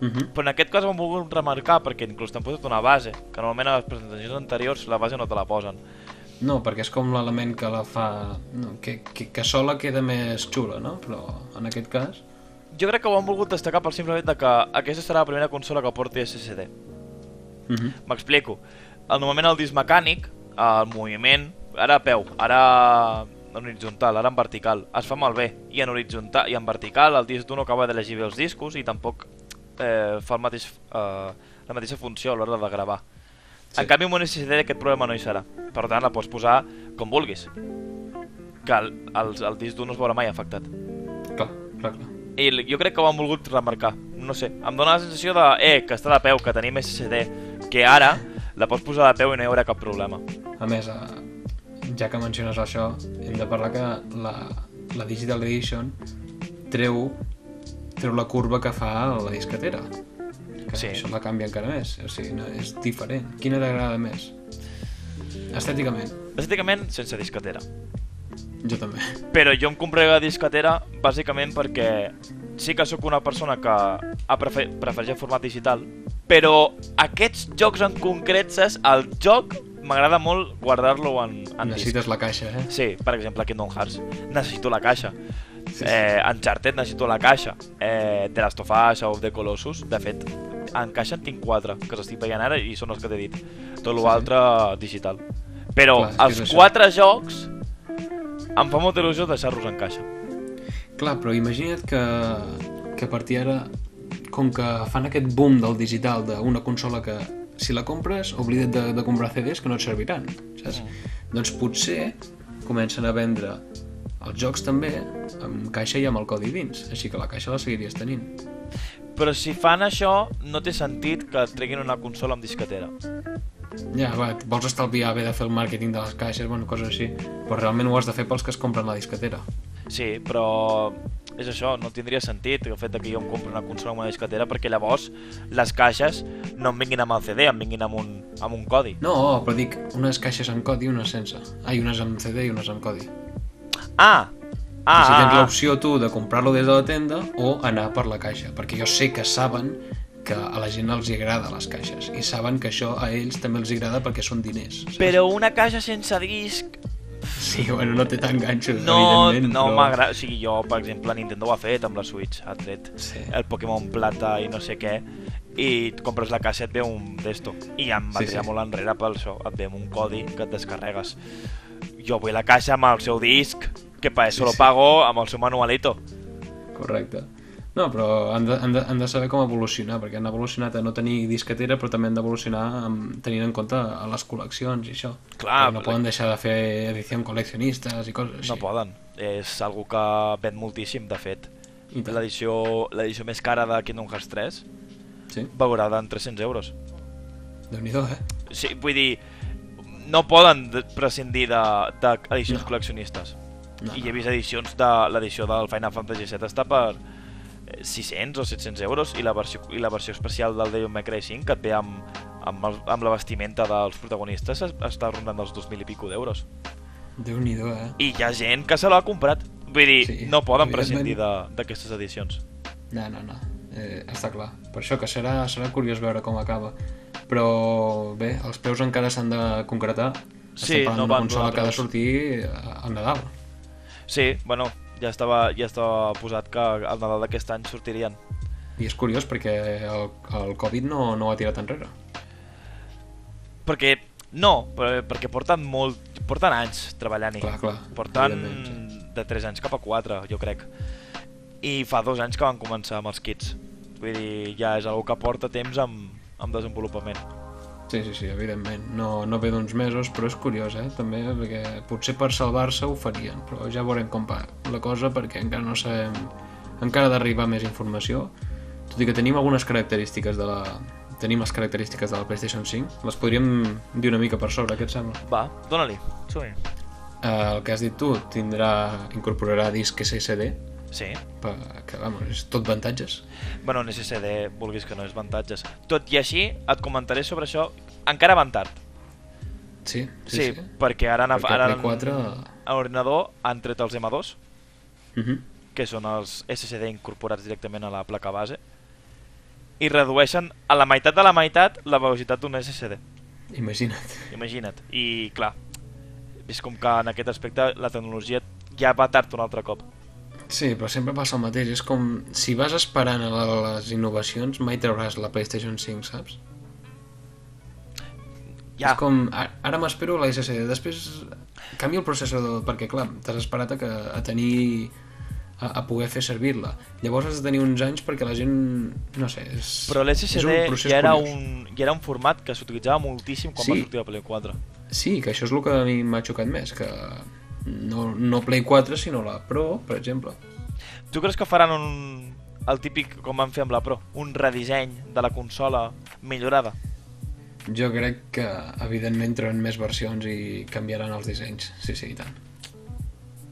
S1: Uh -huh.
S2: Però en aquest cas ho hem volgut remarcar perquè inclús t'han posat una base, que normalment a les presentacions anteriors la base no te la posen.
S1: No, perquè és com l'element que la fa... No, que, que, que sola queda més xula, no? Però en aquest cas...
S2: Jo crec que ho han volgut destacar pel simple fet de que aquesta serà la primera consola que porti SSD.
S1: Uh -huh.
S2: M'explico. El, normalment el disc mecànic, el moviment, ara a peu, ara en horitzontal, ara en vertical, es fa malbé. I en horitzontal i en vertical el disc d'un no acaba de llegir bé els discos i tampoc eh, fa el mateix, eh, la mateixa funció a l'hora de gravar.
S1: Sí.
S2: Sí. En canvi, amb un SSD aquest problema no hi serà. Per tant, la pots posar com vulguis. Que el, el, el disc dur no es veurà mai afectat.
S1: Clar, clar, clar.
S2: I l- jo crec que ho han volgut remarcar. No sé, em dóna la sensació de, eh, que està de peu, que tenim SSD, que ara la pots posar de peu i no hi haurà cap problema.
S1: A més, eh, ja que menciones això, hem de parlar que la, la Digital Edition treu, treu la curva que fa la discatera. Que
S2: Sí.
S1: Això la canvia encara més. O sigui, no, és diferent. Quina t'agrada més? Estèticament,
S2: Bàsicament, sense discatera.
S1: jo també.
S2: Però jo em compré la discatera bàsicament perquè sí que sóc una persona que ha prefe prefereix el format digital, però aquests jocs en concret, saps, el joc m'agrada molt guardar-lo en, en disc.
S1: Necessites la caixa, eh?
S2: Sí, per exemple, Kingdom Hearts. Necessito la caixa. Eh, Uncharted necessito la caixa. Eh, The Last of Us, Shadow of the Colossus, de fet, en caixa en tinc 4, que els estic veient ara i són els que t'he dit. Tot
S1: Sí, sí.
S2: l'altre digital. Però
S1: Clar, és que és
S2: els
S1: això.
S2: 4 jocs em fa molta il·lusió deixar-los en caixa.
S1: Clar, però imagina't que, que a partir ara, com que fan aquest boom del digital d'una consola que si la compres, oblida't de, de comprar CDs que no et serviran, saps? Doncs potser comencen a vendre els jocs també amb caixa i amb el codi dins, així que la caixa la seguiries tenint.
S2: Però si fan això, no té sentit que treguin una consola amb discatera.
S1: Ja, va, et vols estalviar haver de fer el màrqueting de les caixes, bueno, coses així, però realment ho has de fer pels que es compren la discatera.
S2: Sí, però és això, no tindria sentit el fet de que jo em compro una consola amb una discatera perquè llavors les caixes no em vinguin amb el CD, em vinguin amb un, amb un codi.
S1: No, però dic, unes caixes amb codi i unes sense. Ai, unes amb CD i unes amb codi.
S2: Ah! Ah,
S1: Ah, si tens
S2: ah, ah.
S1: l'opció tu de comprar-lo des de la tenda o anar per la caixa, perquè jo sé que saben que a la gent els hi agrada les caixes i saben que això a ells també els hi agrada perquè són diners. saps?
S2: Però una caixa sense disc
S1: Sí, bueno, no té tant ganxo,
S2: no,
S1: evidentment.
S2: no
S1: però-
S2: m'agrada. O sigui, jo, per exemple, Nintendo ho ha fet amb la Switch, ha tret
S1: Sí.
S2: el Pokémon Plata i no sé què, i et compres la caixa i et ve un d'esto. I ja em va
S1: Sí,
S2: sí, tirar
S1: sí.
S2: molt enrere per això, et ve amb un codi que et descarregues. Jo vull la caixa amb el seu disc, que per
S1: Sí,
S2: eso lo
S1: sí.
S2: pago amb el seu manualito.
S1: Correcte. No, però han de, han, de, han de saber com evolucionar, perquè han evolucionat a no tenir disquetera, però també han d'evolucionar amb- tenint en compte a les col·leccions i això.
S2: Clar,
S1: Perquè no
S2: però-
S1: poden deixar de fer edició amb col·leccionistes i coses així.
S2: No poden. És algo que ven moltíssim, de fet.
S1: I tant.
S2: L'edició l'edició més cara de Kingdom Hearts 3
S1: Sí,
S2: valorada en 300 euros.
S1: Déu-n'hi-do, eh?
S2: Sí, vull dir, no poden de- prescindir de- d'edicions
S1: No.
S2: de, col·leccionistes.
S1: No,
S2: No, I
S1: no.
S2: he vist edicions de l'edició del Final Fantasy VII està per eh, 600 o 700 euros i la versió, i la versió especial del Devil May Cry 5 que et ve amb, amb, el, amb la vestimenta dels protagonistes es- està rondant els 2.000 i pico d'euros.
S1: Déu-n'hi-do, eh?
S2: I hi ha gent que se l'ha comprat. Vull dir,
S1: Sí,
S2: sí, no poden
S1: evidentment.
S2: prescindir de- d'aquestes edicions.
S1: No, no, no. Eh, està clar. Per això que serà, serà curiós veure com acaba. Però bé, els preus encara s'han de concretar.
S2: Sí,
S1: Estem parlant
S2: no
S1: d'una
S2: van
S1: consola
S2: donar
S1: que ha de
S2: preus.
S1: sortir a- al Nadal.
S2: Sí, bueno, ja estava, ja estava posat que al Nadal d'aquest any sortirien.
S1: I és curiós perquè el, el Covid no, no ho ha tirat enrere.
S2: Perquè, no, per- perquè porten molt, porten anys treballant-hi.
S1: Clar, clar,
S2: Porten
S1: evidentment,
S2: de 3 anys cap a 4, jo crec. I fa dos anys que van començar amb els kits. Vull dir, ja és algo que porta temps amb, amb desenvolupament.
S1: Sí, sí, sí, evidentment. No, no ve d'uns mesos, però és curiós, eh? També, perquè potser per salvar-se ho farien, però ja veurem com va la cosa, perquè encara no sabem... Encara ha d'arribar més informació, tot i que tenim algunes característiques de la... Tenim les característiques de la PlayStation 5. Les podríem dir una mica per sobre, què et sembla?
S2: Va, dóna-li. som -hi.
S1: Eh, el que has dit tu tindrà... incorporarà disc SSD,
S2: Sí.
S1: per, que, vamos, és tot avantatges.
S2: Bueno, en SSD, vulguis que no, és avantatges. Tot i així, et comentaré sobre això encara van tard.
S1: Sí, sí,
S2: Sí,
S1: sí. sí.
S2: perquè ara, han,
S1: Perquè
S2: ara
S1: Play 4...
S2: a ordinador han tret els M2,
S1: Uh -huh.
S2: que són els SSD incorporats directament a la placa base, i redueixen a la meitat de la meitat la velocitat d'un SSD.
S1: Imagina't.
S2: Imagina't. I, clar, és com que en aquest aspecte la tecnologia ja va tard un altre cop.
S1: Sí, però sempre passa el mateix. És com, si vas esperant a la- les innovacions, mai trauràs la PlayStation 5, saps?
S2: Ja,
S1: És com, a- ara m'espero la SSD, després canvio el processador, perquè clar, t'has esperat a, que, a tenir a, a poder fer servir-la. Llavors has de tenir uns anys perquè la gent, no sé, és,
S2: però
S1: és
S2: l'SSD
S1: un procés
S2: ja, era
S1: curiós.
S2: un, ja era un format que s'utilitzava moltíssim quan
S1: Sí.
S2: va sortir la Play 4.
S1: Sí, que això és el que a mi m'ha xocat més, que no, no Play 4, sinó la Pro, per exemple.
S2: Tu creus que faran un, el típic, com van fer amb la Pro, un redisseny de la consola millorada?
S1: Jo crec que, evidentment, trauran més versions i canviaran els dissenys. Sí, sí, i tant.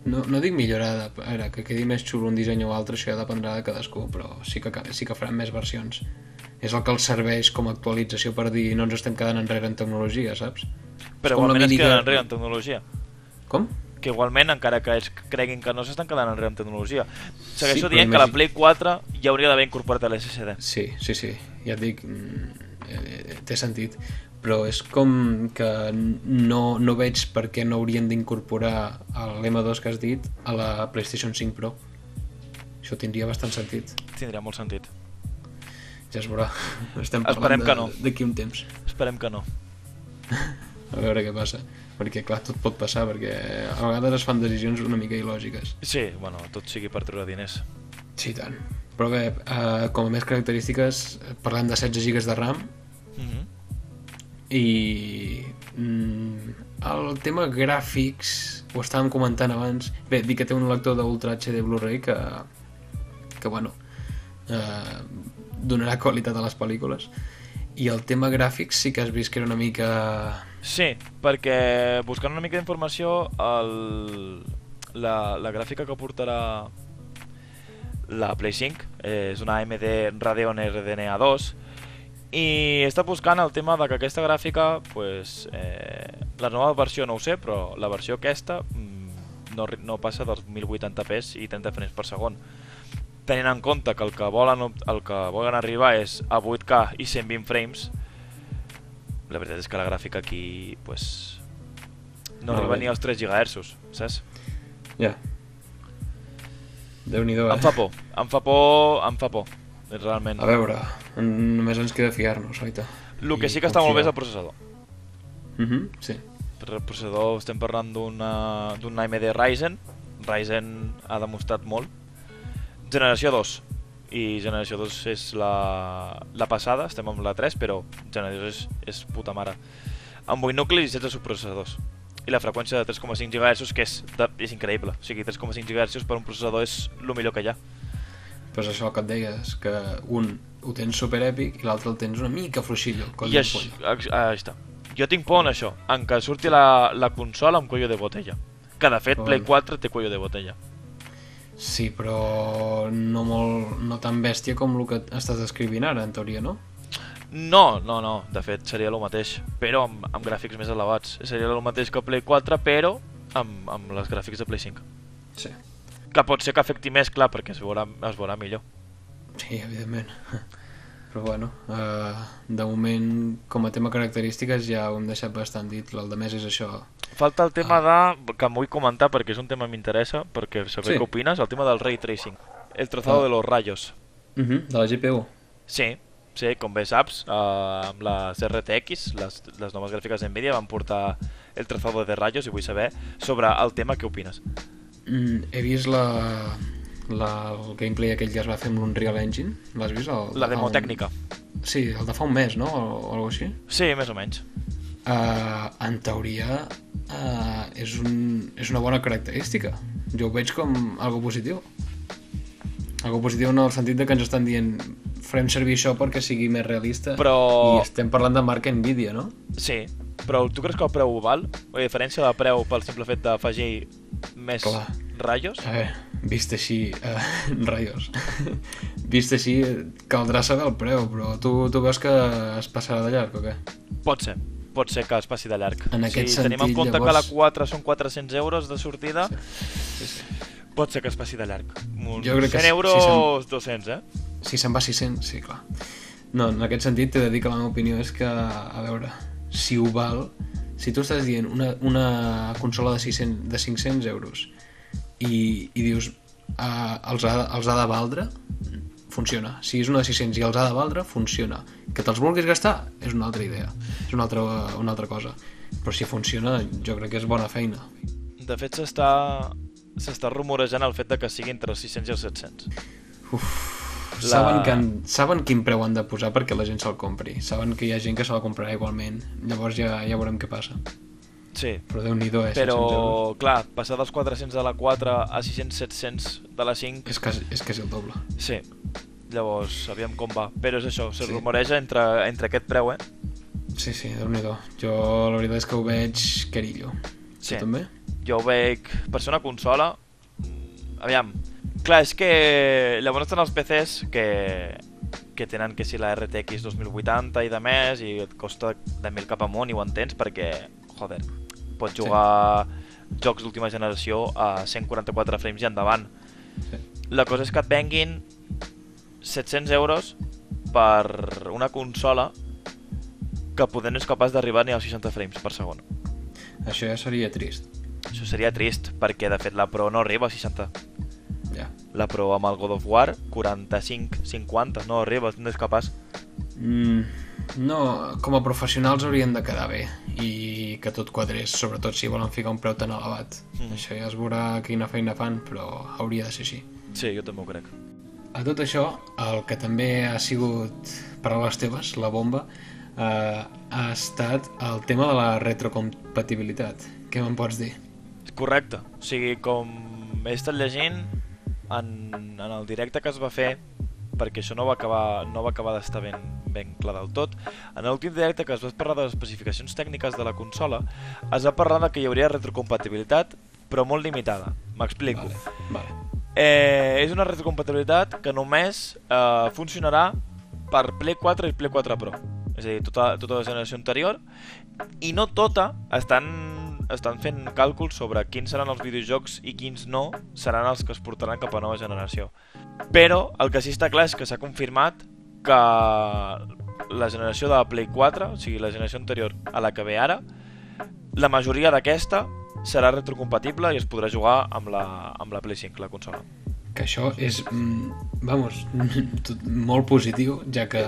S1: No, no dic millorada, ara, que quedi més xulo un disseny o altre, això ja dependrà de cadascú, però sí que, ca- sí que faran més versions. És el que els serveix com a actualització per dir no ens estem quedant enrere en tecnologia, saps?
S2: Però
S1: com la
S2: igualment es
S1: miniga-
S2: queden enrere en tecnologia.
S1: Com?
S2: Que igualment, encara que es creguin que no s'estan quedant enrere en tecnologia. Segueixo
S1: però
S2: dient que la
S1: imagi-
S2: Play 4 ja hauria d'haver incorporat a l'SSD.
S1: Sí, sí, sí, ja et dic, mm, eh, eh, té sentit, però és com que no, no veig per què no haurien d'incorporar l'M2 que has dit a la PlayStation 5 Pro. Això tindria bastant sentit.
S2: Tindria molt sentit.
S1: Ja es veurà. Estem
S2: Esperem
S1: parlant
S2: que no.
S1: de- d'aquí un temps.
S2: Esperem que no.
S1: A veure què passa. Perquè, clar, tot pot passar, perquè a vegades es fan decisions una mica il·lògiques.
S2: Sí, bueno, tot sigui per treure diners.
S1: Sí, i tant. Però bé, eh, com a més característiques, eh, parlem de 16 GB de RAM
S2: Mhm.
S1: i mm, el tema gràfics, ho estàvem comentant abans, bé, dic que té un lector d'Ultra HD Blu-ray que, que bueno, eh, donarà qualitat a les pel·lícules. I el tema gràfics sí que has vist que era una mica
S2: Sí, perquè buscant una mica d'informació, el... la, la gràfica que portarà la Play 5 eh, és una AMD Radeon RDNA 2 i està buscant el tema de que aquesta gràfica, pues, eh, la nova versió no ho sé, però la versió aquesta mm, no, arri- no passa dels 1080p i 30 frames per segon. Tenint en compte que el que volen, ob- el que volen arribar és a 8K i 120 frames, la veritat és que la gràfica aquí, pues,
S1: No eh.
S2: no
S1: la
S2: arriba
S1: veig.
S2: ni als 3 GHz, saps?
S1: Ja. Déu-n'hi-do, eh?
S2: Em fa por, em fa por, em fa por, realment.
S1: A veure, en- només ens queda fiar-nos, oita.
S2: El que
S1: I
S2: sí que està molt bé és
S1: confiar.
S2: el processador.
S1: Mhm, sí.
S2: Per el processador estem parlant d'una d'un AMD Ryzen. Ryzen ha demostrat molt. Generació 2. I generació 2 és la, la passada, estem amb la 3, però generació 2 és, és puta mare. Amb 8 nuclis i 16 subprocessadors. I la freqüència de 3,5 GHz, que és, de, és increïble. O sigui, 3,5 GHz per un processador és el millor que hi ha.
S1: Però és això que et deies, que un ho tens superèpic i l'altre el tens una mica fluixillo. coll
S2: I
S1: de
S2: això,
S1: polla.
S2: ex- ah, està. Jo tinc por en això, en què surti la, la consola amb cuello de botella. Que de fet,
S1: Bueno.
S2: Play 4 té cuello de botella.
S1: Sí, però no, molt, no tan bèstia com el que estàs descrivint ara, en teoria, no?
S2: No, no, no, de fet seria el mateix, però amb, amb gràfics més elevats. Seria el mateix que Play 4, però amb, amb les gràfics de Play 5.
S1: Sí.
S2: Que pot ser que afecti més, clar, perquè es veurà, es veurà millor.
S1: Sí, evidentment. Però bueno, eh, de moment, com a tema característiques, ja ho hem deixat bastant dit. El de més és això.
S2: Falta el tema de... que em vull comentar perquè és un tema que m'interessa, perquè saber
S1: Ah. Sí.
S2: què opines, el tema del ray tracing. El trazado
S1: Ah.
S2: de los rayos.
S1: Uh -huh, de la GPU.
S2: Sí, sí, com bé saps, eh, amb les RTX, les, les noves gràfiques d'NVIDIA van portar el trazado de rayos i vull saber sobre el tema què opines.
S1: Mm, he vist la, La, el gameplay aquell que es va fer amb l'Unreal Engine, l'has vist? El,
S2: La
S1: de fa
S2: demo
S1: un-
S2: tècnica.
S1: Sí, el de fa un mes, no? O, o alguna així.
S2: Sí, més o menys.
S1: Uh, en teoria, uh, és, un, és una bona característica. Jo ho veig com algo positiu. Algo positiu en el sentit de que ens estan dient farem servir això perquè sigui més realista.
S2: Però-
S1: I estem parlant de marca Nvidia, no?
S2: Sí, però tu creus que el preu ho val? O hi ha diferència de preu pel simple fet d'afegir més
S1: Clar.
S2: ratllos?
S1: A veure, vist així, eh, rayos, vist així eh, caldrà saber el preu, però tu, tu veus que es passarà de llarg o què?
S2: Pot ser, pot ser que es passi de llarg.
S1: En aquest
S2: si tenim
S1: sentit,
S2: en compte
S1: llavors-
S2: que la 4 són 400 euros de sortida,
S1: Sí, sí.
S2: pot ser que es passi de llarg. Uns
S1: Jo crec que
S2: 100
S1: si- si
S2: euros,
S1: se'n-
S2: 200, eh?
S1: Si se'n va 600, sí, clar. No, en aquest sentit t'he de dir que la meva opinió és que, a veure, si ho val, si tu estàs dient una, una consola de, 600, de 500 euros i, i dius eh, els, ha, els ha de valdre, funciona. Si és una de 600 i els ha de valdre, funciona. Que te'ls vulguis gastar és una altra idea, és una altra, una altra cosa. Però si funciona, jo crec que és bona feina.
S2: De fet, s'està s'està rumorejant el fet de que sigui entre els 600 i els 700.
S1: La...
S2: La-
S1: Saben, que, en- saben quin preu han de posar perquè la gent se'l compri. Saben que hi ha gent que se la comprarà igualment. Llavors ja, ja veurem què passa.
S2: Sí,
S1: Però Déu-n'hi-do, eh? 600 euros.
S2: però clar, passar dels 400 de la 4 a 600-700 de la 5,
S1: És, quasi, és quasi el doble.
S2: sí. Llavors, sabíem com va. Però és això, se
S1: Sí.
S2: sí. rumoreja entre, entre aquest preu, eh?
S1: Sí, sí, Déu-n'hi-do. Jo la veritat és que ho veig carillo.
S2: Sí.
S1: Tu també?
S2: Jo ho veig per ser una consola... mm, Aviam. Clar, és que llavors estan els PCs que, que tenen que si la RTX 2080 i de més i et costa de mil cap amunt i ho entens perquè, joder, pots
S1: Sí.
S2: jugar sí. jocs d'última generació a 144 frames i endavant.
S1: Sí.
S2: La cosa és que et venguin 700 euros per una consola que poder no és capaç d'arribar ni als 60 frames per segon.
S1: Això ja seria trist.
S2: Això seria trist, perquè de fet la Pro no arriba a 60.
S1: Ja.
S2: La Pro amb el God of War, 45, 50, no arriba, no és capaç.
S1: Mm, no, com a professionals haurien de quedar bé i que tot quadrés, sobretot si volen ficar un preu tan elevat.
S2: Mm.
S1: Mm. Això ja es veurà quina feina fan, però hauria de ser així.
S2: Sí, jo també ho crec.
S1: A tot això, el que també ha sigut per a les teves, la bomba, eh, ha estat el tema de la retrocompatibilitat. Què me'n pots dir?
S2: Correcte. O sigui, com he estat llegint en, en el directe que es va fer, perquè això no va acabar, no va acabar d'estar ben, ben clar del tot, en l'últim directe que es va parlar de les especificacions tècniques de la consola, es va parlar de que hi hauria retrocompatibilitat, però molt limitada. M'explico. Vale.
S1: Vale.
S2: Eh, és una retrocompatibilitat que només eh, funcionarà per Play 4 i Play 4 Pro. És a dir, tota, tota la generació anterior. I no tota estan, estan fent càlculs sobre quins seran els videojocs i quins no seran els que es portaran cap a nova generació. Però el que sí està clar és que s'ha confirmat que la generació de Play 4, o sigui, la generació anterior a la que ve ara, la majoria d'aquesta serà retrocompatible i es podrà jugar amb la, amb la Play 5, la consola.
S1: Que això és, mm, vamos, tot molt positiu, ja que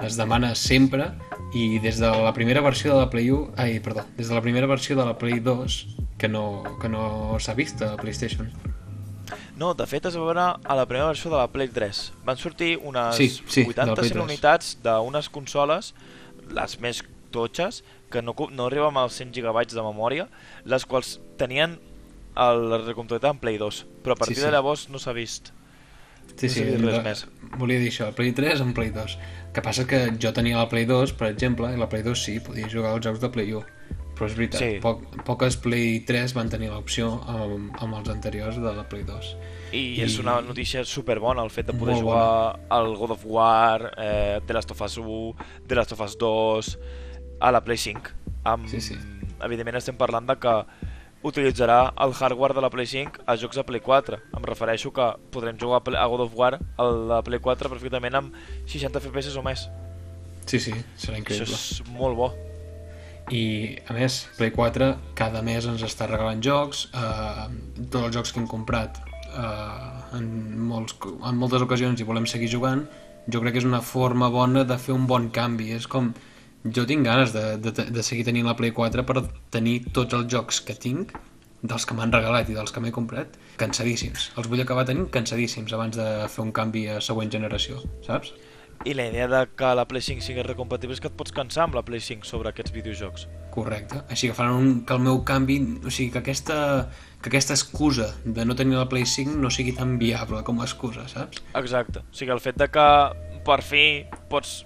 S1: es demana sempre i des de la primera versió de la Play 1, ai, perdó, des de la primera versió de la Play 2 que no, que no s'ha vist a PlayStation.
S2: No, de fet es va veure a la primera versió de la Play 3. Van sortir unes
S1: Sí, sí, de la Play 3.
S2: 80 unitats d'unes consoles, les més totxes, que no, ocu- no arriben als 100 GB de memòria, les quals tenien el- la recomptabilitat en Play 2, però a partir
S1: sí.
S2: de llavors no s'ha vist.
S1: Sí,
S2: No
S1: sí,
S2: s'ha dit res
S1: de-
S2: més.
S1: volia dir això, Play 3 amb Play 2. que passa que jo tenia la Play 2, per exemple, i la Play 2 sí, podia jugar als jocs de Play 1, però és veritat,
S2: Sí.
S1: sí. poc, poques Play 3 van tenir l'opció amb, amb els anteriors de la Play 2.
S2: I és una notícia superbona el fet de poder
S1: Molt
S2: jugar al God of War, eh, The Last of Us 1, The Last of Us 2, a la Play 5. Amb...
S1: Sí, sí.
S2: Evidentment estem parlant de que utilitzarà el hardware de la Play 5 a jocs de Play 4. Em refereixo que podrem jugar a Play- a God of War a la Play 4 perfectament amb 60 FPS o més.
S1: Sí, sí, serà
S2: Això
S1: increïble.
S2: és molt bo.
S1: I, a més, Play 4 cada mes ens està regalant jocs, eh, tots els jocs que hem comprat eh, en, molts, en moltes ocasions i volem seguir jugant, jo crec que és una forma bona de fer un bon canvi. És com, jo tinc ganes de, de, de seguir tenint la Play 4 per tenir tots els jocs que tinc dels que m'han regalat i dels que m'he comprat, cansadíssims. Els vull acabar tenint cansadíssims abans de fer un canvi a següent generació, saps?
S2: I la idea de que la Play 5 sigui recompatible és que et pots cansar amb la Play 5 sobre aquests videojocs.
S1: Correcte. Així que faran un, que el meu canvi, o sigui, que aquesta, que aquesta excusa de no tenir la Play 5 no sigui tan viable com a excusa, saps?
S2: Exacte. O sigui, el fet de que per fi pots...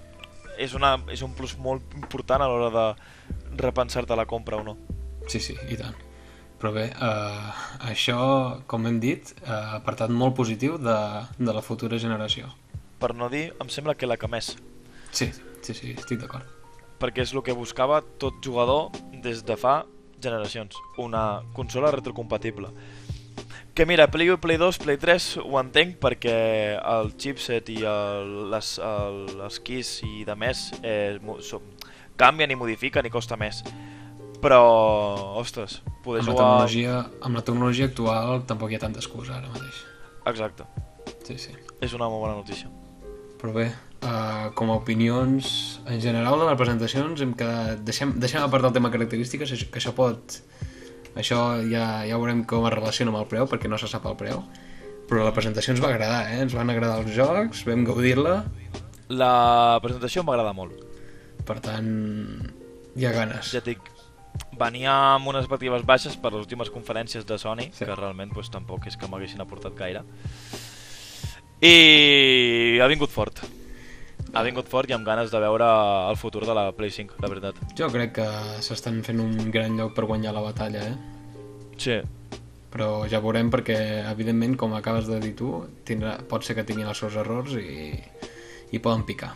S2: És, una, és un plus molt important a l'hora de repensar-te la compra o no.
S1: Sí, sí, i tant. Però bé, eh, això, com hem dit, eh, apartat molt positiu de, de la futura generació.
S2: Per no dir, em sembla que la que més.
S1: Sí, sí, sí, estic d'acord.
S2: Perquè és el que buscava tot jugador des de fa generacions. Una consola retrocompatible. Que mira, Play 1, Play 2, Play 3 ho entenc perquè el chipset i el, les, el, els keys i de més eh, mo- so, canvien i modifiquen i costa més. Però, ostres, poder
S1: Amb la,
S2: jugar...
S1: tecnologia, amb la tecnologia actual tampoc hi ha tanta excusa ara mateix.
S2: Exacte,
S1: Sí, sí.
S2: és una molt bona notícia.
S1: Però bé, uh, com a opinions en general de les presentacions hem quedat... Deixem, deixem a part el tema característiques, això- que això pot... Això ja, ja veurem com es relaciona amb el preu, perquè no se sap el preu. Però la presentació ens va agradar, eh? Ens van agradar els jocs, vam gaudir-la,
S2: La presentació m'agrada molt.
S1: per tant, hi ha ganes.
S2: Ja et dic, venia amb unes expectatives baixes per les últimes conferències de Sony,
S1: Sí.
S2: sí. que realment pues, tampoc és que m'haguessin aportat gaire. I ha vingut fort. Ha vingut fort i amb ganes de veure el futur de la Play 5, la veritat.
S1: Jo crec que s'estan fent un gran lloc per guanyar la batalla, eh?
S2: Sí,
S1: però ja veurem perquè evidentment com acabes de dir tu tindrà, pot ser que tinguin els seus errors i, i poden picar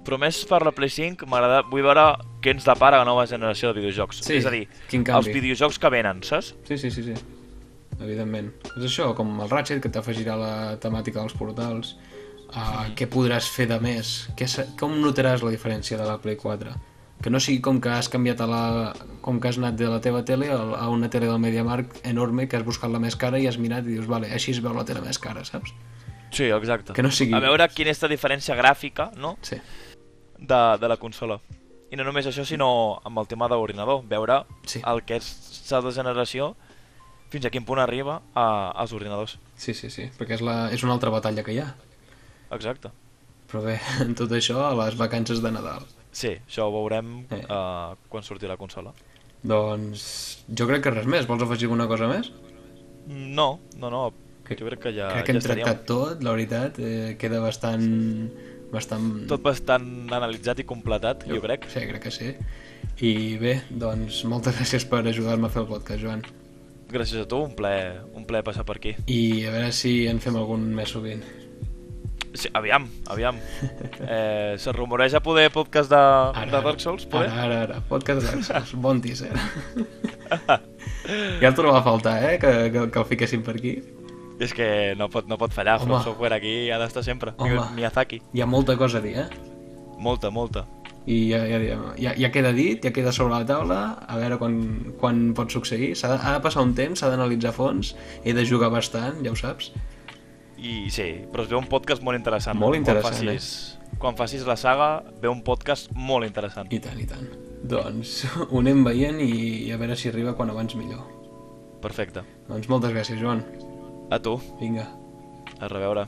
S2: però més per la Play 5 m'agrada... Vull veure què ens depara la nova generació de videojocs.
S1: Sí,
S2: és a dir,
S1: quin canvi.
S2: els videojocs que venen, saps?
S1: sí, sí, sí, sí evidentment és això, com el Ratchet que t'afegirà la temàtica dels portals uh, què podràs fer de més què, se- com notaràs la diferència de la Play 4 que no sigui com que has canviat a la, com que has anat de la teva tele al- a una tele del MediaMarkt enorme que has buscat la més cara i has mirat i dius vale, així es veu la tele més cara, saps?
S2: Sí, exacte.
S1: Que no sigui-
S2: A veure quina és la diferència gràfica, no?
S1: Sí,
S2: de, de la consola. I no només això, sinó amb el tema d'ordinador, veure
S1: Sí.
S2: sí. el que és la generació fins a quin punt arriba a, als ordinadors.
S1: sí, sí, sí perquè és, la, és una altra batalla que hi ha
S2: Exacte.
S1: Però bé, en tot això, a les vacances de Nadal.
S2: Sí, això ho veurem
S1: Eh.
S2: eh. uh, quan surti la consola.
S1: Doncs jo crec que res més. Vols afegir alguna cosa més?
S2: No, no, no,
S1: Que-
S2: jo crec que ja,
S1: crec que hem
S2: ja estaríem
S1: tractat tot, la veritat. Eh, queda bastant... bastant...
S2: tot bastant analitzat i completat, jo, jo crec.
S1: Sí, crec que sí. I bé, doncs moltes gràcies per ajudar-me a fer el podcast, Joan.
S2: Gràcies a tu, un plaer, un plaer passar per aquí.
S1: I a veure si en fem algun més sovint.
S2: Sí, aviam, aviam. Eh, se rumoreja poder podcast de, Ah, de Dark Souls, poder?
S1: Ara, ara, ara. Podcast de Dark Souls. Bon teaser. ja el trobava a faltar, eh? Que, que, que el fiquessin per aquí.
S2: És que no pot, no pot fallar,
S1: Home.
S2: From Software aquí ha d'estar sempre.
S1: Home.
S2: Home. Miyazaki.
S1: Hi ha molta cosa a dir, eh?
S2: Molta, molta.
S1: i ja, ja, direm, ja, ja queda dit, ja queda sobre la taula, a veure quan, quan pot succeir. Ha de, ha de passar un temps, s'ha d'analitzar a fons, he de jugar bastant, ja ho saps.
S2: I sí, però es veu un podcast molt interessant.
S1: Molt interessant, eh?
S2: Quan facis, quan facis la saga, veu un podcast molt interessant.
S1: I tant, i tant. Doncs ho anem veient i, i a veure si arriba quan abans millor.
S2: Perfecte.
S1: Doncs moltes gràcies, Joan.
S2: A tu,
S1: Vinga.
S2: a reveure.